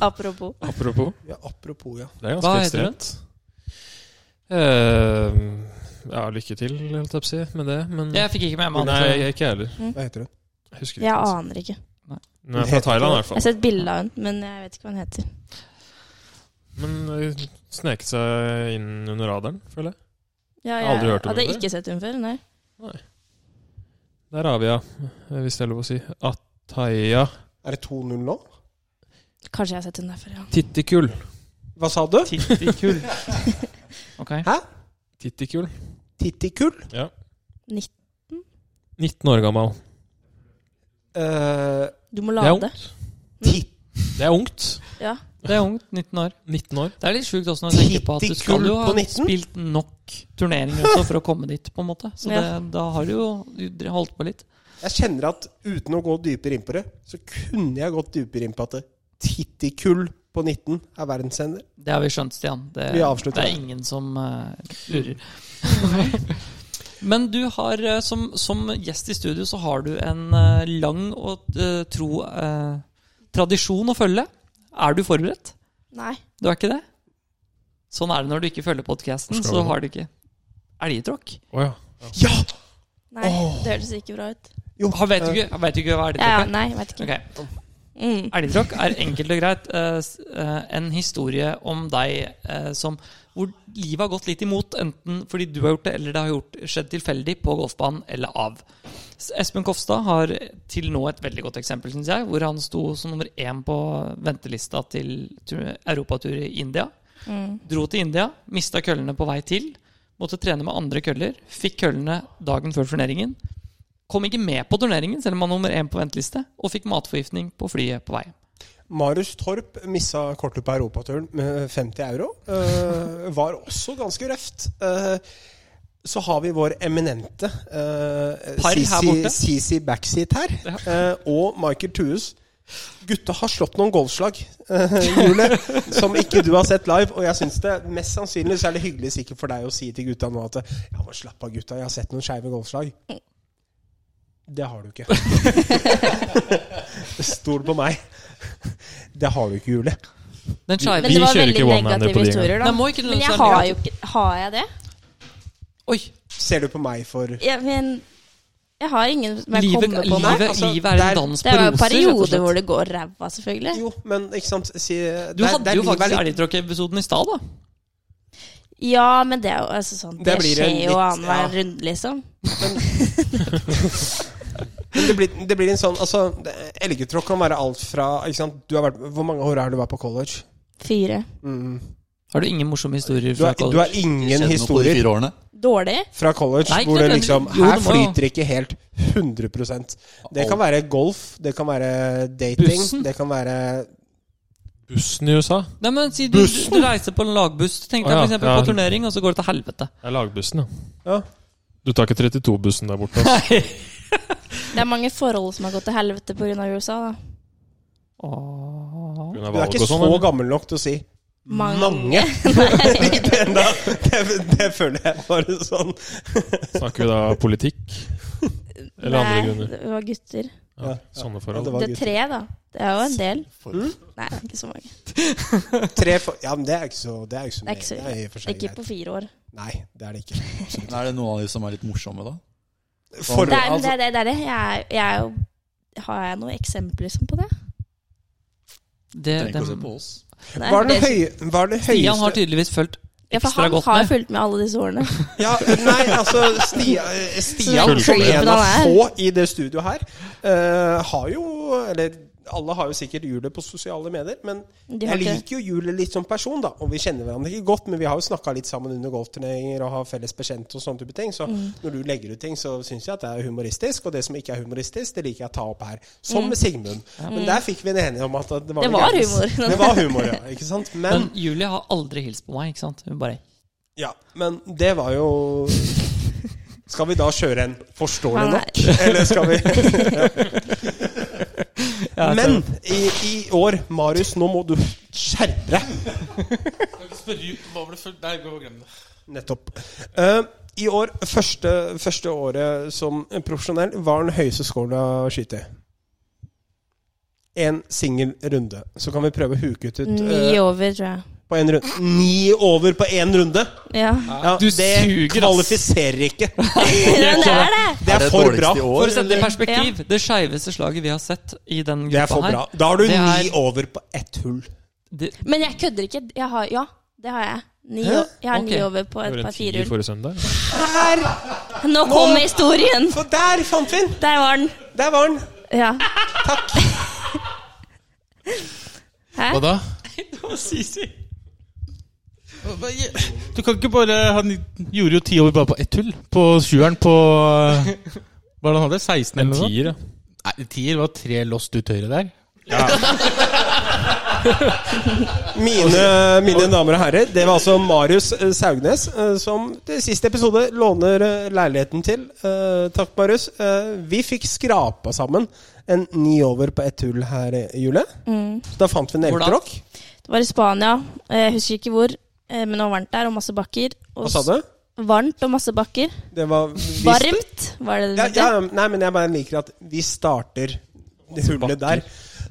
Speaker 4: Apropos.
Speaker 5: Apropos.
Speaker 2: Ja, apropos, ja.
Speaker 5: Det er ganske
Speaker 1: Hva heter den?
Speaker 5: ekstremt. Eh, ja, lykke til, holdt jeg på å si, med det. Men
Speaker 1: Jeg fikk ikke med meg
Speaker 5: Nei,
Speaker 1: han.
Speaker 5: jeg ikke heller.
Speaker 2: Hva heter hun?
Speaker 5: Jeg husker ikke.
Speaker 4: Jeg
Speaker 5: altså.
Speaker 4: aner ikke.
Speaker 5: Hun er fra Thailand, i
Speaker 4: Jeg
Speaker 5: hvert
Speaker 4: har
Speaker 5: fall.
Speaker 4: sett bilde av hun, men jeg vet ikke hva hun heter.
Speaker 5: Men eh, sneket seg inn under radaren, føler jeg.
Speaker 4: Ja,
Speaker 5: Jeg
Speaker 4: jeg
Speaker 5: har aldri hørt om
Speaker 4: hadde
Speaker 5: henne før.
Speaker 4: ikke sett hun før. Nei.
Speaker 5: Der har vi henne, hvis det er lov å si. Ataya
Speaker 2: Er det 2-0 nå?
Speaker 4: Kanskje jeg har sett hun der før, ja.
Speaker 5: Tittikul.
Speaker 2: Hva sa du?
Speaker 1: Tittikul. Ok.
Speaker 5: Tittikul.
Speaker 2: Tittikul?
Speaker 5: 19 år gammel.
Speaker 2: Eh,
Speaker 4: Du må
Speaker 5: Det er
Speaker 4: lade.
Speaker 5: ungt.
Speaker 2: tit
Speaker 5: Det er ungt.
Speaker 4: Ja.
Speaker 1: Det er ungt. 19 år.
Speaker 5: 19 år.
Speaker 1: Det er litt sjukt også når du tenker på at du skal jo
Speaker 2: Tittikul på
Speaker 1: ha
Speaker 2: 19?
Speaker 1: spilt nok turneringer også for å komme dit, på en måte. Så det,
Speaker 4: Ja.
Speaker 1: da har du jo du holdt på litt.
Speaker 2: jeg kjenner at uten å gå dypere inn på det, så kunne jeg gått dypere inn på at det- Tittikul på 19 er verdenssender.
Speaker 1: Det har vi skjønt, Stian. Det,
Speaker 2: Vi
Speaker 1: det
Speaker 2: avslutter
Speaker 1: er
Speaker 2: det.
Speaker 1: ingen som eh, lurer. [laughs] Men du har eh, som, som gjest i studio så har du en eh, lang og eh, tro eh, Tradisjon å følge. Er du forberedt?
Speaker 4: Nei.
Speaker 1: Du er ikke det? Sånn er det når du ikke følger podkasten,
Speaker 5: Skal
Speaker 1: så
Speaker 5: vi?
Speaker 1: har du ikke elgtråkk.
Speaker 5: Å ja.
Speaker 2: Ja!
Speaker 4: Nei, Det høres ikke bra ut.
Speaker 1: Han vet
Speaker 2: Eh.
Speaker 1: jo ikke, vet jo ikke hva
Speaker 4: Ja, ja,
Speaker 1: elgtråkk er.
Speaker 4: nei, jeg vet ikke.
Speaker 1: Ok.
Speaker 4: Mm.
Speaker 1: Elgtråkk er enkelt og greit eh, s- eh, en historie om deg eh, som hvor livet har gått litt imot, enten fordi du har gjort det, eller det har gjort, skjedd tilfeldig på golfbanen eller av. S- Espen Kofstad har til nå et veldig godt eksempel, syns jeg, hvor han sto som nummer én på ventelista til tur- europatur i India.
Speaker 4: Mm.
Speaker 1: Dro til India, mista køllene på vei til. Måtte trene med andre køller. Fikk køllene dagen før turneringen. Kom ikke med på turneringen, selv om han var nummer én på venteliste. Og fikk matforgiftning på flyet på vei.
Speaker 2: Marius Torp missa kortet på europaturen med 50 euro. Eh, var også ganske røft. Eh, så har vi vår eminente eh,
Speaker 1: Par her
Speaker 2: CC
Speaker 1: borte.
Speaker 2: CC Backseat her. eh, og Michael Thues. Gutta har slått noen golfslag, eh, Jule,
Speaker 1: [laughs]
Speaker 2: som ikke du har sett live. Og jeg syns det mest sannsynlig så er det hyggelig sikkert for deg å si til gutta nå at Ja, men slapp av, gutta. Jeg har sett noen skeive golfslag. Det har du ikke. Stol på meg. Det har du ikke, Jule.
Speaker 1: Den skeive
Speaker 4: Men det var
Speaker 5: kjører
Speaker 4: veldig
Speaker 5: ikke one-hander på
Speaker 4: negative
Speaker 5: de
Speaker 4: historier,
Speaker 1: Nei,
Speaker 4: da.
Speaker 1: må ikke
Speaker 4: Men
Speaker 1: nødvendigvis
Speaker 4: jeg
Speaker 1: være
Speaker 4: har jo
Speaker 1: negativ.
Speaker 4: ikke Har jeg det?
Speaker 1: Oi!
Speaker 2: Ser du på meg for
Speaker 4: Jeg, men, jeg har ingen som jeg
Speaker 1: Livet,
Speaker 4: kommer på nå.
Speaker 1: livet,
Speaker 2: Altså,
Speaker 1: livet er
Speaker 2: der-
Speaker 1: en dans
Speaker 4: Det
Speaker 1: på
Speaker 4: var
Speaker 1: roser. rett
Speaker 4: jo
Speaker 1: og
Speaker 4: perioder
Speaker 1: slett.
Speaker 4: hvor det går ræva, selvfølgelig.
Speaker 2: Jo, men ikke sant si,
Speaker 1: Du hadde jo faktisk
Speaker 2: litt,
Speaker 1: elgtråkkepisoden i stad, da.
Speaker 4: Ja, men det er jo altså sånn
Speaker 2: Det
Speaker 4: Det,
Speaker 2: blir en
Speaker 4: skjer jo
Speaker 2: litt-
Speaker 4: annenhver
Speaker 2: ja.
Speaker 4: runde, liksom.
Speaker 2: [laughs] men det, blir, det blir en sånn altså, det- Elgetråkk kan være alt fra ikke sant? Du har vært, Hvor mange år har du vært på college?
Speaker 4: Fire.
Speaker 2: Mm.
Speaker 1: Har du ingen morsomme historier
Speaker 2: Du,
Speaker 1: fra
Speaker 2: har, du har
Speaker 1: college?
Speaker 2: ingen
Speaker 3: Kjenner noe på de
Speaker 2: historier
Speaker 3: fire årene.
Speaker 4: Dårlig?
Speaker 2: fra college
Speaker 1: Nei, ikke
Speaker 2: hvor det
Speaker 1: nødvendigvis.
Speaker 2: liksom
Speaker 1: Jo,
Speaker 2: Her
Speaker 1: det må-
Speaker 2: flyter ikke helt 100 Det kan være golf, det kan være dating,
Speaker 1: Bussen.
Speaker 2: det kan være
Speaker 5: Bussen i USA?
Speaker 1: Nei, men si du, du, du reiser på en lagbuss, tenk
Speaker 5: Å,
Speaker 1: deg
Speaker 5: ja,
Speaker 1: for eksempel
Speaker 5: ja.
Speaker 1: på turnering, og så går det til helvete.
Speaker 5: Det er lagbussen, ja.
Speaker 2: ja.
Speaker 5: Du tar ikke 32-bussen der borte? [laughs] Altså.
Speaker 4: Det er mange forhold som har gått til helvete pga. USA,
Speaker 2: [laughs]
Speaker 4: da.
Speaker 1: Åh.
Speaker 5: på grunn av
Speaker 2: Du er
Speaker 5: valg
Speaker 2: ikke
Speaker 5: og sånn,
Speaker 2: så
Speaker 5: eller?
Speaker 2: gammel nok til å si
Speaker 4: Mange.
Speaker 1: [laughs]
Speaker 2: mange. [laughs] Ikke enda. det, det føler jeg bare sånn.
Speaker 5: Snakker vi da
Speaker 4: [laughs]
Speaker 5: politikk? Eller andre grunner?
Speaker 4: det var gutter.
Speaker 5: Ja,
Speaker 2: Ja,
Speaker 5: sånne
Speaker 2: Ja,
Speaker 5: forhold.
Speaker 2: det var
Speaker 4: Det er
Speaker 2: gutter.
Speaker 4: tre, da. Det er jo en del.
Speaker 3: For-
Speaker 4: Nei, det er ikke så mange.
Speaker 2: Tre for, ja, men det er ikke så Det er ikke så
Speaker 4: Det er ikke så
Speaker 2: mye. Det er i og for seg
Speaker 4: Ikke
Speaker 2: greit.
Speaker 4: på fire år.
Speaker 2: Nei, det er det ikke.
Speaker 3: Men er det noen av de som er litt morsomme, da?
Speaker 2: For,
Speaker 4: Det er, men
Speaker 3: altså-
Speaker 4: det, er- det, er- det er det. Jeg er, jeg er jo Har jeg noen eksempler liksom, på det?
Speaker 1: Det,
Speaker 3: Trenger ikke å se
Speaker 1: den,
Speaker 3: på oss.
Speaker 4: Nei,
Speaker 2: var, det
Speaker 4: det-
Speaker 2: høy, var det
Speaker 1: Stian har
Speaker 2: høyeste
Speaker 1: tydeligvis fulgt
Speaker 4: ja, for
Speaker 1: ekstra
Speaker 4: han
Speaker 1: godt
Speaker 4: har
Speaker 1: med.
Speaker 4: fulgt med alle disse årene.
Speaker 2: ja, Nei, altså
Speaker 1: [laughs]
Speaker 2: Stian, Stian
Speaker 5: Så
Speaker 2: som
Speaker 5: det
Speaker 2: en
Speaker 5: er
Speaker 4: hvordan
Speaker 2: av
Speaker 4: han er.
Speaker 2: få i det studioet her, eh, har jo Eller alle har jo sikkert hjulet på sosiale medier, men
Speaker 4: De har
Speaker 2: jeg
Speaker 4: ikke,
Speaker 2: liker jo Julie litt som person, da. Og vi kjenner hverandre ikke godt, men vi har jo snakka litt sammen under golfturneringer og har felles bekjente og sånne type ting. Så
Speaker 4: Mm.
Speaker 2: når du legger ut ting, så syns jeg at det er humoristisk. Og det som ikke er humoristisk, det liker jeg å ta opp her.
Speaker 4: Mm.
Speaker 2: Som med Sigmund. Men der fikk vi en enighet om at det var,
Speaker 4: Det
Speaker 2: noe
Speaker 4: var
Speaker 2: gærent.
Speaker 4: humor.
Speaker 2: [laughs] Det var humor, ja. Ikke sant? Men,
Speaker 1: Men Julie har aldri hilst på meg, ikke sant? Hun bare
Speaker 2: ja, men det var jo Skal vi da kjøre en 'forstår du
Speaker 4: Han er-
Speaker 2: nok'? Eller skal
Speaker 4: [laughs]
Speaker 2: vi Men i, i år, Marius, nå må du skjerpe deg.
Speaker 6: Hva var det for Nei, gå og glem det.
Speaker 2: Nettopp. Eh, I år, første, første året som profesjonell, var den høyeste scoren å skyte i. En singel runde. Så kan vi prøve å huke ut et,
Speaker 4: [laughs] ni
Speaker 2: eh,
Speaker 4: over, tror jeg.
Speaker 2: på en runde. Ni over på én runde!
Speaker 4: Ja.
Speaker 2: Ja,
Speaker 1: Du
Speaker 2: det
Speaker 1: suger, ass.
Speaker 2: kvalifiserer ikke.
Speaker 4: [laughs] Men det er det!
Speaker 2: Det er for bra.
Speaker 3: dårligste i
Speaker 1: For
Speaker 3: år?
Speaker 1: å sette det i
Speaker 3: eller?
Speaker 1: perspektiv, det skeiveste slaget vi har sett i den
Speaker 2: Det er
Speaker 1: gruppa
Speaker 2: for
Speaker 1: her
Speaker 2: bra. Da har du
Speaker 1: Det er-
Speaker 2: ni over på ett hull.
Speaker 1: det,
Speaker 4: Men jeg kødder ikke. Jeg har, ja, det har jeg. Ni,
Speaker 2: Hæ?
Speaker 4: o- jeg har ni
Speaker 1: Ok.
Speaker 4: over på
Speaker 5: Det
Speaker 4: et
Speaker 5: var
Speaker 4: par
Speaker 5: en tier
Speaker 4: firehull.
Speaker 5: forrige søndag.
Speaker 2: Der!
Speaker 4: Nå kommer historien!
Speaker 2: For der fant vi den!
Speaker 4: Der var den.
Speaker 2: Der var den.
Speaker 4: Ja. [laughs]
Speaker 6: Hva da? Du kan ikke bare Han gjorde jo ti over bare på ett hull. På sjueren på eh, Hva var det han hadde? 16
Speaker 5: En
Speaker 6: eller noe? sånt?
Speaker 5: tier, ja.
Speaker 6: Nei, tier var tre lost ut høyre der.
Speaker 2: Mine, mine damer og herrer, det var altså Marius eh, Saugnes eh, som til siste episode låner eh, leiligheten til. Eh, Takk, Marius. Eh, Vi fikk skrapa sammen en ni over på ett hull her i jule.
Speaker 4: Mm.
Speaker 2: Da fant vi en
Speaker 1: Hvor da?
Speaker 2: elgtråkk.
Speaker 4: Det var i Spania. Jeg husker ikke hvor. eh, Men det var varmt der, og masse bakker. Og
Speaker 2: Hva sa du?
Speaker 4: s- Varmt og masse bakker.
Speaker 2: Det var vi-
Speaker 4: Varmt, var det det
Speaker 2: Ja,
Speaker 4: het?
Speaker 2: ja, nei, men jeg bare liker at vi starter hullet der.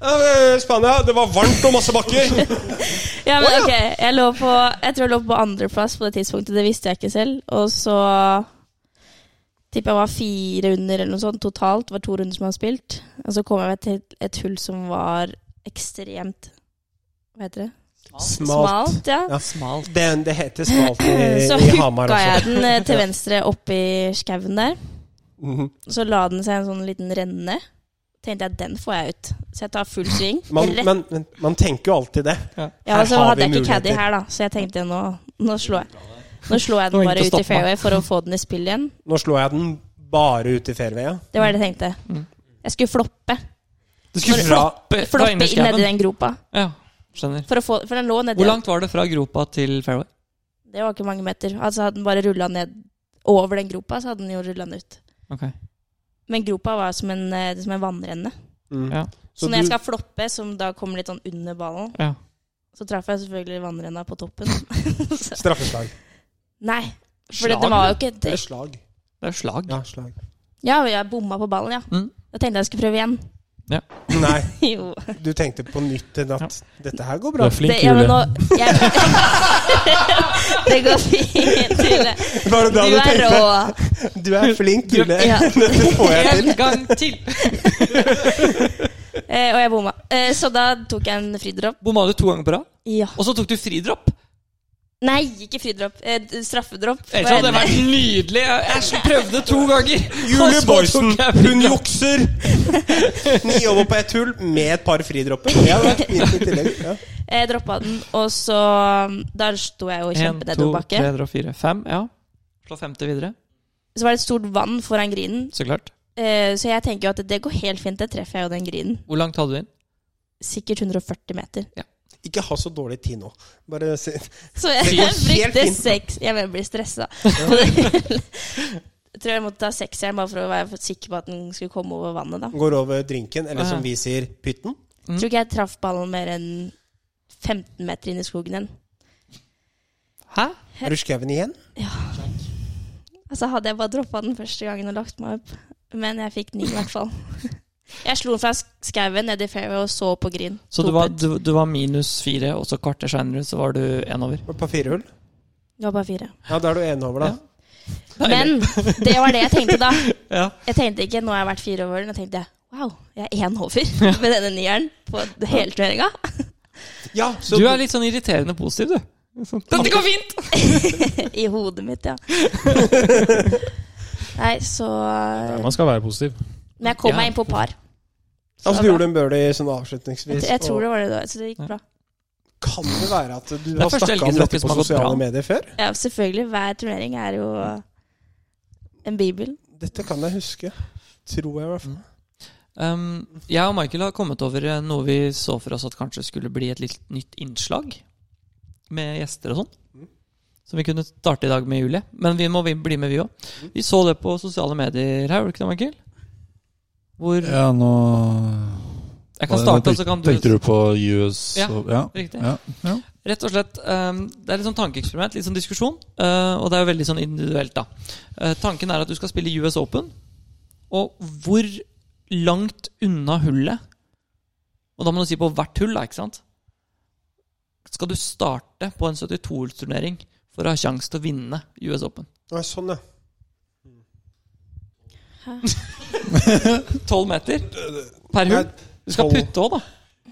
Speaker 2: Eh, Spania, det var varmt og masse bakker.
Speaker 4: [laughs] Ja, men ok, jeg, lå på, jeg tror jeg lå på andreplass på det tidspunktet, det visste jeg ikke selv. Og så tipper jeg var fire runder eller noe sånt totalt. Det var to runder som jeg har spilt. Og så kom jeg til et hull som var ekstremt Hva heter det? Smalt. ja.
Speaker 2: Ja.
Speaker 1: Smalt.
Speaker 2: Det, det heter smalt i,
Speaker 4: [laughs] Så
Speaker 2: i Hamar
Speaker 4: hooka jeg
Speaker 2: også.
Speaker 4: den eh, til venstre oppi skauen der.
Speaker 2: Mhm.
Speaker 4: Så la den seg en sånn liten renne. Tenkte jeg, den får jeg ut. Så jeg tar full sving.
Speaker 2: Man,
Speaker 4: rett
Speaker 2: men, men man tenker jo alltid det.
Speaker 4: Ja,
Speaker 2: Her
Speaker 4: og så
Speaker 2: har vi
Speaker 4: hadde jeg ikke caddy
Speaker 2: muligheter.
Speaker 4: her, da, så jeg tenkte nå, nå slår jeg. Nå slår
Speaker 1: Nå er
Speaker 4: jeg den
Speaker 1: det ikke
Speaker 4: bare
Speaker 1: å
Speaker 4: ut i
Speaker 1: stoppe
Speaker 4: fairway for å få den i spill igjen.
Speaker 2: Nå slår jeg den bare ut i fairwayen.
Speaker 4: Det var det jeg tenkte.
Speaker 1: Mm.
Speaker 4: Jeg skulle floppe.
Speaker 2: Du skulle fra
Speaker 4: Floppe inn nedi den gropa.
Speaker 1: Ja, skjønner.
Speaker 4: For, å få, for den lå nedi.
Speaker 1: Hvor langt var det fra gropa til fairway?
Speaker 4: Det var ikke mange meter. Altså Hadde den bare rulla ned over den gropa, så hadde den jo rulla den ut.
Speaker 1: Ok.
Speaker 4: Men gropa var som en, eh, som en vannrenne.
Speaker 2: mm.
Speaker 1: Ja.
Speaker 4: Så,
Speaker 2: Så
Speaker 4: når jeg
Speaker 2: du-
Speaker 4: skal floppe, som da kommer litt sånn under ballen,
Speaker 1: Ja.
Speaker 4: så traff jeg selvfølgelig vannrenna
Speaker 1: [laughs]
Speaker 4: på toppen. så,
Speaker 2: Straffeslag.
Speaker 4: nei, for det,
Speaker 1: Slag,
Speaker 4: det var jo ikke
Speaker 2: Det
Speaker 4: det.
Speaker 2: er slag.
Speaker 1: Det er jo slag.
Speaker 2: Ja, slag.
Speaker 4: Ja, jeg bomma på ballen, ja.
Speaker 1: Mm.
Speaker 4: Da tenkte jeg jeg skulle prøve igjen. [laughs]
Speaker 2: Nei,
Speaker 4: jo.
Speaker 2: du tenkte på nytt i natt. Dette her går [laughs]
Speaker 6: Du
Speaker 2: bra.
Speaker 6: er flink,
Speaker 4: det, ja, men
Speaker 6: Julie.
Speaker 4: nå, jeg, [laughs] det går fint, Julie.
Speaker 2: Var det
Speaker 4: Du
Speaker 2: da du
Speaker 4: er
Speaker 2: tenkte?
Speaker 4: rå.
Speaker 2: Du er flink, Julie.
Speaker 4: Ja.
Speaker 2: [laughs] Dette får jeg til.
Speaker 1: En gang til!
Speaker 4: Eh, og jeg bomma. Eh, så da tok jeg en fridropp.
Speaker 1: Bomma du to ganger på rad,
Speaker 4: Ja.
Speaker 1: og så tok du fridropp!
Speaker 4: Nei, ikke fridropp. Eh, d- straffedropp.
Speaker 1: Ellers hadde sånn det vært nydelig. Jeg jeg så prøvde to ganger!
Speaker 2: [laughs] Julie
Speaker 1: Og så
Speaker 2: Boysen,
Speaker 1: tok jeg
Speaker 2: hun
Speaker 1: fridropp.
Speaker 2: jukser! [laughs] Ni over på ett hull med et par fridropper. Det hadde vært fint i tillegg. Ja.
Speaker 4: Jeg Eh, droppa den, og så Der sto jeg jo i
Speaker 1: En, to,
Speaker 4: kjempenedoverbakke.
Speaker 1: tre, og fire, fem. Ja. Slå femte videre.
Speaker 4: Så var det et stort vann foran grinen,
Speaker 1: Så klart.
Speaker 4: eh, så jeg tenker jo at det går helt fint. Det treffer jeg jo den grinen.
Speaker 1: Hvor langt hadde du inn?
Speaker 4: Sikkert 140 meter.
Speaker 2: Ikke ha så dårlig tid nå. Bare si
Speaker 4: Så jeg
Speaker 2: går helt
Speaker 4: [laughs] brukte
Speaker 2: fint.
Speaker 4: seks Jeg mener, jeg blir stressa. [laughs] jeg tror jeg måtte ta sekseren bare for å være sikker på at den skulle komme over vannet. da
Speaker 2: Går over drinken, eller som vi sier, pytten.
Speaker 4: Tror ikke jeg traff ballen mer enn 15 meter inn i skogen igjen.
Speaker 1: Hæ?
Speaker 2: Er du skauen igjen?
Speaker 4: Altså Hadde jeg bare droppa den første gangen og lagt meg opp. Men jeg fikk ni, i hvert fall. [laughs] Jeg slo den fra sk- skauen ned i fairway og så på green.
Speaker 1: Så
Speaker 4: To
Speaker 1: du var,
Speaker 4: putt.
Speaker 1: du, du var minus fire, og så kvarter seinere så var du én over.
Speaker 2: På firehull?
Speaker 4: Det var bare fire.
Speaker 2: Ja, da er du én over, da.
Speaker 4: Men det var det jeg
Speaker 2: [laughs]
Speaker 4: tenkte da.
Speaker 1: Ja.
Speaker 4: Jeg tenkte ikke 'nå har jeg vært fire over'. Da tenkte jeg wow, jeg er én over [laughs] med denne nieren på hele turneringa.
Speaker 2: Ja, så
Speaker 1: Du er litt sånn irriterende positiv, du.
Speaker 2: Sånn
Speaker 1: Dette går fint!
Speaker 4: [laughs] I hodet mitt, ja. Nei, så
Speaker 5: Man skal være positiv.
Speaker 4: Men jeg kom
Speaker 1: Ja.
Speaker 4: meg inn på par.
Speaker 2: altså, du gjorde en birdie sånn avslutningsvis.
Speaker 4: Jeg, jeg tror
Speaker 2: og
Speaker 4: det var det da, så det gikk bra.
Speaker 2: Kan det være at du
Speaker 1: er
Speaker 2: har
Speaker 1: første
Speaker 2: snakka om
Speaker 1: elgidrotten
Speaker 2: dette
Speaker 1: som
Speaker 2: på
Speaker 1: har gått
Speaker 2: sosiale
Speaker 1: bra.
Speaker 2: medier før?
Speaker 4: Ja, selvfølgelig. Hver turnering er jo en bibel.
Speaker 2: Dette kan jeg huske. Tror jeg, i hvert fall.
Speaker 1: Um, jeg og Michael har kommet over eh, noe vi så for oss at kanskje skulle bli et litt nytt innslag. Med gjester og sånn. Som vi kunne starte i dag med Julie. Men vi må vi- bli med, vi òg. Vi så det på sosiale medier her, var det ikke det, Michael? Hvor
Speaker 3: Ja, nå
Speaker 1: Jeg kan
Speaker 3: Hva-
Speaker 1: starte,
Speaker 3: hva
Speaker 1: og så kan du
Speaker 3: Tenkte du på US
Speaker 1: Ja,
Speaker 3: og Ja.
Speaker 1: Riktig.
Speaker 3: ja, ja.
Speaker 1: Rett og slett, ehm, Det er litt sånn tankeeksperiment, litt sånn diskusjon. eh, og det er jo veldig sånn individuelt, da. Eh, tanken er at du skal spille US Open. Og hvor langt unna hullet Og da må du si på hvert hull, da, ikke sant? Skal du starte på en 72-hullsturnering for å ha sjanse til å vinne US Open?
Speaker 2: Nei, sånn, ja.
Speaker 1: 12 meter per
Speaker 2: Nei,
Speaker 1: hull. Du skal
Speaker 2: tolv.
Speaker 1: putte òg, da.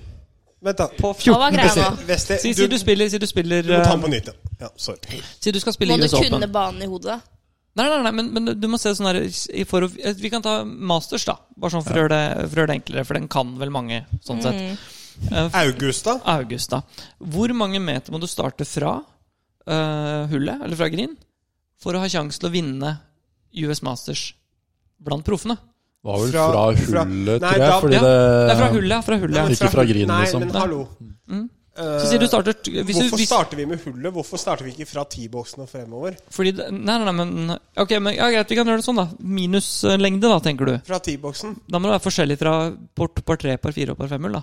Speaker 2: Vent, da.
Speaker 1: På
Speaker 4: Hva var
Speaker 1: 14
Speaker 4: greia nå?
Speaker 2: Vesti,
Speaker 1: Si, si
Speaker 2: du,
Speaker 1: du spiller, si du spiller
Speaker 2: du må ta den på
Speaker 1: eh,
Speaker 2: nytt igjen. Ja, sorry.
Speaker 1: Si du skal
Speaker 4: Må
Speaker 1: spille
Speaker 4: du
Speaker 1: US Open.
Speaker 4: kunne banen i hodet, da?
Speaker 1: Nei, nei, nei, men, men du må se sånn her i for, Vi kan ta masters, da. Bare sånn for, å gjøre det, for å gjøre det enklere, for den kan vel mange, sånn
Speaker 4: Mm.
Speaker 1: sett.
Speaker 2: Augusta?
Speaker 1: August, da. Hvor mange meter må du starte fra eh, hullet, eller fra green, for å ha sjanse til å vinne US Masters blant proffene?
Speaker 3: Det var vel fra,
Speaker 2: Fra- fra-
Speaker 3: hullet,
Speaker 2: Nei,
Speaker 3: tror jeg.
Speaker 2: da-
Speaker 3: Fordi
Speaker 1: Ja,
Speaker 3: det,
Speaker 1: Det
Speaker 2: Eh,
Speaker 1: er fra hullet, ja, fra
Speaker 2: Nei,
Speaker 1: hullet.
Speaker 2: men
Speaker 1: ja.
Speaker 3: Ikke fra grinen,
Speaker 2: Nei,
Speaker 3: liksom.
Speaker 2: men hallo.
Speaker 1: Mm.
Speaker 2: Eh,
Speaker 1: Så sier du starter hvis du,
Speaker 2: Hvorfor
Speaker 1: hvis,
Speaker 2: starter vi med hullet? Hvorfor starter vi ikke fra T-boksen og fremover?
Speaker 1: fordi, det- Nei, nei, nei, men Ok, men ja, greit, vi kan gjøre det sånn, da. Minuslengde, da, tenker du.
Speaker 2: Fra T-boksen?
Speaker 1: Da må det være forskjellig fra par par tre, par fire og par fem-hull, da.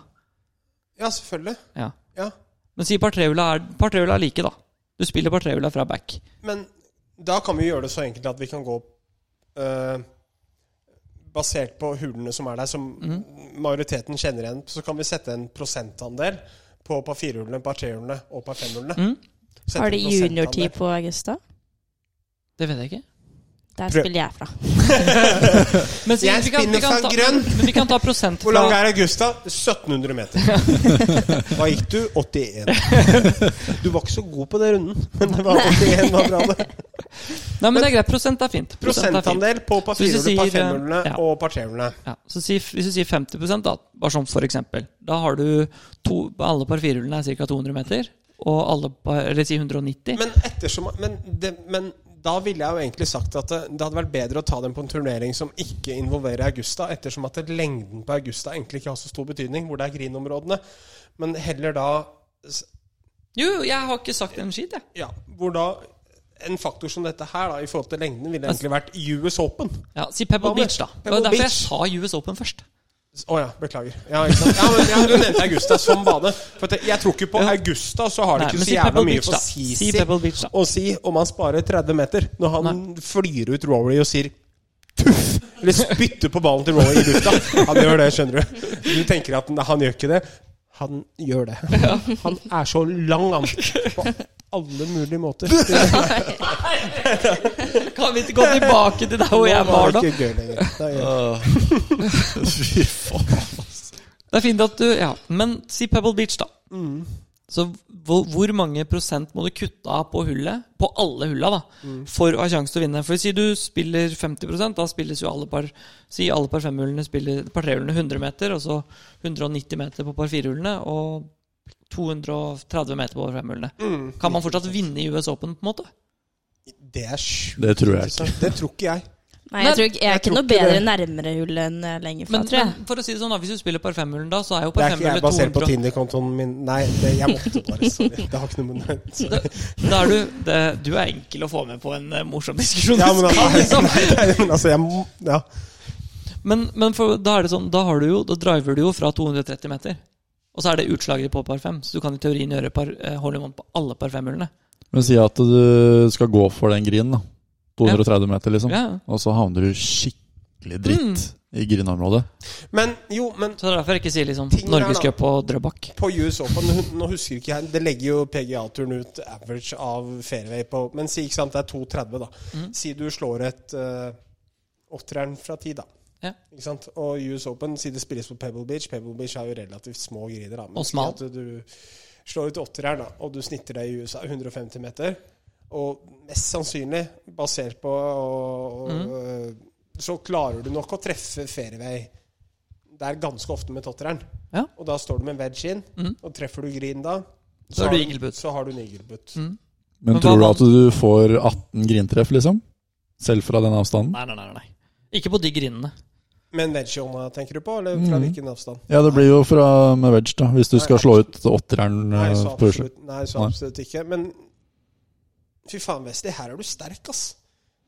Speaker 2: Ja, selvfølgelig.
Speaker 1: Ja.
Speaker 2: Ja.
Speaker 1: Men si par trehjula er, par trehjula er like, da. Du spiller par trehjula fra back.
Speaker 2: Men da kan vi gjøre det så enkelt at vi kan gå eh, basert på hulene som er der, som
Speaker 1: Mm.
Speaker 2: majoriteten kjenner igjen, så kan vi sette en prosentandel på par firehjulene, par trehjulene og par femhjulene.
Speaker 1: Mm.
Speaker 2: Sette
Speaker 4: Har de
Speaker 2: en prosentandel.
Speaker 4: juniortid på Augusta?
Speaker 1: Det vet jeg ikke.
Speaker 4: Der
Speaker 2: Prøv-
Speaker 4: spiller jeg fra.
Speaker 1: Men,
Speaker 2: Jeg
Speaker 1: vi kan- vi
Speaker 2: spinner
Speaker 1: kan
Speaker 2: fra
Speaker 1: ta-
Speaker 2: grønn.
Speaker 1: Men, men vi kan ta prosent
Speaker 2: Hvor lang
Speaker 1: fra
Speaker 2: er Augusta? 1700 meter. [laughs] Da gikk du 81. Du var ikke så god på den runden, men det var 81 var bra. det
Speaker 1: [laughs] Nei, men det er greit. Prosent er fint. Prosent er fint.
Speaker 2: Prosentandel på par
Speaker 1: Så hvis du
Speaker 2: firehjulene, par
Speaker 1: sier, eh,
Speaker 2: femhjulene
Speaker 1: ja.
Speaker 2: og par trehjulene.
Speaker 1: Ja, så si, Hvis du sier 50 da, bare som for eksempel, da har du to, alle par firehjulene er ca. 200 meter, og alle par, eller si 190.
Speaker 2: Men ettersom men, det, men da ville jeg jo egentlig sagt at det, det hadde vært bedre å ta dem på en turnering som ikke involverer Augusta, ettersom at det- lengden på Augusta egentlig ikke har så stor betydning, hvor det er grinområdene. Men heller da s-
Speaker 1: jo, jo, jeg har ikke sagt en skit, jeg.
Speaker 2: Ja, hvor da en faktor som dette her, da, i forhold til lengden, ville
Speaker 1: Altså-
Speaker 2: egentlig vært US Open.
Speaker 1: Ja, si Pebble
Speaker 2: Hva med-
Speaker 1: Beach, da. Det
Speaker 2: Pebble
Speaker 1: var derfor jeg
Speaker 2: Beach.
Speaker 1: sa US Open først.
Speaker 2: Å ja, beklager. Ja, ikke sant? ja, men ja, Du nevnte Augusta som bane. For at jeg tror ikke på Augusta, så har det
Speaker 1: Nei,
Speaker 2: ikke
Speaker 1: men
Speaker 2: så
Speaker 1: si
Speaker 2: jævla
Speaker 1: Pebble
Speaker 2: mye
Speaker 1: Beach,
Speaker 2: for
Speaker 1: da.
Speaker 2: Sisi
Speaker 1: Si Pebble Beach, da.
Speaker 2: å si om han sparer 30 meter, når han flyr ut Rory og sier Tuff! Eller spytter på ballen til Rory i lufta. Han gjør det, skjønner du. Du tenker at nei, han gjør ikke det. Han gjør det. Han er så lang, han. På alle mulige
Speaker 1: [laughs]
Speaker 2: måter.
Speaker 1: Kan vi ikke gå tilbake til der hvor jeg
Speaker 2: Nå
Speaker 1: var, da?
Speaker 2: det ikke gøy lenger. Det er gøy.
Speaker 3: [laughs] Fy faen.
Speaker 1: Det er fint at du Ja, men si Pebble Beach, da.
Speaker 2: Mm,
Speaker 1: Så hvor, hvor mange prosent må du kutte av på hullet, på alle hulla, da,
Speaker 2: Mm.
Speaker 1: for å ha sjanse til å vinne? For si du spiller 50 da spilles jo alle par Si alle par femhjulene spiller par trehjulene 100 meter, og så 190 meter på par firehjulene, og 230 meter på par femhjulene. Kan man fortsatt vinne i US Open, på en måte?
Speaker 2: mm. Det er sjukt.
Speaker 3: Det tror jeg
Speaker 2: ikke
Speaker 3: ikke.
Speaker 2: sant? Det tror ikke jeg.
Speaker 4: Nei, jeg, tror, ikke- jeg er
Speaker 2: jeg tror
Speaker 4: ikke noe
Speaker 2: ikke
Speaker 4: bedre
Speaker 2: det.
Speaker 4: nærmere hull enn eh, lenger fra,
Speaker 1: Men,
Speaker 4: tror jeg.
Speaker 1: men for å si det sånn, da, hvis du spiller par femhjulen, da, så er jo
Speaker 2: Det
Speaker 1: par
Speaker 2: er ikke jeg
Speaker 1: femhjulen
Speaker 2: basert på
Speaker 1: 200
Speaker 2: Tinder-kontoen min. Nei, det, jeg måtte bare. Sorry. Det har ikke noe med [laughs] det
Speaker 1: Da er du, det, du er enkel å få med på en eh,
Speaker 2: [laughs]
Speaker 1: morsom diskusjon.
Speaker 2: Ja, men
Speaker 1: Du skal [laughs]
Speaker 2: altså,
Speaker 1: liksom-
Speaker 2: nei, nei, men altså jeg må, ja.
Speaker 1: Men, men for, da er det sånn, da, har du jo, da driver du jo fra 230 meter. Og så er det utslaget på par fem, så du kan i teorien gjøre par, eh, hole in one på alle par femhullene.
Speaker 3: Men si at du skal gå for den grinen, da. 230 meter, liksom.
Speaker 1: Ja.
Speaker 3: Og så havner du skikkelig dritt i grinområdet.
Speaker 2: Men jo, men
Speaker 1: Så det er derfor jeg ikke sier liksom
Speaker 2: Ting der, da.
Speaker 1: Norgescup og Drøbak.
Speaker 2: på US Open hun- Nå husker ikke jeg Det legger jo PGA-turen ut average av fairway på Men si ikke sant, det er 2,30, da.
Speaker 1: Mm.
Speaker 2: Si du slår et uh, åtteren fra ti, da.
Speaker 1: Ja.
Speaker 2: Ikke sant? Og US Open, si det spilles på Pebble Beach Pebble Beach er jo relativt små griner, da. Men
Speaker 1: Og
Speaker 2: si
Speaker 1: smal.
Speaker 2: at du slår ut åtteren, da, og du snitter deg i USA 150 meter, og mest sannsynlig, basert på og,
Speaker 1: Mm.
Speaker 2: og, Så klarer du nok å treffe fairway der ganske ofte med totteren.
Speaker 1: Ja.
Speaker 2: Og da står du med en wedge inn, og treffer du green da,
Speaker 1: Mhm. Så er du
Speaker 2: har
Speaker 1: eagle-putt.
Speaker 2: Så har du en eagle-putt.
Speaker 1: Mm.
Speaker 3: Men,
Speaker 1: Men hva
Speaker 3: tror du
Speaker 1: om-
Speaker 3: at du får 18 grintreff, liksom? Selv fra den avstanden?
Speaker 1: Nei, nei, nei, nei. Ikke på de grinene.
Speaker 2: Men wedge-hånda tenker du på, eller fra
Speaker 1: Mhm.
Speaker 3: Mm.
Speaker 2: hvilken avstand?
Speaker 3: Ja, det blir jo fra med wedge, da. Hvis du
Speaker 2: Nei,
Speaker 3: skal slå ut åtteren
Speaker 2: Nei,
Speaker 3: eh,
Speaker 2: så
Speaker 3: på Ursula.
Speaker 2: absolutt, nei, så
Speaker 3: Nei.
Speaker 2: absolutt ikke. Men fy faen, Westy, her er du sterk, ass.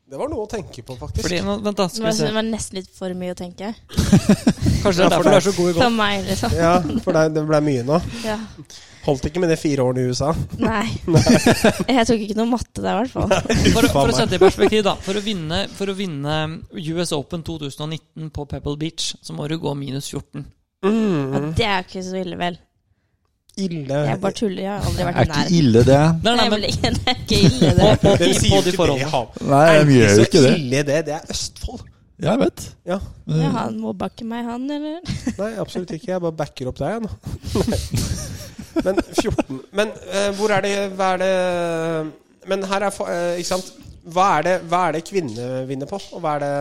Speaker 2: Det var noe å tenke på, faktisk.
Speaker 1: Fordi, nå, vent, da.
Speaker 4: Det
Speaker 1: skal
Speaker 4: var,
Speaker 1: vi
Speaker 4: det
Speaker 1: se.
Speaker 4: var nesten litt for mye å tenke.
Speaker 1: Kanskje det er derfor du er så god i
Speaker 4: For
Speaker 1: golf.
Speaker 4: meg, liksom.
Speaker 2: [laughs] Ja, for det, det ble mye nå.
Speaker 4: Ja.
Speaker 2: Holdt ikke med de fire årene i USA. [laughs]
Speaker 4: Nei. Jeg tok ikke noe matte der, i
Speaker 1: [laughs]
Speaker 4: hvert fall.
Speaker 1: For, å- for å
Speaker 2: meg.
Speaker 1: sette det i perspektiv, da. For å, vinne, for å vinne US Open 2019 på Pebble Beach, så må du gå minus 14.
Speaker 4: Ja,
Speaker 2: Mm,
Speaker 4: det er ikke så ille, vel.
Speaker 2: ille.
Speaker 1: Eh,
Speaker 4: Jeg bare tuller. Jeg har aldri
Speaker 3: Er
Speaker 4: vært i
Speaker 3: ikke
Speaker 4: nærheten.
Speaker 3: ille, det.
Speaker 1: Nei, nei, men
Speaker 4: Nemlig. Det er ikke [laughs] ille,
Speaker 1: på,
Speaker 4: det.
Speaker 1: på,
Speaker 2: De
Speaker 1: de,
Speaker 2: sier
Speaker 1: på de
Speaker 2: jo ikke det i
Speaker 1: forholdene.
Speaker 2: Hamar.
Speaker 3: Nei, de gjør jo ikke det.
Speaker 2: så ille det. Det er Østfold.
Speaker 3: Jeg vet.
Speaker 2: Ja.
Speaker 4: Ja, han mobba ikke meg, han, eller?
Speaker 2: Nei, absolutt ikke. Jeg bare backer opp deg, jeg, nå. Nei. [laughs] Men 14 Men eh, hvor er det Hva er det Men her er fa- eh, Ikke sant. Hva er det, hva er det kvinner vinner på, og hva er det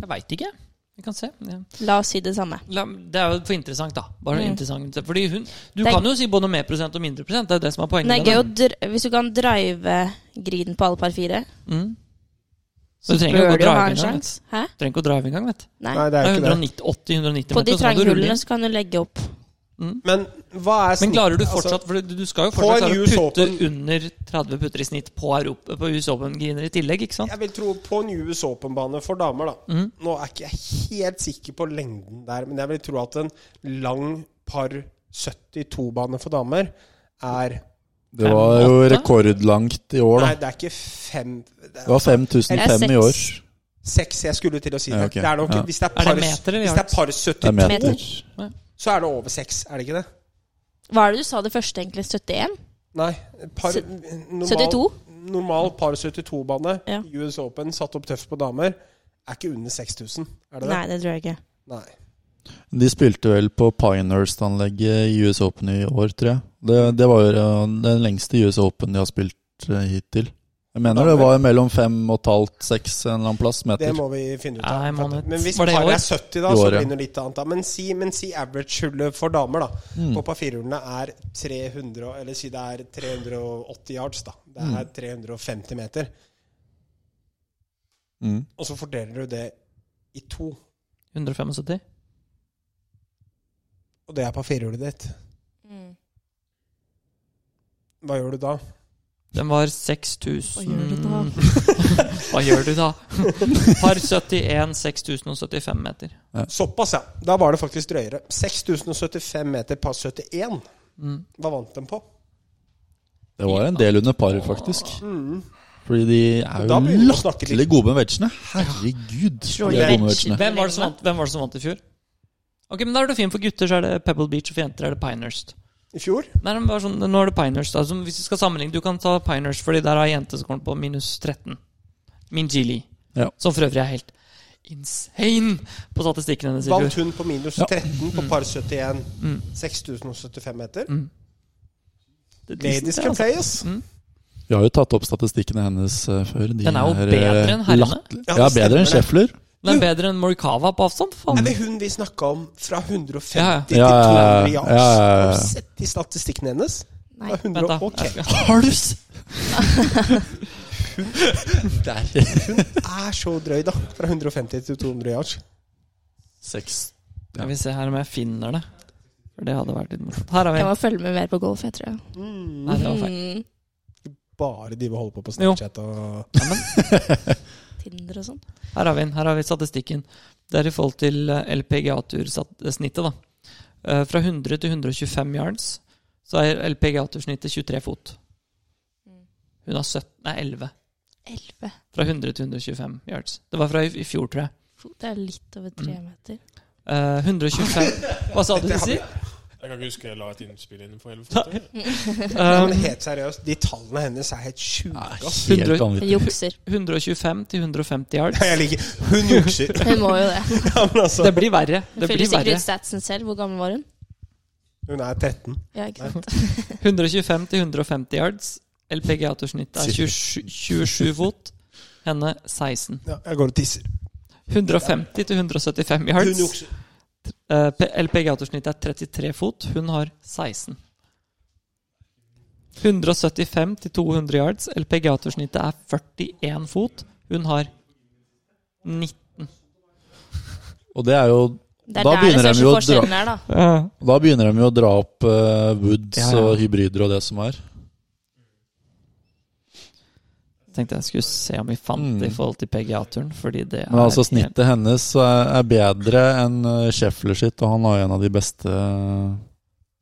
Speaker 1: Jeg veit ikke. Vi kan se. Ja.
Speaker 4: La oss si det samme.
Speaker 1: La, det er jo for interessant, da. Bare
Speaker 4: Mm.
Speaker 1: interessant Fordi hun Du
Speaker 4: Det er-
Speaker 1: kan jo si både mer prosent og mindre prosent. Det er jo det som er poenget.
Speaker 4: Men det
Speaker 1: med
Speaker 4: er gøy å
Speaker 1: det.
Speaker 4: dr Hvis du kan drive griden på alle par fire,
Speaker 1: mm.
Speaker 4: så
Speaker 1: Du trenger jo
Speaker 4: bør
Speaker 1: ikke
Speaker 4: du
Speaker 1: å
Speaker 4: jo ha
Speaker 1: drive
Speaker 4: en
Speaker 1: engang.
Speaker 4: sjanse. Hæ?
Speaker 1: Trenger ikke å drive engang, vet du.
Speaker 4: Nei.
Speaker 2: Nei, det
Speaker 1: Det
Speaker 2: er
Speaker 1: er
Speaker 2: ikke det. sånn
Speaker 1: 190, 80-190 meter.
Speaker 4: På
Speaker 1: så
Speaker 4: de
Speaker 1: må du rulle
Speaker 4: tranghullene
Speaker 1: inn.
Speaker 4: så kan du legge opp.
Speaker 2: Men hva er
Speaker 1: Men
Speaker 2: snitt-
Speaker 1: klarer du
Speaker 2: altså,
Speaker 1: fortsatt For du du skal jo
Speaker 2: på
Speaker 1: fortsatt
Speaker 2: en
Speaker 1: klare å
Speaker 2: US
Speaker 1: putte
Speaker 2: Open-
Speaker 1: under 30 putter i snitt på, Europa, på US Open-griner i tillegg, ikke sant?
Speaker 2: Altså,
Speaker 1: Mm.
Speaker 2: Jeg vil tro på en US Open-bane for damer, da. Nå er ikke jeg helt sikker på lengden der, men jeg vil tro at en lang par 72-bane for damer er
Speaker 3: Det var jo rekordlangt i år, da.
Speaker 2: Nei, det er ikke fem det
Speaker 3: Det var
Speaker 2: er,
Speaker 3: 5005 i
Speaker 4: Det er
Speaker 3: år.
Speaker 4: seks.
Speaker 2: Seks, jeg skulle til å si det.
Speaker 3: Ja, ok.
Speaker 2: det er nok,
Speaker 3: Ja.
Speaker 2: Hvis det er
Speaker 1: Er
Speaker 2: par,
Speaker 1: det meter eller
Speaker 2: hvis det er par
Speaker 3: Det er
Speaker 2: 72,
Speaker 3: meter.
Speaker 2: så er det over seks, er det ikke det?
Speaker 4: Hva er det du sa det første, egentlig? 71?
Speaker 2: Nei. Par,
Speaker 4: Sy-
Speaker 2: normal,
Speaker 4: 72?
Speaker 2: Normal par 72-bane,
Speaker 4: Ja.
Speaker 2: US Open, satt opp tøft på damer, er ikke under 6000, er det det?
Speaker 4: Nei, det tror jeg ikke.
Speaker 2: Nei.
Speaker 3: De spilte vel på Pinehurst-anlegget i US Open i år, tror jeg. Det, det var jo eh, den lengste US Open de har spilt eh, hittil. Jeg mener det var mellom fem og et halvt, seks en eller annen plass
Speaker 2: Det
Speaker 3: meter.
Speaker 2: må vi finne ut av.
Speaker 1: Nei, man vet-
Speaker 2: Men hvis
Speaker 1: Var det i
Speaker 2: paret
Speaker 1: år?
Speaker 2: er 70, da,
Speaker 3: I
Speaker 2: så
Speaker 3: år, ja.
Speaker 2: blir det noe litt annet. Da. Men si, men si average-hullet for damer, da.
Speaker 3: Mm.
Speaker 2: På papirhullene er 300 og- Eller si det er 380 yards, da. Det er 350 meter.
Speaker 3: Mm.
Speaker 2: Og så fordeler du det i to.
Speaker 1: 175?
Speaker 2: Og det er papirhullet ditt.
Speaker 4: Mm.
Speaker 2: Hva gjør du da?
Speaker 1: Den var 6000
Speaker 4: Hva gjør du da?
Speaker 1: [laughs] Hva gjør du da? Par 71 6075 meter.
Speaker 2: Såpass, ja. Da var det faktisk drøyere. 6075 meter par 71.
Speaker 1: Mm.
Speaker 2: Hva vant de på?
Speaker 3: Det var en del under paret, faktisk. Fordi de
Speaker 2: Men
Speaker 3: er jo
Speaker 2: Mm. da begynner vi å snakke
Speaker 3: latterlig
Speaker 2: litt.
Speaker 3: gode med vetsjene. Herregud,
Speaker 4: Slår
Speaker 3: de
Speaker 4: de
Speaker 3: er gode med
Speaker 4: vetsjen?
Speaker 3: vetsjene.
Speaker 1: Hvem var, det som vant, hvem var det som vant i fjor? Ok, men Da er det fint. For gutter så er det Pebble Beach, og for jenter er det Pinehurst.
Speaker 2: I fjor?
Speaker 1: Nei, men bare sånn, Nå er det Pinehurst. Altså, hvis du skal sammenligne, du kan ta Pinehurst, fordi der har jente som kommer på minus 13. Min Gili.
Speaker 3: Ja.
Speaker 1: Som for øvrig er helt insane på statistikken hennes. i
Speaker 2: Vant
Speaker 1: fjor.
Speaker 2: hun på minus
Speaker 3: Ja.
Speaker 2: 13 på par 71. 6075 meter.
Speaker 1: Det er
Speaker 2: Ladies
Speaker 1: decent,
Speaker 2: can
Speaker 1: altså.
Speaker 2: play, ass.
Speaker 3: Vi har jo tatt opp statistikkene hennes eh, før. De
Speaker 1: Den er jo
Speaker 3: eh,
Speaker 1: bedre enn herrene.
Speaker 3: latt-
Speaker 2: Ja,
Speaker 3: Ja,
Speaker 2: det
Speaker 3: bedre
Speaker 2: [laughs]
Speaker 3: enn
Speaker 2: stemmer
Speaker 3: Scheffler.
Speaker 1: Den er bedre enn Morikawa på avstand.
Speaker 2: Er
Speaker 1: Faen.
Speaker 2: det hun vi snakka om fra 150
Speaker 1: Ja,
Speaker 2: til
Speaker 3: ja. Ja, ja, ja.
Speaker 2: 200 yards?
Speaker 3: Ja, ja, ja.
Speaker 2: Har du sett i statistikken hennes?
Speaker 4: Nei.
Speaker 2: Det er
Speaker 1: Vent,
Speaker 2: 100,
Speaker 1: da.
Speaker 2: ok.
Speaker 3: Har du s-
Speaker 2: er så drøy, da. Fra 150 til 200 yards.
Speaker 3: Seks.
Speaker 1: Skal vi se her om jeg finner det. For det hadde vært litt morsomt. Her har vi
Speaker 4: Jeg må følge med mer på golf, jeg tror jeg.
Speaker 1: Nei, det var feil.
Speaker 4: Mm.
Speaker 2: Bare de vil holde på på Snapchat og
Speaker 4: Tinder og sånn.
Speaker 1: Her har vi den. Her har vi statistikken. Det er i forhold til eh, LPGA-tursnittet, da. Eh, Fra 100 til 125 yards så er LPGA-tursnittet 23 fot. Hun har 17 Nei, 11.
Speaker 4: 11
Speaker 1: Fra 100 til 125 yards. Det var fra i i fjor, tror jeg.
Speaker 4: fot. Det er litt over tre
Speaker 1: Mm.
Speaker 4: meter.
Speaker 1: Eh,
Speaker 2: [laughs]
Speaker 1: 125 Hva sa du du sier?
Speaker 5: Jeg kan ikke huske jeg la et innspill innenfor 11 fot.
Speaker 2: Men
Speaker 1: Eh,
Speaker 2: helt seriøst, de tallene hennes er helt sjuke.
Speaker 3: Nei,
Speaker 2: ass.
Speaker 1: Hundre-
Speaker 3: Helt
Speaker 4: Jeg
Speaker 3: vanvittig.
Speaker 4: jukser.
Speaker 1: 125 til 150 yards.
Speaker 2: Jeg liker Hun jukser.
Speaker 4: Hun må jo det.
Speaker 2: Ja, men altså,
Speaker 1: Det blir verre.
Speaker 4: Hun
Speaker 1: Det
Speaker 4: følger
Speaker 1: blir
Speaker 4: sikkert
Speaker 1: verre.
Speaker 4: ut statsen selv. Hvor gammel var hun?
Speaker 2: hun er 13.
Speaker 4: Ja, ikke sant?
Speaker 1: 125 til 150 yards. LPGA-tursnittet er 27, 27 fot. Henne 16.
Speaker 2: Ja, jeg går og tisser.
Speaker 1: 150 til 175
Speaker 2: Hun
Speaker 1: yards.
Speaker 2: jukser.
Speaker 1: Eh, P- LPGA-tursnittet er 33 fot. Hun har 16. 175 til 200 yards. LPGA-tursnittet er 41 fot. Hun har 19.
Speaker 3: Og det er jo
Speaker 4: Det er
Speaker 3: Da
Speaker 4: der den
Speaker 3: begynner de
Speaker 4: største
Speaker 3: jo å dra-
Speaker 4: forskjellen er, da.
Speaker 3: Da begynner de jo å dra opp eh, woods
Speaker 1: Ja, ja.
Speaker 3: og hybrider og det som er.
Speaker 1: Tenkte jeg skulle se om vi fant
Speaker 3: Mm.
Speaker 1: det i forhold til PGA-turen, fordi det
Speaker 3: Men altså
Speaker 1: er
Speaker 3: snittet hennes er er bedre enn eh, Scheffler sitt, og han har jo en av de beste eh,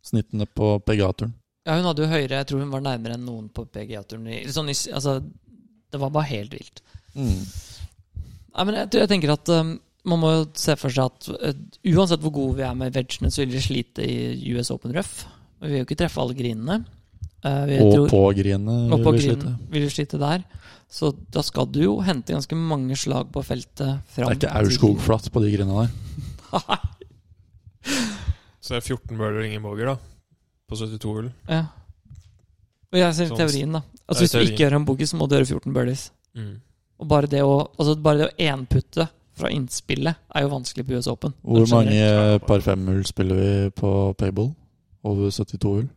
Speaker 3: snittene på PGA-turen.
Speaker 1: Ja, hun hadde jo høyere. Jeg tror hun var nærmere enn noen på PGA-turen. i- Sånn, i s- altså, det var bare helt vilt.
Speaker 3: Mm.
Speaker 1: Nei, men jeg, tror- jeg tenker at um, man må jo se for seg at uh, uansett hvor gode vi er med vegene, så vil vi slite i US Open Rough. Vi vil jo ikke treffe alle grinene. Uh, vi
Speaker 3: Og
Speaker 1: tror-
Speaker 3: på grinet
Speaker 1: og
Speaker 3: vil
Speaker 1: på
Speaker 3: vi
Speaker 1: grinen
Speaker 3: slite.
Speaker 1: vil vi slite der. Så da skal du jo hente ganske mange slag på feltet
Speaker 3: Det
Speaker 1: fram
Speaker 3: er ikke
Speaker 1: til- [laughs]
Speaker 3: Aurskog-flatt på de grinene der.
Speaker 5: Så det er 14 birder ingen boger, da. På 72 hull.
Speaker 1: Ja. Og jeg ser
Speaker 5: Sånn.
Speaker 1: teorien, da. Altså,
Speaker 5: Det er
Speaker 1: hvis du
Speaker 5: teorien.
Speaker 1: ikke gjør en boogie, så må du gjøre 14 birdies.
Speaker 5: Mm.
Speaker 1: Og bare det å, altså bare det å enputte fra innspillet er jo vanskelig på US Open.
Speaker 3: Hvor mange
Speaker 5: generelt.
Speaker 3: eh, par femhull spiller vi på Payball? Over 72 hull?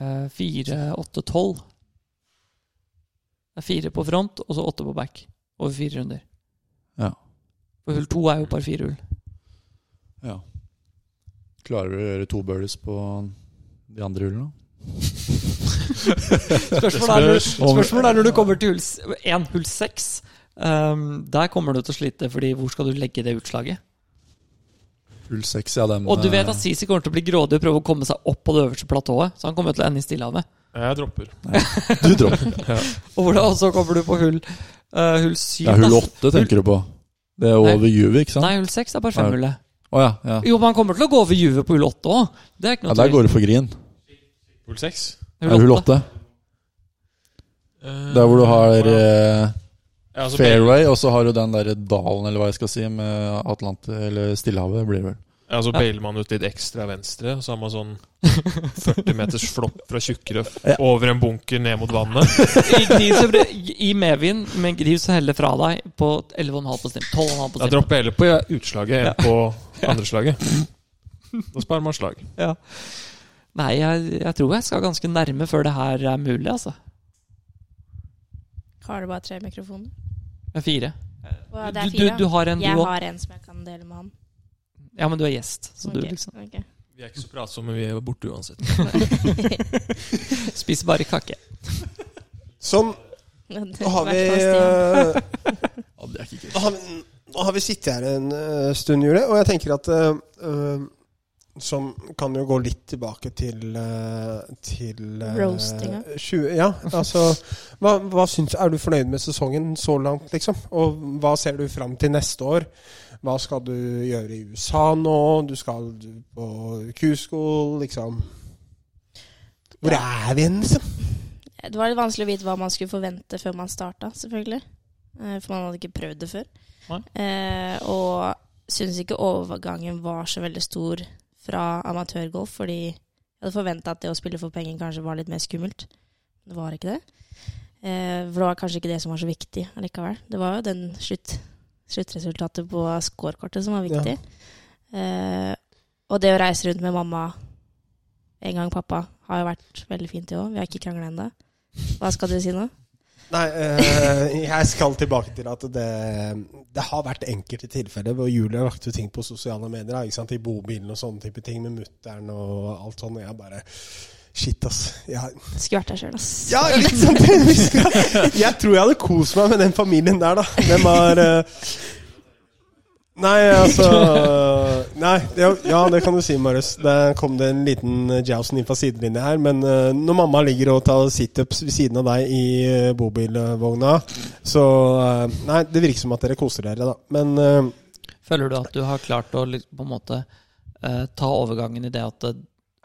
Speaker 1: Eh, Fire, åtte, tolv. Det er fire på front, og så åtte på back. Over fire runder.
Speaker 3: Ja.
Speaker 1: For hull to er jo par fire hull.
Speaker 3: Ja. Klarer du å gjøre to birdies på de andre hullene?
Speaker 1: [laughs] Spørsmålet er, når- spørsmålet er når du kommer til hull s- en hull seks. ehm, der kommer du til å slite, fordi hvor skal du legge det utslaget?
Speaker 3: Hull seks, ja. Den,
Speaker 1: Og du vet
Speaker 3: eh,
Speaker 1: at Sisi kommer til å bli grådig og prøve å komme seg opp på det øverste platået, så han kommer til å ende i Stillehavet.
Speaker 5: Jeg Eh, dropper.
Speaker 1: [laughs]
Speaker 3: [laughs] Du dropper.
Speaker 1: Og hvordan- og så kommer du på hull Eh, hull syv
Speaker 3: Det er hull
Speaker 1: da.
Speaker 3: åtte, tenker du på. Det er
Speaker 1: Nei.
Speaker 3: over Juve, ikke sant?
Speaker 1: Nei, hull seks er bare femhullet.
Speaker 3: Å ja. ja.
Speaker 1: Jo, man kommer til å gå over Juve på hull åtte òg. Det er ikke
Speaker 3: ja
Speaker 1: noe
Speaker 3: der går det for grin.
Speaker 5: Hull seks?
Speaker 3: Det er hull åtte. Der hvor du har eh,
Speaker 5: ja, altså,
Speaker 3: fairway, og så har du den derre dalen, eller hva jeg skal si, med Atlant... Eller Stillehavet, blir det vel.
Speaker 5: Ja, så bailer man altså ut litt ekstra venstre, så har man sånn 40 meters flopp fra tjukkerøff over en bunker ned mot vannet.
Speaker 1: I, gris, så blir- I medvind, men gris så heller fra deg på 11,5 på stim. 12,5 på
Speaker 5: Da
Speaker 1: stim.
Speaker 5: dropper jeg heller på utslaget enn på andre slaget. Da sparer man slag.
Speaker 1: Ja. Nei, jeg, jeg tror jeg skal ganske nærme før det her er mulig, altså.
Speaker 4: Har du bare tre mikrofoner?
Speaker 1: Det er fire.
Speaker 4: Hva, det
Speaker 1: Du,
Speaker 4: er fire.
Speaker 1: du, du har en, du
Speaker 4: jeg
Speaker 1: òg.
Speaker 4: har en som jeg kan dele med han.
Speaker 1: Ja, men du er gjest. Så du
Speaker 4: Ok,
Speaker 1: liksom
Speaker 4: ok. [laughs]
Speaker 5: Vi er ikke så pratsomme, vi er borte uansett.
Speaker 1: spiser bare kake.
Speaker 2: Sånn. Nå har vi eh,
Speaker 3: Ja, det er ikke
Speaker 2: [laughs] Nå har, vi- nå har vi sittet her en eh, stund, Julie, og jeg tenker at eh, eh, Som kan jo gå litt tilbake til eh, Til eh,
Speaker 4: Roastinga.
Speaker 2: 20, ja, altså hva, hva syns, Er du fornøyd med sesongen så langt, liksom? Og hva ser du fram til neste år? Hva skal du gjøre i USA nå? Du skal på Q-school, liksom. Hvor er vi hen, liksom?
Speaker 4: Det var litt vanskelig å vite hva man skulle forvente før man starta, selvfølgelig. Eh, For man hadde ikke prøvd det før. Eh, og syns ikke overgangen var så veldig stor fra amatørgolf, fordi jeg hadde forventa at det å spille for penger kanskje var litt mer skummelt. Det var ikke det. Eh, for det var kanskje ikke det som var så viktig allikevel. Det var jo den slutt, sluttresultatet på scorekortet som var viktig. Eh, og det å reise rundt med mamma en gang pappa har jo vært veldig fint, det òg. Vi har ikke krangla ennå. Hva skal du si nå?
Speaker 2: Nei, eh, jeg skal tilbake til at det, det har vært enkelte tilfeller hvor Julie har lagt ut ting på sosiale medier. da, Ikke sant? I bobilen og sånne type ting med mutter'n og alt sånt. Og jeg bare Shit, ass. Jeg,
Speaker 4: Skulle vært der sjøl, ass.
Speaker 2: ja, litt sånn [laughs] til en viss grad. Jeg tror jeg hadde kost meg med den familien der, da. Hvem har eh, Nei, altså Nei, ja, ja, det kan du si, Marius. Der kom det en liten jousen inn fra sidelinja her. Men eh, når mamma ligger og tar situps ved siden av deg i eh, bobilvogna, så eh, Nei, det virker som at dere koser dere, da. Men eh,
Speaker 1: Føler du at du har klart å liksom på en måte eh, ta overgangen i det at det,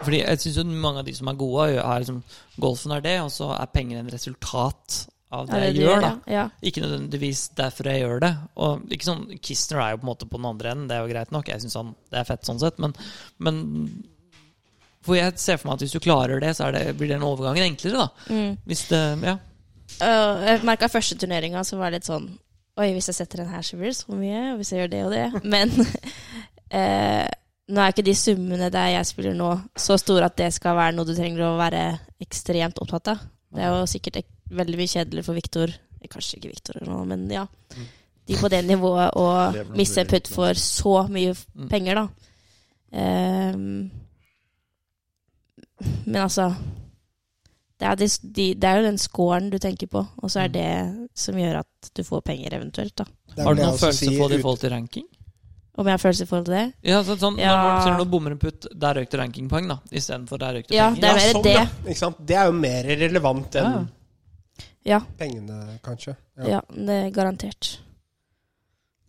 Speaker 1: Fordi jeg syns jo mange av de som er gode, er liksom Golfen er det, og så er penger en resultat av det, jeg gjør, da.
Speaker 4: Ja.
Speaker 1: Ikke nødvendigvis derfor jeg gjør det. Og ikke sånn, Kistner er jo på en måte på den andre enden, det er jo greit nok. Jeg synes han, Det er fett sånn sett, men, men For jeg ser for meg at hvis du klarer det, så er det, blir den overgangen enklere, da.
Speaker 4: Mm.
Speaker 1: Hvis det Ja.
Speaker 4: Og jeg merka første turneringa, så var det litt sånn Oi, hvis jeg setter den her, så blir det så mye. Og hvis jeg gjør det og det. [laughs] Men eh, nå er ikke de summene der jeg spiller nå, så store at det skal være noe du trenger å være ekstremt opptatt av. Det er jo sikkert ek- veldig mye kjedelig for Viktor. Kanskje ikke Viktor, nå, men ja.
Speaker 1: Mm.
Speaker 4: De på det nivået å
Speaker 3: Lever noe
Speaker 4: miste en putt
Speaker 3: videre.
Speaker 4: for så mye f-
Speaker 1: Mm.
Speaker 4: penger, da. Ehm, men altså det er, de, de, det er jo den scoren du tenker på, og så er det som gjør at du får penger eventuelt, da.
Speaker 2: det er
Speaker 1: Har
Speaker 2: vel
Speaker 1: du
Speaker 2: jeg
Speaker 1: noen
Speaker 2: også
Speaker 1: følelse
Speaker 2: sier
Speaker 1: på det
Speaker 2: ut-
Speaker 1: i forhold til ranking?
Speaker 4: Om jeg har følelser i forhold til det?
Speaker 1: Ja, sånn, sånn
Speaker 4: Ja.
Speaker 1: når man ser noen bommer en putt, der røyk det rankingpoeng, da. Istedenfor der røyk det
Speaker 4: Ja,
Speaker 1: penger.
Speaker 4: det er mer det.
Speaker 2: ja, ikke sant? Det er jo mer relevant enn
Speaker 1: Ja.
Speaker 4: Ja.
Speaker 2: pengene, kanskje. Ja.
Speaker 4: Ja, det er garantert.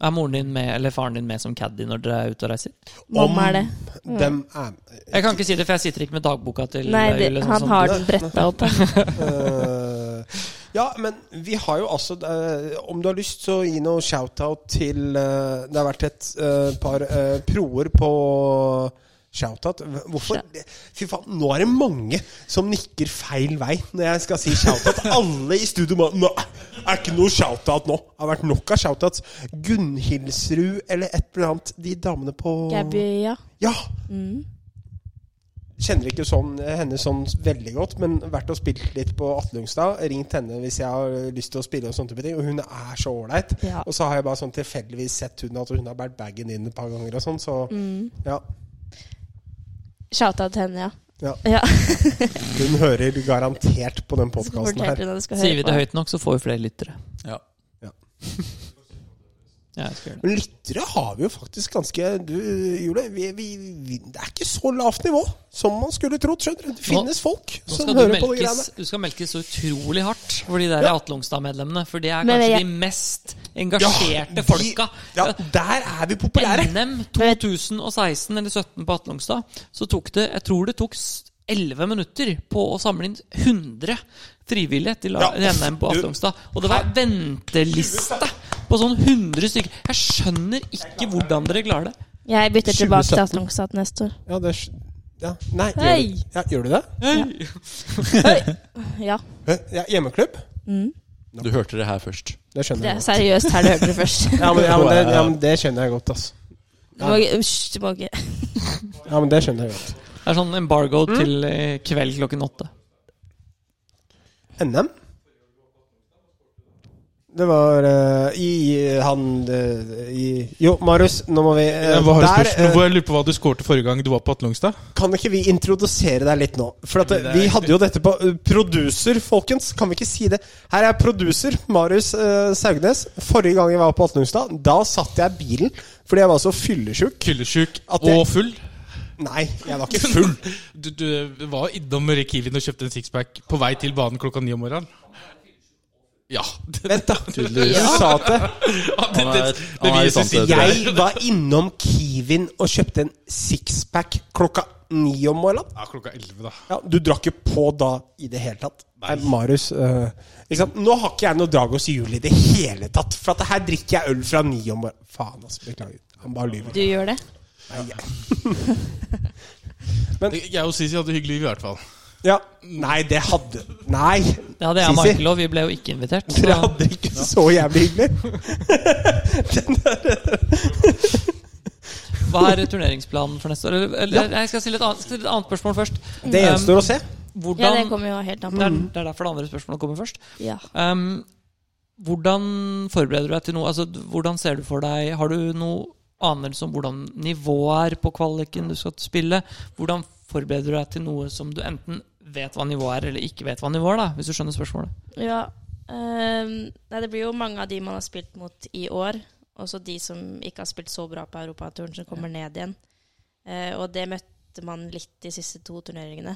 Speaker 1: Er moren din med, eller faren din med som caddy når dere er ute og reiser?
Speaker 4: Mamma er det. Mm.
Speaker 2: Dem er
Speaker 1: Jeg kan ikke si det, for jeg sitter ikke med dagboka til
Speaker 4: Nei, det,
Speaker 1: Julie, sånn
Speaker 4: han
Speaker 1: som-
Speaker 4: har den bretta opp.
Speaker 2: Eh, ja, men vi har jo altså eh, Om du har lyst, så gi noe shout-out til eh, Det har vært et eh, par eh, proer på shout-out. Hv- Hvorfor? Fy faen, nå er det mange som nikker feil vei når jeg skal si shout-out. Alle i studio bare Nå er ikke noe shout-out nå. Det har vært nok av shout-outs. Gunhilsrud eller et eller annet. De damene på
Speaker 4: Gabby, ja.
Speaker 2: Ja!
Speaker 4: Mm.
Speaker 2: Kjenner ikke sånn, henne sånn veldig godt, men vært og spilt litt på Atlungstad. Ringt henne hvis jeg har lyst til å spille, og sånne type ting Og hun er så ålreit.
Speaker 4: Ja.
Speaker 2: Og så har jeg bare sånn tilfeldigvis sett hun at hun har båret bagen inn et par ganger og sånn, så
Speaker 4: Mm.
Speaker 2: ja.
Speaker 4: Shouta til henne, ja.
Speaker 2: Ja.
Speaker 4: [laughs] ja.
Speaker 1: [laughs]
Speaker 2: Hun hører garantert på den
Speaker 4: Så
Speaker 2: podkasten
Speaker 4: fortalte
Speaker 2: her.
Speaker 4: hun at du skal
Speaker 1: Sier
Speaker 4: høre
Speaker 1: vi
Speaker 4: på.
Speaker 1: det høyt nok, så får vi flere lyttere.
Speaker 3: Ja.
Speaker 1: [laughs] Ja, jeg skal gjøre det.
Speaker 2: Men lyttere har vi jo faktisk ganske du, Jule, vi, vi, vi, Det er ikke så lavt nivå som man skulle trodd. skjønner du? Det finnes folk
Speaker 1: Nå skal du,
Speaker 2: som Sånn hører på de
Speaker 1: melkes,
Speaker 2: greiene.
Speaker 1: du skal melkes så utrolig hardt for de der Atle Longstad-medlemmene. For de er
Speaker 4: Men
Speaker 1: kanskje
Speaker 4: jeg-
Speaker 1: de mest
Speaker 2: Ja,
Speaker 1: engasjerte
Speaker 2: de-
Speaker 1: folka.
Speaker 2: Ja, der er vi populære!
Speaker 1: NM 2016 eller 17 på Atle Longstad, så tok det Jeg tror det tok s- 11 minutter på å samle inn 100 frivillige til
Speaker 2: Ja,
Speaker 1: til NM på
Speaker 2: du-
Speaker 1: Atle Longstad. Og det var venteliste på sånn 100 stykker. Jeg skjønner ikke hvordan dere klarer det.
Speaker 4: Jeg bytter
Speaker 2: 2017.
Speaker 4: tilbake til Atlongstad neste år.
Speaker 2: Ja, det er, s- ja. Nei, gjør
Speaker 4: Hei.
Speaker 2: du, ja, gjør du det?
Speaker 4: Ja,
Speaker 2: Hæ? Ja, hjemmeklubb?
Speaker 3: Du hørte det her først.
Speaker 2: Det skjønner
Speaker 4: det er
Speaker 2: jeg. godt.
Speaker 4: seriøst her du hørte det først.
Speaker 2: [laughs] Ja men, ja, men det, ja, men det skjønner jeg godt, altså.
Speaker 4: Du må, ikke- Hysj, du må ikke
Speaker 2: Ja, men det skjønner jeg godt.
Speaker 1: Det er sånn embargo til eh, kveld klokken åtte.
Speaker 2: NM? Det var eh, i han eh, i, Jo, Marius, nå må vi eh,
Speaker 6: Hva har du
Speaker 2: der,
Speaker 6: spørsmål?
Speaker 2: eh,
Speaker 6: Hvor jeg lurer på hva du skårte forrige gang du var på Atlongstad?
Speaker 2: Kan ikke vi introdusere deg litt nå? For at eh, vi hadde jo dette på eh, Producer, folkens. Kan vi ikke si det? Her er producer Marius eh, Saugnes. Forrige gang jeg var på Atlungstad, da satt jeg i bilen fordi jeg var så fyllesjuk.
Speaker 6: Fyllesjuk
Speaker 2: At jeg-
Speaker 6: og full?
Speaker 2: Nei, jeg var [laughs] ikke
Speaker 6: Full! [laughs] Du, du var innom Kiwien og kjøpte en sixpack på vei til banen klokka ni om morgenen? Ja. [laughs] Det,
Speaker 2: Vent, da.
Speaker 3: Tydeligvis.
Speaker 2: Du sa at det.
Speaker 6: det, det,
Speaker 3: er-
Speaker 6: det,
Speaker 3: han er i
Speaker 6: viser
Speaker 3: sant,
Speaker 6: sin-
Speaker 3: det.
Speaker 2: Jeg var innom Kiwin og kjøpte en sixpack klokka ni om morgenen.
Speaker 6: Ja, klokka elleve, da.
Speaker 2: Ja, du drakk ikke på da i det hele tatt. Nei, Marius eh, ikke sant? Nå har ikke jeg noe Dragos jul i det hele tatt. For at det her drikker jeg øl fra ni om morgenen. Faen, altså. Beklager. Han bare lyver.
Speaker 4: Du gjør det?
Speaker 2: Nei, jeg-
Speaker 6: Jeg og Sisi hadde det hyggelig i hvert fall.
Speaker 2: Ja. Nei, det hadde Nei!
Speaker 1: Det hadde jeg og
Speaker 2: Sisi?
Speaker 1: Michael òg. Vi ble jo ikke invitert. så-
Speaker 2: Dere hadde ikke så jævlig hyggelig.
Speaker 1: Hva er turneringsplanen for neste år? Eller, eller jeg skal stille et annet, stille et annet spørsmål først.
Speaker 2: Det gjenstår å se.
Speaker 1: Um, hvordan,
Speaker 4: Ja, det kommer jo helt an
Speaker 1: det,
Speaker 4: på.
Speaker 1: er, det er derfor det andre spørsmålet kommer først.
Speaker 4: Ja.
Speaker 1: Um, hvordan forbereder du deg til noe? Altså, d- hvordan ser du for deg Har du noe anelse om hvordan nivået er på kvaliken du skal spille? Hvordan forbereder du deg til noe som du enten vet hva nivået er, eller ikke vet hva nivået er, da, hvis du skjønner spørsmålet?
Speaker 4: ja. ehm, nei, det blir jo mange av de man har spilt mot i år. Også de som ikke har spilt så bra på europaturen, som kommer ned igjen. Eh, og det møtte man litt de siste to turneringene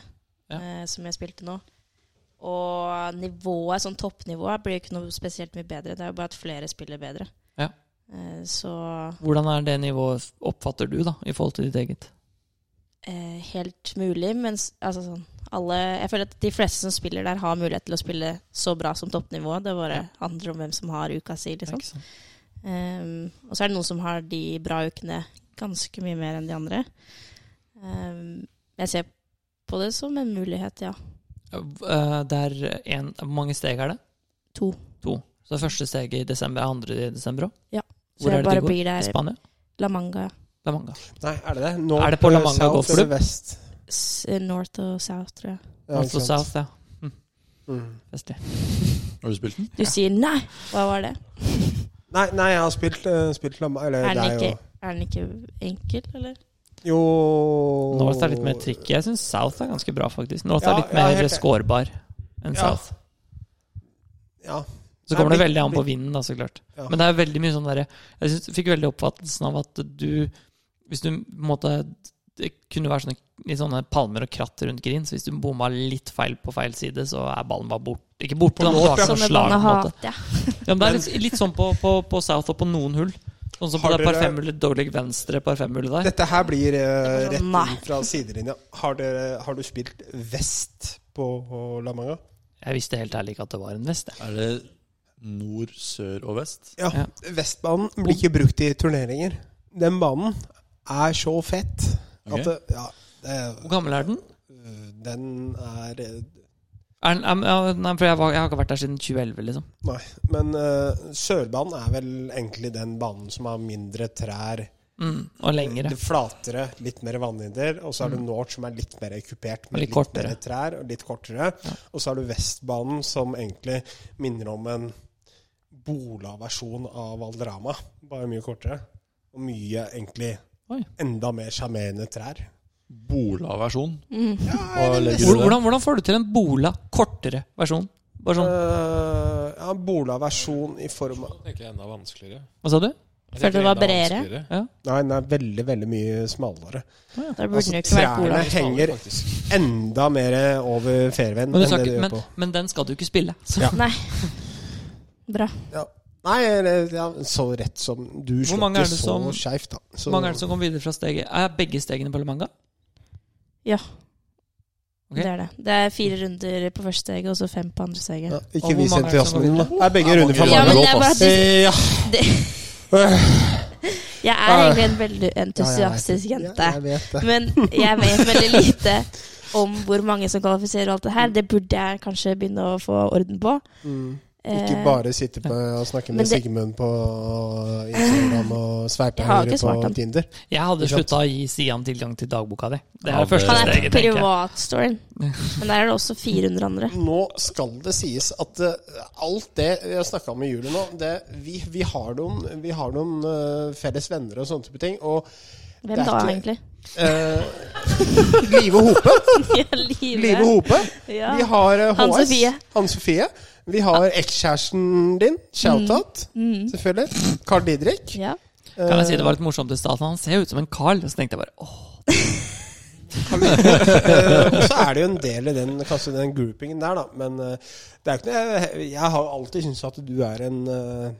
Speaker 1: Ja.
Speaker 4: eh, som jeg spilte nå. Og nivået, sånn toppnivået, blir jo ikke noe spesielt mye bedre. Det er jo bare at flere spiller bedre.
Speaker 1: Ja.
Speaker 4: Eh, så
Speaker 1: Hvordan er det nivået, oppfatter du, da, i forhold til ditt eget?
Speaker 4: eh, helt mulig, men s- altså sånn alle, Jeg føler at de fleste som spiller der, har mulighet til å spille så bra som toppnivået. Det bare handler om hvem som har uka si, liksom.
Speaker 1: Ikke sant?
Speaker 4: Ehm, og så er det noen som har de bra ukene ganske mye mer enn de andre. Ehm, jeg ser på det som en mulighet, ja.
Speaker 1: Eh, Det er en, Hvor mange steg er det?
Speaker 4: To.
Speaker 1: To. Så det første steget i desember er andre i desember òg?
Speaker 4: Ja.
Speaker 1: Hvor
Speaker 4: så
Speaker 1: er det
Speaker 4: jeg
Speaker 1: de
Speaker 4: bare
Speaker 1: går?
Speaker 4: blir
Speaker 1: I
Speaker 4: der.
Speaker 1: Spania?
Speaker 4: La Manga.
Speaker 1: La Manga.
Speaker 2: Nei, er det det? Nå eh,
Speaker 1: Er det på La Manga
Speaker 2: South
Speaker 1: golfklubb?
Speaker 2: eller Vest?
Speaker 4: S north og South, tror jeg.
Speaker 2: Ja,
Speaker 1: North
Speaker 2: ikke
Speaker 1: og
Speaker 2: sant.
Speaker 1: Altså, South, ja.
Speaker 2: Mm.
Speaker 1: Vestlig.
Speaker 3: Har du spilt den?
Speaker 4: Du sier nei! Hva var det?
Speaker 2: Nei, nei, jeg har spilt, uh, spilt La Manga Eller
Speaker 4: Er den,
Speaker 2: deg
Speaker 4: ikke,
Speaker 2: og
Speaker 4: er den ikke enkel, eller?
Speaker 2: Jo
Speaker 1: North er litt mer tricky. Jeg syns South er ganske bra, faktisk. North
Speaker 2: Ja,
Speaker 1: er litt
Speaker 2: ja,
Speaker 1: mer
Speaker 2: helt enig.
Speaker 1: skårbar enn
Speaker 2: Ja.
Speaker 1: South.
Speaker 2: Ja.
Speaker 1: Så kommer det
Speaker 2: Nei,
Speaker 1: veldig an på
Speaker 2: blir-
Speaker 1: vinden, da, så klart.
Speaker 2: Ja.
Speaker 1: Men det er veldig mye sånn derre Jeg synes, fikk veldig oppfattelsen av at du Hvis du på en måte Det kunne være sånne, litt sånne palmer og kratt rundt green, så hvis du bomma litt feil på feil side, så er ballen bare borte. Ikke borte, da, men du har ikke
Speaker 4: Sånne
Speaker 1: noe slag. på
Speaker 4: baner
Speaker 1: en måte.
Speaker 4: hater jeg.
Speaker 1: Ja, men det er litt, litt sånn på, på, på South og på noen hull. Sånn som på
Speaker 2: Har
Speaker 1: det par
Speaker 2: dere-
Speaker 1: femhullet, dårlig venstre par femhullet der.
Speaker 2: Dette her blir eh, rett
Speaker 4: Det var sånn, nei.
Speaker 2: inn fra sidelinja. Har, dere- har du spilt vest på La Manga?
Speaker 1: Jeg visste helt ærlig ikke at det var en vest. jeg.
Speaker 3: Er det nord, sør og vest?
Speaker 2: Ja.
Speaker 1: Ja.
Speaker 2: Vestbanen blir ikke brukt i turneringer. Den banen er så fett
Speaker 3: Ok.
Speaker 2: at det, Ja. Det,
Speaker 1: Hvor gammel er den?
Speaker 2: øh, den er eh,
Speaker 1: Er den er- ja, nei, for jeg, var, jeg har ikke vært der siden 2011, liksom.
Speaker 2: Nei. Men eh, Sørbanen er vel egentlig den banen som har mindre trær.
Speaker 1: Mm, og lengre.
Speaker 2: Det flatere, litt mer vannhinder. Og så har du North, som er litt mer kupert,
Speaker 1: Mm. Litt
Speaker 2: med litt,
Speaker 1: kortere.
Speaker 2: mer trær og litt kortere. Og så har du Vestbanen, som egentlig minner om en Bola-versjon av Valderama. Bare mye kortere. Og mye, egentlig,
Speaker 1: Oi.
Speaker 2: enda mer sjarmerende trær.
Speaker 3: Bola-versjon.
Speaker 4: Mm.
Speaker 3: Hva legger
Speaker 1: Hvor,
Speaker 3: du i det?
Speaker 1: hvordan, hvordan får du til en bola kortere versjon? Bare sånn,
Speaker 2: Eh, ja, Bola-versjon i form av
Speaker 1: Eh,
Speaker 5: Tenker jeg enda vanskeligere.
Speaker 1: Hva sa du?
Speaker 4: Følte det var bredere.
Speaker 2: Nei, den er veldig, veldig mye smalere.
Speaker 4: Da burde
Speaker 2: Altså,
Speaker 4: den jo ikke
Speaker 2: trærne
Speaker 4: vært cola.
Speaker 2: henger enda mer over fairwayen
Speaker 1: Men, du
Speaker 2: enn
Speaker 1: skal
Speaker 2: det de
Speaker 1: ikke,
Speaker 2: gjør
Speaker 1: men,
Speaker 2: på
Speaker 1: men den skal du ikke spille. Så.
Speaker 2: Ja.
Speaker 4: Nei. Bra.
Speaker 2: ja. Nei, eller, ja, så rett som Du slår
Speaker 1: mange er
Speaker 2: ikke
Speaker 1: det
Speaker 2: så
Speaker 1: som-
Speaker 2: skeivt, da. Så,
Speaker 1: [laughs] Hvor mange er det som kommer videre fra steget? Er begge stegene på Le Manga?
Speaker 4: Ja.
Speaker 1: Ok.
Speaker 4: Det er det. Det er fire runder på første steget, og så fem på andre steget.
Speaker 2: ja,
Speaker 1: Og hvor
Speaker 2: ikke vis
Speaker 1: mange er det som
Speaker 2: entusiasmen din, da. Er begge runder fra
Speaker 4: Ja,
Speaker 2: mange?
Speaker 4: men
Speaker 3: Golf,
Speaker 4: [laughs] det er bare
Speaker 3: ass.
Speaker 4: at du,
Speaker 2: Eh, Ja.
Speaker 4: jeg er egentlig en veldig entusiastisk
Speaker 2: Ja, jeg vet det. Ja,
Speaker 4: jente.
Speaker 2: jeg vet det.
Speaker 4: Men jeg vet veldig lite om hvor mange som kvalifiserer og alt det her. Det burde jeg kanskje begynne å få orden på.
Speaker 2: Mm. Ikke
Speaker 4: Eh,
Speaker 2: bare sitte på og snakke med
Speaker 4: Men det-
Speaker 2: Sigmund på Instagram og sveipe
Speaker 4: Jeg har
Speaker 2: høyre
Speaker 4: ikke svart
Speaker 2: på
Speaker 4: han.
Speaker 2: Tinder.
Speaker 1: Jeg hadde
Speaker 2: Ikke sant?
Speaker 1: slutta å gi Sian tilgang til dagboka di. Det er
Speaker 3: Ja,
Speaker 1: det første
Speaker 4: Han er
Speaker 1: steget,
Speaker 4: på
Speaker 1: tenker jeg.
Speaker 4: Eh, privatstoryen. Men der er det også 400 andre.
Speaker 2: Nå skal det sies at eh, alt det jeg snakka om i juli nå det, vi, vi har noen, vi har noen eh, felles venner og sånne type ting. Og
Speaker 4: Hvem
Speaker 2: Det er
Speaker 4: da,
Speaker 2: ikke- eh,
Speaker 4: egentlig?
Speaker 2: [laughs] Live Hope.
Speaker 4: [laughs] Ja, Live.
Speaker 2: Live Hope.
Speaker 4: Ja.
Speaker 2: Vi har eh, HS.
Speaker 4: Ann Sofie.
Speaker 2: Ann Sofie. Vi har ekskjæresten din. Shout-out. Selvfølgelig. Carl Didrik.
Speaker 4: Mm. [laughs] Ja.
Speaker 1: Kan jeg si det var litt morsomt i starten? Han ser jo ut som en Carl. Så tenkte jeg bare åh.
Speaker 2: Eh, og så er det jo en del i den, kanskje den groupingen der, da. Men eh, det er jo ikke noe Jeg, jeg har alltid syntes at du er en eh,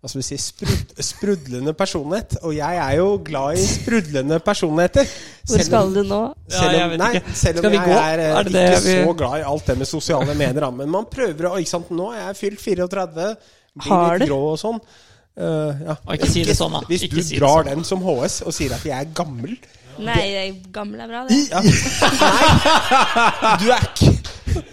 Speaker 2: hva skal vi si sprud, sprudlende personlighet. Og jeg er jo glad i sprudlende personligheter.
Speaker 4: Hvor skal du nå?
Speaker 2: Selv
Speaker 1: Ja, jeg
Speaker 2: om,
Speaker 1: vet
Speaker 2: nei,
Speaker 1: ikke.
Speaker 2: selv
Speaker 1: Skal
Speaker 2: om
Speaker 1: vi
Speaker 2: jeg
Speaker 1: gå?
Speaker 2: er, eh,
Speaker 1: Er det det
Speaker 2: ikke
Speaker 1: vi-
Speaker 2: så glad i alt det med sosiale medier, da. Men man prøver å Ikke sant, nå er jeg fylt 34,
Speaker 4: Har
Speaker 2: blir
Speaker 4: du?
Speaker 2: litt grå og sånn. Eh, ja.
Speaker 1: Og ikke si det sånn, da.
Speaker 2: Hvis
Speaker 1: Ikke
Speaker 2: du
Speaker 1: si det
Speaker 2: drar
Speaker 1: sånn.
Speaker 2: den som HS og sier at jeg er gammel
Speaker 4: Nei, det er gammel er bra, det.
Speaker 2: ja. Nei, du er ikke [laughs]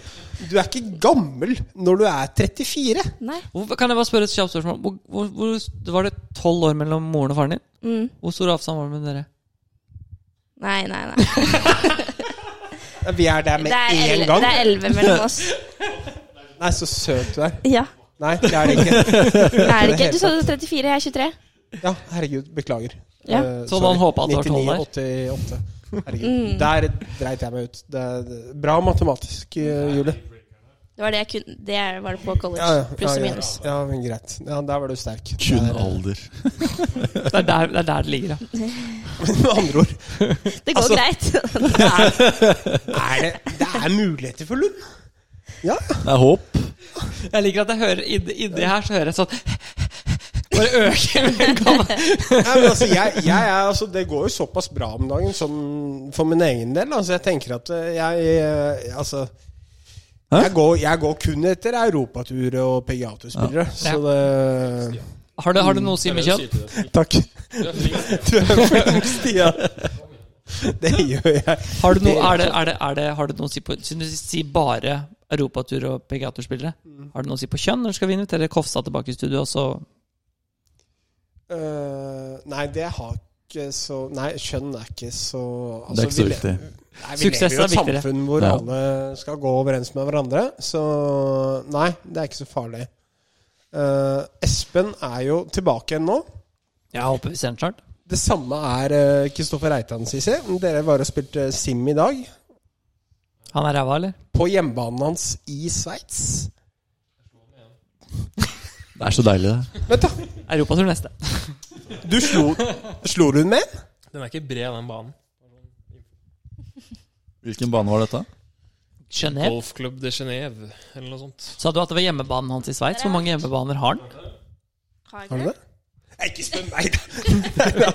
Speaker 2: Du er ikke gammel når du er 34.
Speaker 4: Nei.
Speaker 1: Hvorfor- Kan jeg bare spørre et kjapt spørsmål? Hvor, hvor, hvor, var det tolv år mellom moren og faren din?
Speaker 4: Mm.
Speaker 1: Hvor stor avstand var det med dere?
Speaker 4: Nei, nei, nei.
Speaker 2: Vi er der med
Speaker 4: Det er
Speaker 2: én
Speaker 4: elleve-
Speaker 2: gang.
Speaker 4: det er elleve mellom
Speaker 2: [laughs]
Speaker 4: oss.
Speaker 2: Nei, så søt du er.
Speaker 4: Ja.
Speaker 2: Nei, det er det ikke.
Speaker 4: Er det ikke? Du sa du var 34, jeg er 23.
Speaker 2: Ja, herregud. Beklager.
Speaker 4: Ja.
Speaker 2: Eh,
Speaker 1: Så
Speaker 2: sorry.
Speaker 1: man håpet at det var
Speaker 2: 99,
Speaker 1: tolv
Speaker 2: 88. Herregud.
Speaker 4: Mm.
Speaker 2: Der dreit jeg meg ut. Det er det- bra matematisk, eh, Julie.
Speaker 4: Det var det jeg kunne Det er- var det på college.
Speaker 2: Ja, ja,
Speaker 4: Pluss og
Speaker 2: ja,
Speaker 4: minus.
Speaker 2: Ja, ja, men greit. Ja, der var du sterk.
Speaker 3: Kun
Speaker 2: Der, eh,
Speaker 3: alder.
Speaker 1: Det er der det, er der det ligger, ja.
Speaker 2: [laughs] Med andre ord,
Speaker 4: Det går
Speaker 2: Altså- [laughs]
Speaker 4: greit.
Speaker 2: det er, er det, det er muligheter for Lund. Ja,
Speaker 3: Det er håp.
Speaker 2: Altså,
Speaker 1: Jeg liker at jeg hører inni inni her, så hører jeg sånn [laughs] Bare øker med gammel.
Speaker 2: Nei, men altså, jeg, jeg er, altså, det går jo såpass bra om dagen som for min egen del. Altså, jeg tenker at eh, jeg eh, Altså jeg går, jeg går kun etter europaturer og PGA-spillere, så det
Speaker 1: Har det, har det noe å si med kjønn?
Speaker 2: Takk. Du er flink, Stian. Det gjør jeg.
Speaker 1: Har det noe, er det, er det, er det, har det noe å si på Siden du sier bare europatur og PGA-turspillere, har det noe å si på kjønn? Når skal vi invitere Kofstad tilbake i studio? Og så
Speaker 2: Eh, nei, det har ikke så Nei, kjønn er ikke så altså,
Speaker 3: Det er ikke
Speaker 2: vi
Speaker 3: så
Speaker 2: le-
Speaker 3: viktig.
Speaker 2: Nei, vi
Speaker 1: Suksess
Speaker 2: lever i
Speaker 1: er
Speaker 2: et
Speaker 1: viktigere.
Speaker 2: samfunn hvor
Speaker 3: Ja.
Speaker 2: alle skal gå overens med hverandre, så nei, det er ikke så farlig. Eh, Espen er jo tilbake igjen nå.
Speaker 1: Jeg håper vi ser den snart.
Speaker 2: Det samme er eh, Kristoffer Reitan, Sisi. Dere var og spilte eh, Sim i dag.
Speaker 1: Han er ræva, eller?
Speaker 2: På hjemmebanen hans i Sveits.
Speaker 3: Det er så deilig, det.
Speaker 2: Vent, da!
Speaker 1: Europatur neste.
Speaker 2: Du slo, slo du den med? en?
Speaker 5: Den er ikke bred, den banen.
Speaker 3: Hvilken bane var dette?
Speaker 1: Genève.
Speaker 5: Golfklubb de Genève, eller noe sånt.
Speaker 1: Sa du at det var hjemmebanen hans i Sveits? Hvor mange hjemmebaner har han?
Speaker 2: Har du det? altså. Nei, ikke spør meg, da!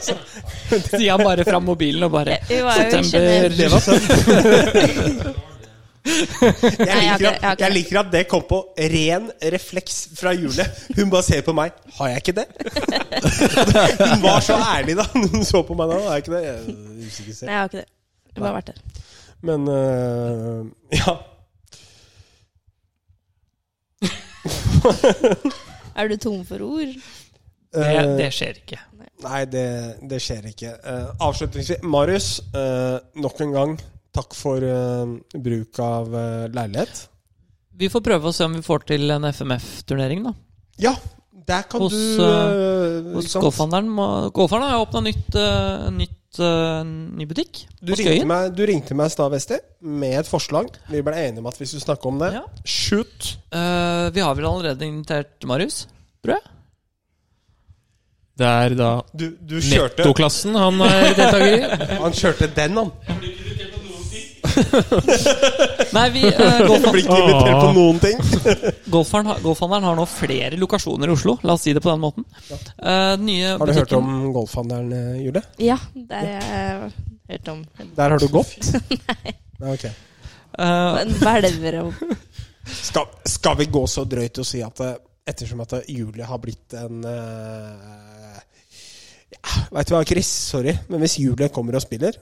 Speaker 1: Stian bare fram mobilen og bare
Speaker 4: Vi var jo i
Speaker 1: September
Speaker 4: Genève.
Speaker 2: Det var sant. [laughs]
Speaker 4: Nei, jeg har
Speaker 2: Jeg liker,
Speaker 4: ikke- jeg har
Speaker 2: at,
Speaker 4: ikke
Speaker 2: jeg
Speaker 4: det.
Speaker 2: liker at det kom på ren refleks fra Julie. Hun bare ser på meg. Har jeg
Speaker 4: [laughs]
Speaker 2: ikke det? Hun var så ærlig da hun så på meg da. Har jeg ikke det? Jeg er usikker
Speaker 4: Nei,
Speaker 2: selv.
Speaker 4: jeg har ikke det. Jeg har bare vært der.
Speaker 2: Men øh, ja.
Speaker 4: Er du tom for ord?
Speaker 1: Det,
Speaker 2: Øh,
Speaker 1: det skjer ikke.
Speaker 2: nei, det, det skjer ikke. Eh, avslutningsvis, Marius. eh, nok en gang, takk for eh, bruk av eh, leilighet.
Speaker 1: Vi får prøve å se om vi får til en FMF-turnering, da.
Speaker 2: Ja, der kan
Speaker 1: Hos,
Speaker 2: du eh,
Speaker 1: Hos
Speaker 2: ikke sant?
Speaker 1: Golfhandleren. må- Golfhandleren har åpna nytt, eh, nytt eh, ny butikk.
Speaker 2: Du
Speaker 1: på
Speaker 2: ringte,
Speaker 1: Skøyen.
Speaker 2: meg, du ringte meg i stad, Vesti, med et forslag. Vi ble enige om at vi skulle snakke om det.
Speaker 1: Ja.
Speaker 2: Shoot! [laughs]
Speaker 1: Eh, vi har vel allerede invitert Marius, tror jeg?
Speaker 5: Det er da
Speaker 2: Du, du kjørte
Speaker 5: nettoklassen han er deltaker i.
Speaker 2: Han kjørte den, han.
Speaker 1: Nei, vi, eh,
Speaker 2: Du
Speaker 1: golfhandleren,
Speaker 2: blir ikke invitert på noen ting.
Speaker 1: golfhandleren, har- golfhandleren har nå flere lokasjoner i Oslo, la oss si det på den måten. Eh, den nye
Speaker 2: Har du hørt
Speaker 1: butikken-
Speaker 2: om golfhandelen, eh, Julie?
Speaker 4: Ja, det har jeg hørt om.
Speaker 2: Der har du gått? [laughs] Nei. ok.
Speaker 1: Eh,
Speaker 4: En hvelver og
Speaker 2: Skal, skal vi gå så drøyt og si at eh, ettersom at eh, Julie har blitt en eh, ja, Veit du hva, Chris? Sorry, men hvis Julie kommer og spiller,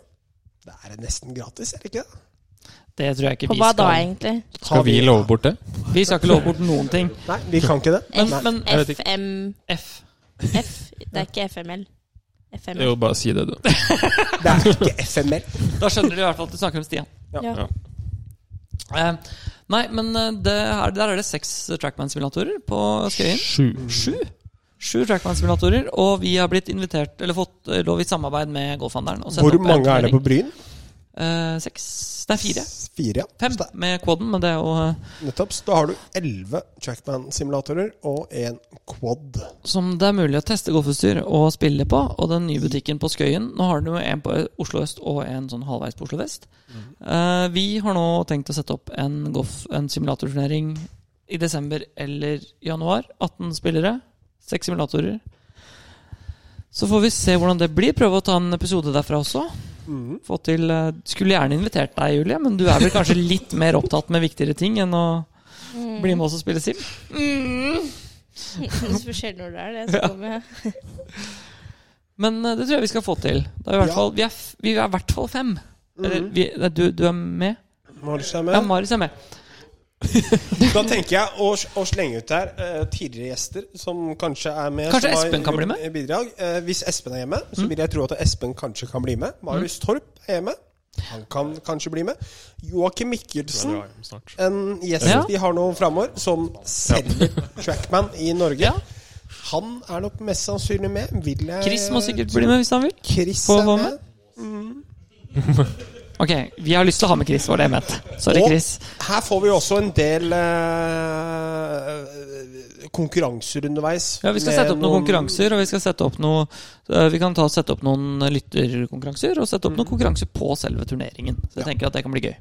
Speaker 2: det er det nesten gratis, er det ikke det?
Speaker 1: det tror jeg ikke
Speaker 4: På
Speaker 1: vi
Speaker 4: hva da,
Speaker 1: skal.
Speaker 4: egentlig?
Speaker 5: Skal vi love bort det?
Speaker 1: Vi skal ikke love bort noen ting.
Speaker 2: Nei, vi kan ikke det.
Speaker 1: Men,
Speaker 2: Nei.
Speaker 1: men
Speaker 5: Jeg vet ikke.
Speaker 4: FM...
Speaker 1: F
Speaker 4: F? Det er ikke FML. FML.
Speaker 5: Jo, bare si det, du.
Speaker 2: Det er ikke
Speaker 1: [laughs]
Speaker 2: FML.
Speaker 1: Da skjønner du i hvert fall at du snakker om Stian.
Speaker 4: Ja.
Speaker 1: Eh, nei, men eh, det er, der er det seks Trackman-simulatorer på Skøyen.
Speaker 5: Sju.
Speaker 1: Sju. Sju Trackman-simulatorer, og vi har blitt invitert, eller fått eh, lov i samarbeid med Golfhandleren. å sette
Speaker 2: Hvor
Speaker 1: opp en
Speaker 2: mange er det på
Speaker 1: turnering.
Speaker 2: Bryn?
Speaker 1: Eh, seks Nei, fire.
Speaker 2: S- Fire, ja.
Speaker 1: Fem
Speaker 2: Så det
Speaker 1: med koden, men det er jo eh,
Speaker 2: er- Nettopp. Så da har du elleve Trackman-simulatorer og en quad.
Speaker 1: som det er mulig å teste golfutstyr og spille på. Og den nye butikken på Skøyen Nå har den jo en på Oslo øst og en sånn halvveis på Oslo vest. Eh, vi har nå tenkt å sette opp en, golf, en simulatorturnering i desember eller januar. 18 spillere, seks simulatorer. Så får vi se hvordan det blir. Prøve å ta en episode derfra også. Få til, eh, skulle gjerne invitert deg, Julie, men du er vel kanskje litt mer opptatt med viktigere ting enn å bli med oss og spille sim?
Speaker 4: [laughs] Det er Mm. forskjellig når det er det. Så kommer jeg.
Speaker 1: Men eh, det tror jeg vi skal få til. Da er vi, i hvert
Speaker 2: Ja.
Speaker 1: fall, vi, er, f- vi er i hvert fall fem. Eller, vi, nei, du, du er med?
Speaker 2: Marius er
Speaker 1: Ja,
Speaker 2: med.
Speaker 1: Marius er med.
Speaker 2: Da tenker jeg å, å slenge ut der eh, tidligere gjester som kanskje er med.
Speaker 1: Kanskje
Speaker 2: som har
Speaker 1: Espen kan bli med? Mm.
Speaker 2: gjort Bidrag. Eh, hvis Espen er hjemme, så vil jeg tro at Espen kanskje kan bli med. Marius Torp er hjemme. Han kan kanskje bli med. Joakim Mikkelsen, en gjest
Speaker 1: Ja.
Speaker 2: vi har nå framover, som selger Trackman i Norge.
Speaker 1: Ja.
Speaker 2: Han er nok mest sannsynlig med. Vil jeg
Speaker 1: Chris må sikkert bli med hvis han vil.
Speaker 2: Chris
Speaker 1: få
Speaker 2: er
Speaker 1: være
Speaker 2: med.
Speaker 1: med. Ok, vi har lyst til å ha med Chris, var det jeg mente. Sorry,
Speaker 2: Og
Speaker 1: Chris.
Speaker 2: her får vi også en del eh, konkurranser underveis.
Speaker 1: Ja, Vi skal
Speaker 2: med
Speaker 1: sette opp noen
Speaker 2: noen-
Speaker 1: konkurranser, og vi skal sette opp noe eh, Vi kan ta og sette opp noen lytterkonkurranser, og sette opp noen konkurranser på selve turneringen. Så jeg tenker at det kan bli gøy.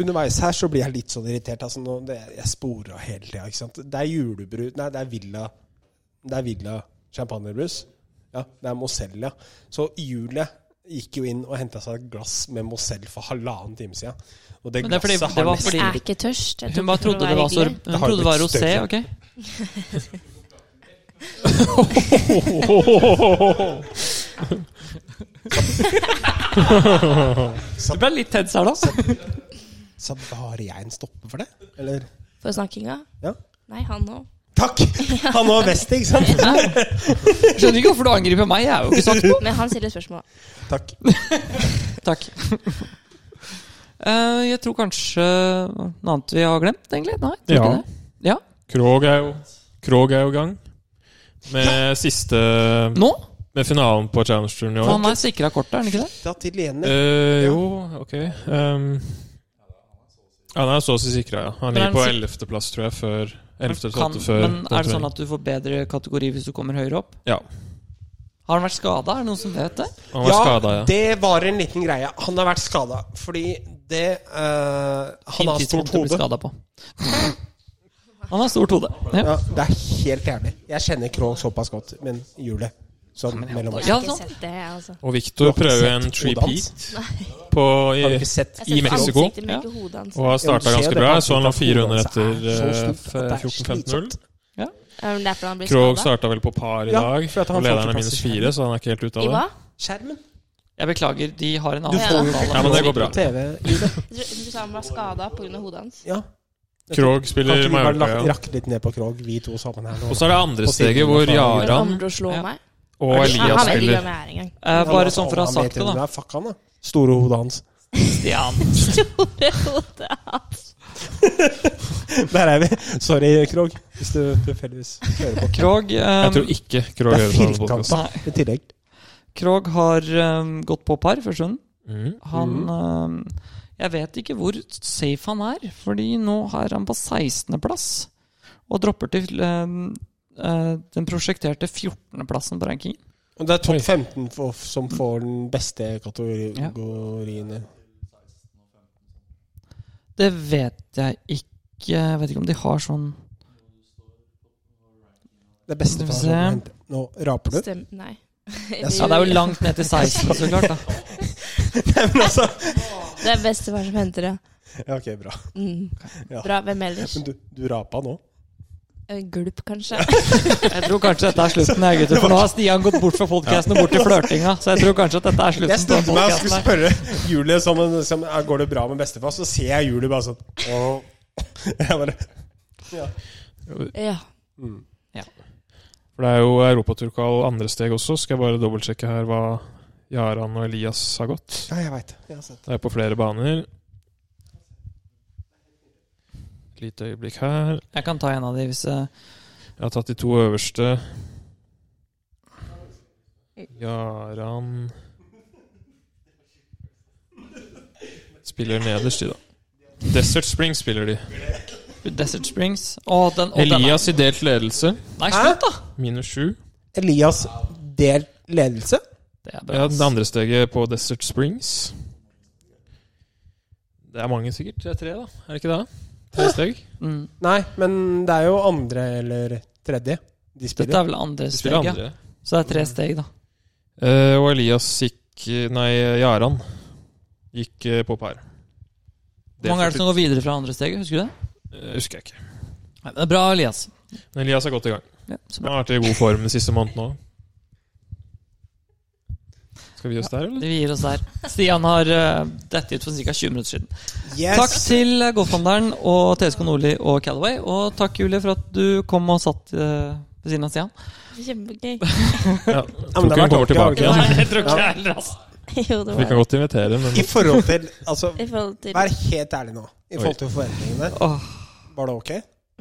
Speaker 2: Underveis her så blir jeg litt sånn irritert. Altså nå, det, jeg sporer hele tida. ikke sant? Det er julebrus Nei, det er Villa Det er Villa champagnebrus. Ja, det er Mozell, ja. Så Julie gikk jo inn og henta seg et glass med Mozell for halvannen time siden. Og det
Speaker 1: Men det er fordi-
Speaker 2: glasset
Speaker 1: det
Speaker 2: har
Speaker 1: var
Speaker 2: nesten
Speaker 1: fordi-
Speaker 4: Jeg er ikke tørst. Jeg
Speaker 1: Hun bare trodde det var, så, hun
Speaker 2: har jo
Speaker 1: trodde det var
Speaker 2: blitt
Speaker 1: rosé,
Speaker 2: større. [laughs]
Speaker 1: ok? Du ble litt tens her, da.
Speaker 2: Så har jeg en stopper for det? Eller?
Speaker 4: For snakkinga?
Speaker 2: Ja.
Speaker 4: Nei, han òg.
Speaker 2: Takk! Han var best, ikke sant?
Speaker 1: Skjønner ikke hvorfor du angriper meg. Jeg er jo ikke sagt noe.
Speaker 4: Men han stiller spørsmål.
Speaker 2: Takk.
Speaker 1: Takk. Eh, jeg tror kanskje noe annet vi har glemt, egentlig. Nei, tror
Speaker 5: Ja.
Speaker 1: ikke det. Ja.
Speaker 5: Krog er jo Krog er jo i gang. Med siste
Speaker 1: Nå?
Speaker 5: Med finalen på Challenge Tour i
Speaker 1: For han
Speaker 5: år.
Speaker 1: er sikra kortet, er han ikke det?
Speaker 2: Da til Jenny.
Speaker 5: Eh, jo, ok. Um, han er så å si sikra, ja. Han
Speaker 1: Men er
Speaker 5: ligger på
Speaker 1: han sik-
Speaker 5: 11. plass, tror jeg, før 11. eller
Speaker 1: Kan,
Speaker 5: 12. før
Speaker 1: men er det sånn at du får bedre kategori hvis du kommer høyere opp?
Speaker 5: Ja.
Speaker 1: Har han vært skada? Er det noen som vet det?
Speaker 5: Han var
Speaker 2: ja,
Speaker 5: skada, ja.
Speaker 2: det var en liten greie. Han har vært skada fordi det eh, Han har
Speaker 1: Tidspunkt
Speaker 2: stort
Speaker 1: å bli
Speaker 2: hode.
Speaker 1: skadet på. Han har stort hode. Ja.
Speaker 2: Ja, det er helt jævlig. Jeg kjenner Krog såpass godt, men hjulet sånn mellom oss.
Speaker 4: Jeg
Speaker 1: Ja,
Speaker 4: har ikke
Speaker 1: sant.
Speaker 4: sett det, jeg, altså.
Speaker 5: Og
Speaker 2: Du
Speaker 5: Victor
Speaker 2: har ikke sett
Speaker 5: prøver en
Speaker 2: hodet hans?
Speaker 5: trepeat på
Speaker 2: Har du
Speaker 5: i,
Speaker 2: ikke sett
Speaker 4: Jeg har sett
Speaker 5: I Mexico?
Speaker 4: ansiktet, men ikke hodet hans.
Speaker 5: og har
Speaker 2: Ja, du
Speaker 5: starta
Speaker 2: ser
Speaker 5: ganske
Speaker 2: det
Speaker 5: bra.
Speaker 2: på
Speaker 5: Jeg så han lå
Speaker 2: ansiktet
Speaker 5: fire
Speaker 2: at hodet
Speaker 5: under
Speaker 2: hans er
Speaker 5: etter
Speaker 2: så stort at altså. det
Speaker 5: eh,
Speaker 2: er
Speaker 5: 14-15-0.
Speaker 2: slitsomt.
Speaker 4: Er det derfor han blir
Speaker 5: Krog
Speaker 4: skadet?
Speaker 5: starta vel på par i
Speaker 2: Ja,
Speaker 5: dag,
Speaker 2: for at han
Speaker 5: og lederen
Speaker 2: får
Speaker 5: er minus
Speaker 2: fantastisk
Speaker 5: fire, så han er ikke helt ute
Speaker 4: I
Speaker 5: av
Speaker 4: hva?
Speaker 5: det.
Speaker 2: Skjermen.
Speaker 1: Jeg beklager, de har en
Speaker 2: Du
Speaker 1: annen
Speaker 4: får jo
Speaker 1: avtale.
Speaker 5: Ja, men det går bra.
Speaker 2: På TV, hjulet.
Speaker 4: Jeg tror- Du sa han var skada pga. hodet hans.
Speaker 2: Ja.
Speaker 5: Krog
Speaker 2: Kan
Speaker 5: spiller
Speaker 2: ikke vi bare
Speaker 5: Mallorca.
Speaker 2: lak-
Speaker 5: ja.
Speaker 2: rakke litt ned på Krog, vi to sammen her
Speaker 5: Og
Speaker 2: nå?
Speaker 5: så er det andre
Speaker 2: På siden
Speaker 5: steget,
Speaker 2: av
Speaker 5: hvor
Speaker 2: Fagerø.
Speaker 4: Han
Speaker 5: Jaran
Speaker 4: kommer til å slå
Speaker 1: Ja.
Speaker 4: meg.
Speaker 5: og
Speaker 4: Han
Speaker 5: Elias
Speaker 4: han vet ikke
Speaker 5: spiller.
Speaker 4: hvem jeg er [laughs] engang.
Speaker 1: Eh, bare sånn for å ha
Speaker 2: Han vet
Speaker 1: sagt det,
Speaker 2: hvem du
Speaker 1: da.
Speaker 2: er, Fuck han, da. Store hodet hans. [laughs]
Speaker 1: Stian.
Speaker 4: Store hodet hans.
Speaker 2: Der er vi. Sorry, Krog, hvis du tilfeldigvis hører på.
Speaker 1: Krog,
Speaker 5: Jeg
Speaker 1: eh,
Speaker 5: tror ikke Krog
Speaker 2: Det
Speaker 5: hører
Speaker 2: er
Speaker 5: på denne podcasten.
Speaker 2: firkanta i tillegg.
Speaker 1: Krog har eh, gått på par første runden.
Speaker 5: Mm.
Speaker 1: Han
Speaker 5: Mhm.
Speaker 1: eh, Jeg vet ikke hvor safe han er, fordi nå er han på 16.-plass og dropper til eh, eh, den prosjekterte 14.-plassen på rankingen.
Speaker 2: Og det er topp 15 for, som får den beste kategorien.
Speaker 1: Det vet jeg ikke. Jeg vet ikke om de har sånn
Speaker 2: Det
Speaker 1: Skal
Speaker 2: beste
Speaker 1: vi
Speaker 2: for
Speaker 1: se.
Speaker 2: å hente. Nå
Speaker 4: [laughs]
Speaker 2: raper du.
Speaker 4: Stem, nei.
Speaker 1: Ja, det er jo langt ned til 16, så klart. da
Speaker 2: [laughs] Men altså
Speaker 4: Det er bestefar som henter det.
Speaker 2: Ja, ok, bra.
Speaker 4: Mm.
Speaker 2: Ja.
Speaker 4: Bra. Hvem ellers?
Speaker 2: Men du, du rapa nå?
Speaker 4: En Gulp, [laughs] kanskje?
Speaker 1: Jeg tror kanskje dette er slutten, jeg, gutter. For nå har Stian gått bort fra podkasten og bort til flørtinga. Så jeg tror kanskje at dette er
Speaker 2: Jeg
Speaker 1: slutten.
Speaker 2: snudde
Speaker 1: på
Speaker 2: meg og
Speaker 1: podcasten
Speaker 2: skulle
Speaker 1: her.
Speaker 2: spørre Julie som en, som, ja, Går det bra med bestefar. Så ser jeg Julie bare sånn «Åh». [laughs] Jeg bare «Mm».
Speaker 4: ja.
Speaker 5: For det er jo europaturkall andre steg også. Skal jeg bare dobbeltsjekke her hva Jaran og Elias har gått.
Speaker 2: Ja, jeg veit. Jeg har sett.
Speaker 5: Det er på flere baner. Lite øyeblikk her.
Speaker 1: Jeg kan ta en av de hvis eh,
Speaker 5: Jeg har tatt de to øverste. Jaran Spiller nederst, de, da. Desert Spring spiller de.
Speaker 1: Desert Springs og den, og den er-
Speaker 5: Elias i delt ledelse.
Speaker 1: Nei, slutt, da!
Speaker 5: Minus sju.
Speaker 2: Elias delt ledelse?
Speaker 1: Det er bra.
Speaker 5: Ja, det andre steget på Desert Springs. Det er mange, sikkert. Det er tre, da. Er det ikke det? Tre steg.
Speaker 1: Mm.
Speaker 2: Nei, men det er jo andre eller tredje de
Speaker 1: Dette
Speaker 2: spiller.
Speaker 1: er vel andre
Speaker 5: De
Speaker 1: steg,
Speaker 5: spiller
Speaker 1: ja.
Speaker 5: andre.
Speaker 1: Så det er tre steg, da.
Speaker 5: Eh, og Elias gikk Nei, Jaran gikk eh, på par.
Speaker 1: Hvor mange er det som går videre fra andre steget? Husker du det?
Speaker 5: Eh, Husker jeg ikke.
Speaker 1: Nei, men det er bra, Elias.
Speaker 5: Men Elias er godt i gang.
Speaker 1: Ja, så
Speaker 5: Han
Speaker 1: bra.
Speaker 5: har vært i god form den siste måneden òg. Skal vi gi oss der, eller?
Speaker 1: Vi gir oss der. Stian har eh, dette ut for ca. 20 minutter siden.
Speaker 2: Yes.
Speaker 1: Takk til Golfhandleren og TSK Nordli og Calaway. Og takk, Julie, for at du kom og satt eh, ved siden av Stian.
Speaker 4: Kjempegøy. [laughs]
Speaker 2: Ja,
Speaker 5: Ja, tror
Speaker 2: men det
Speaker 5: ikke
Speaker 2: har
Speaker 5: hun kommer
Speaker 2: vært ok,
Speaker 5: tilbake
Speaker 4: ja.
Speaker 5: igjen.
Speaker 4: Nei,
Speaker 1: det tror
Speaker 2: ikke jeg
Speaker 1: heller, altså.
Speaker 4: Jo, det
Speaker 5: Vi
Speaker 4: var
Speaker 5: kan godt invitere, men
Speaker 2: I
Speaker 5: [laughs]
Speaker 2: forhold til Altså,
Speaker 4: I forhold til
Speaker 2: vær helt ærlig nå. I forhold til forventningene. Var det ok?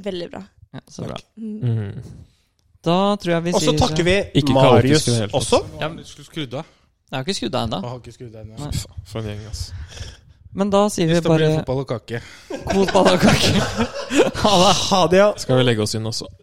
Speaker 4: Veldig bra.
Speaker 1: Ja, så bra.
Speaker 4: Mm.
Speaker 5: mm.
Speaker 1: Da tror jeg vi
Speaker 2: Og så takker vi
Speaker 5: Ikke kaotisk
Speaker 2: Marius
Speaker 5: i det hele tatt.
Speaker 2: også.
Speaker 6: Ja, men du skulle skrudd av.
Speaker 1: Jeg har ikke skrudd av ennå.
Speaker 6: Jeg har ikke skrudd av ennå.
Speaker 1: Nei.
Speaker 5: For en gjeng, ass.
Speaker 1: Men da sier vi
Speaker 6: Det
Speaker 1: bare
Speaker 6: blir fotball og kake.
Speaker 1: god ballakake. Ha det.
Speaker 2: Ha det, ja.
Speaker 5: Skal vi legge oss inn også?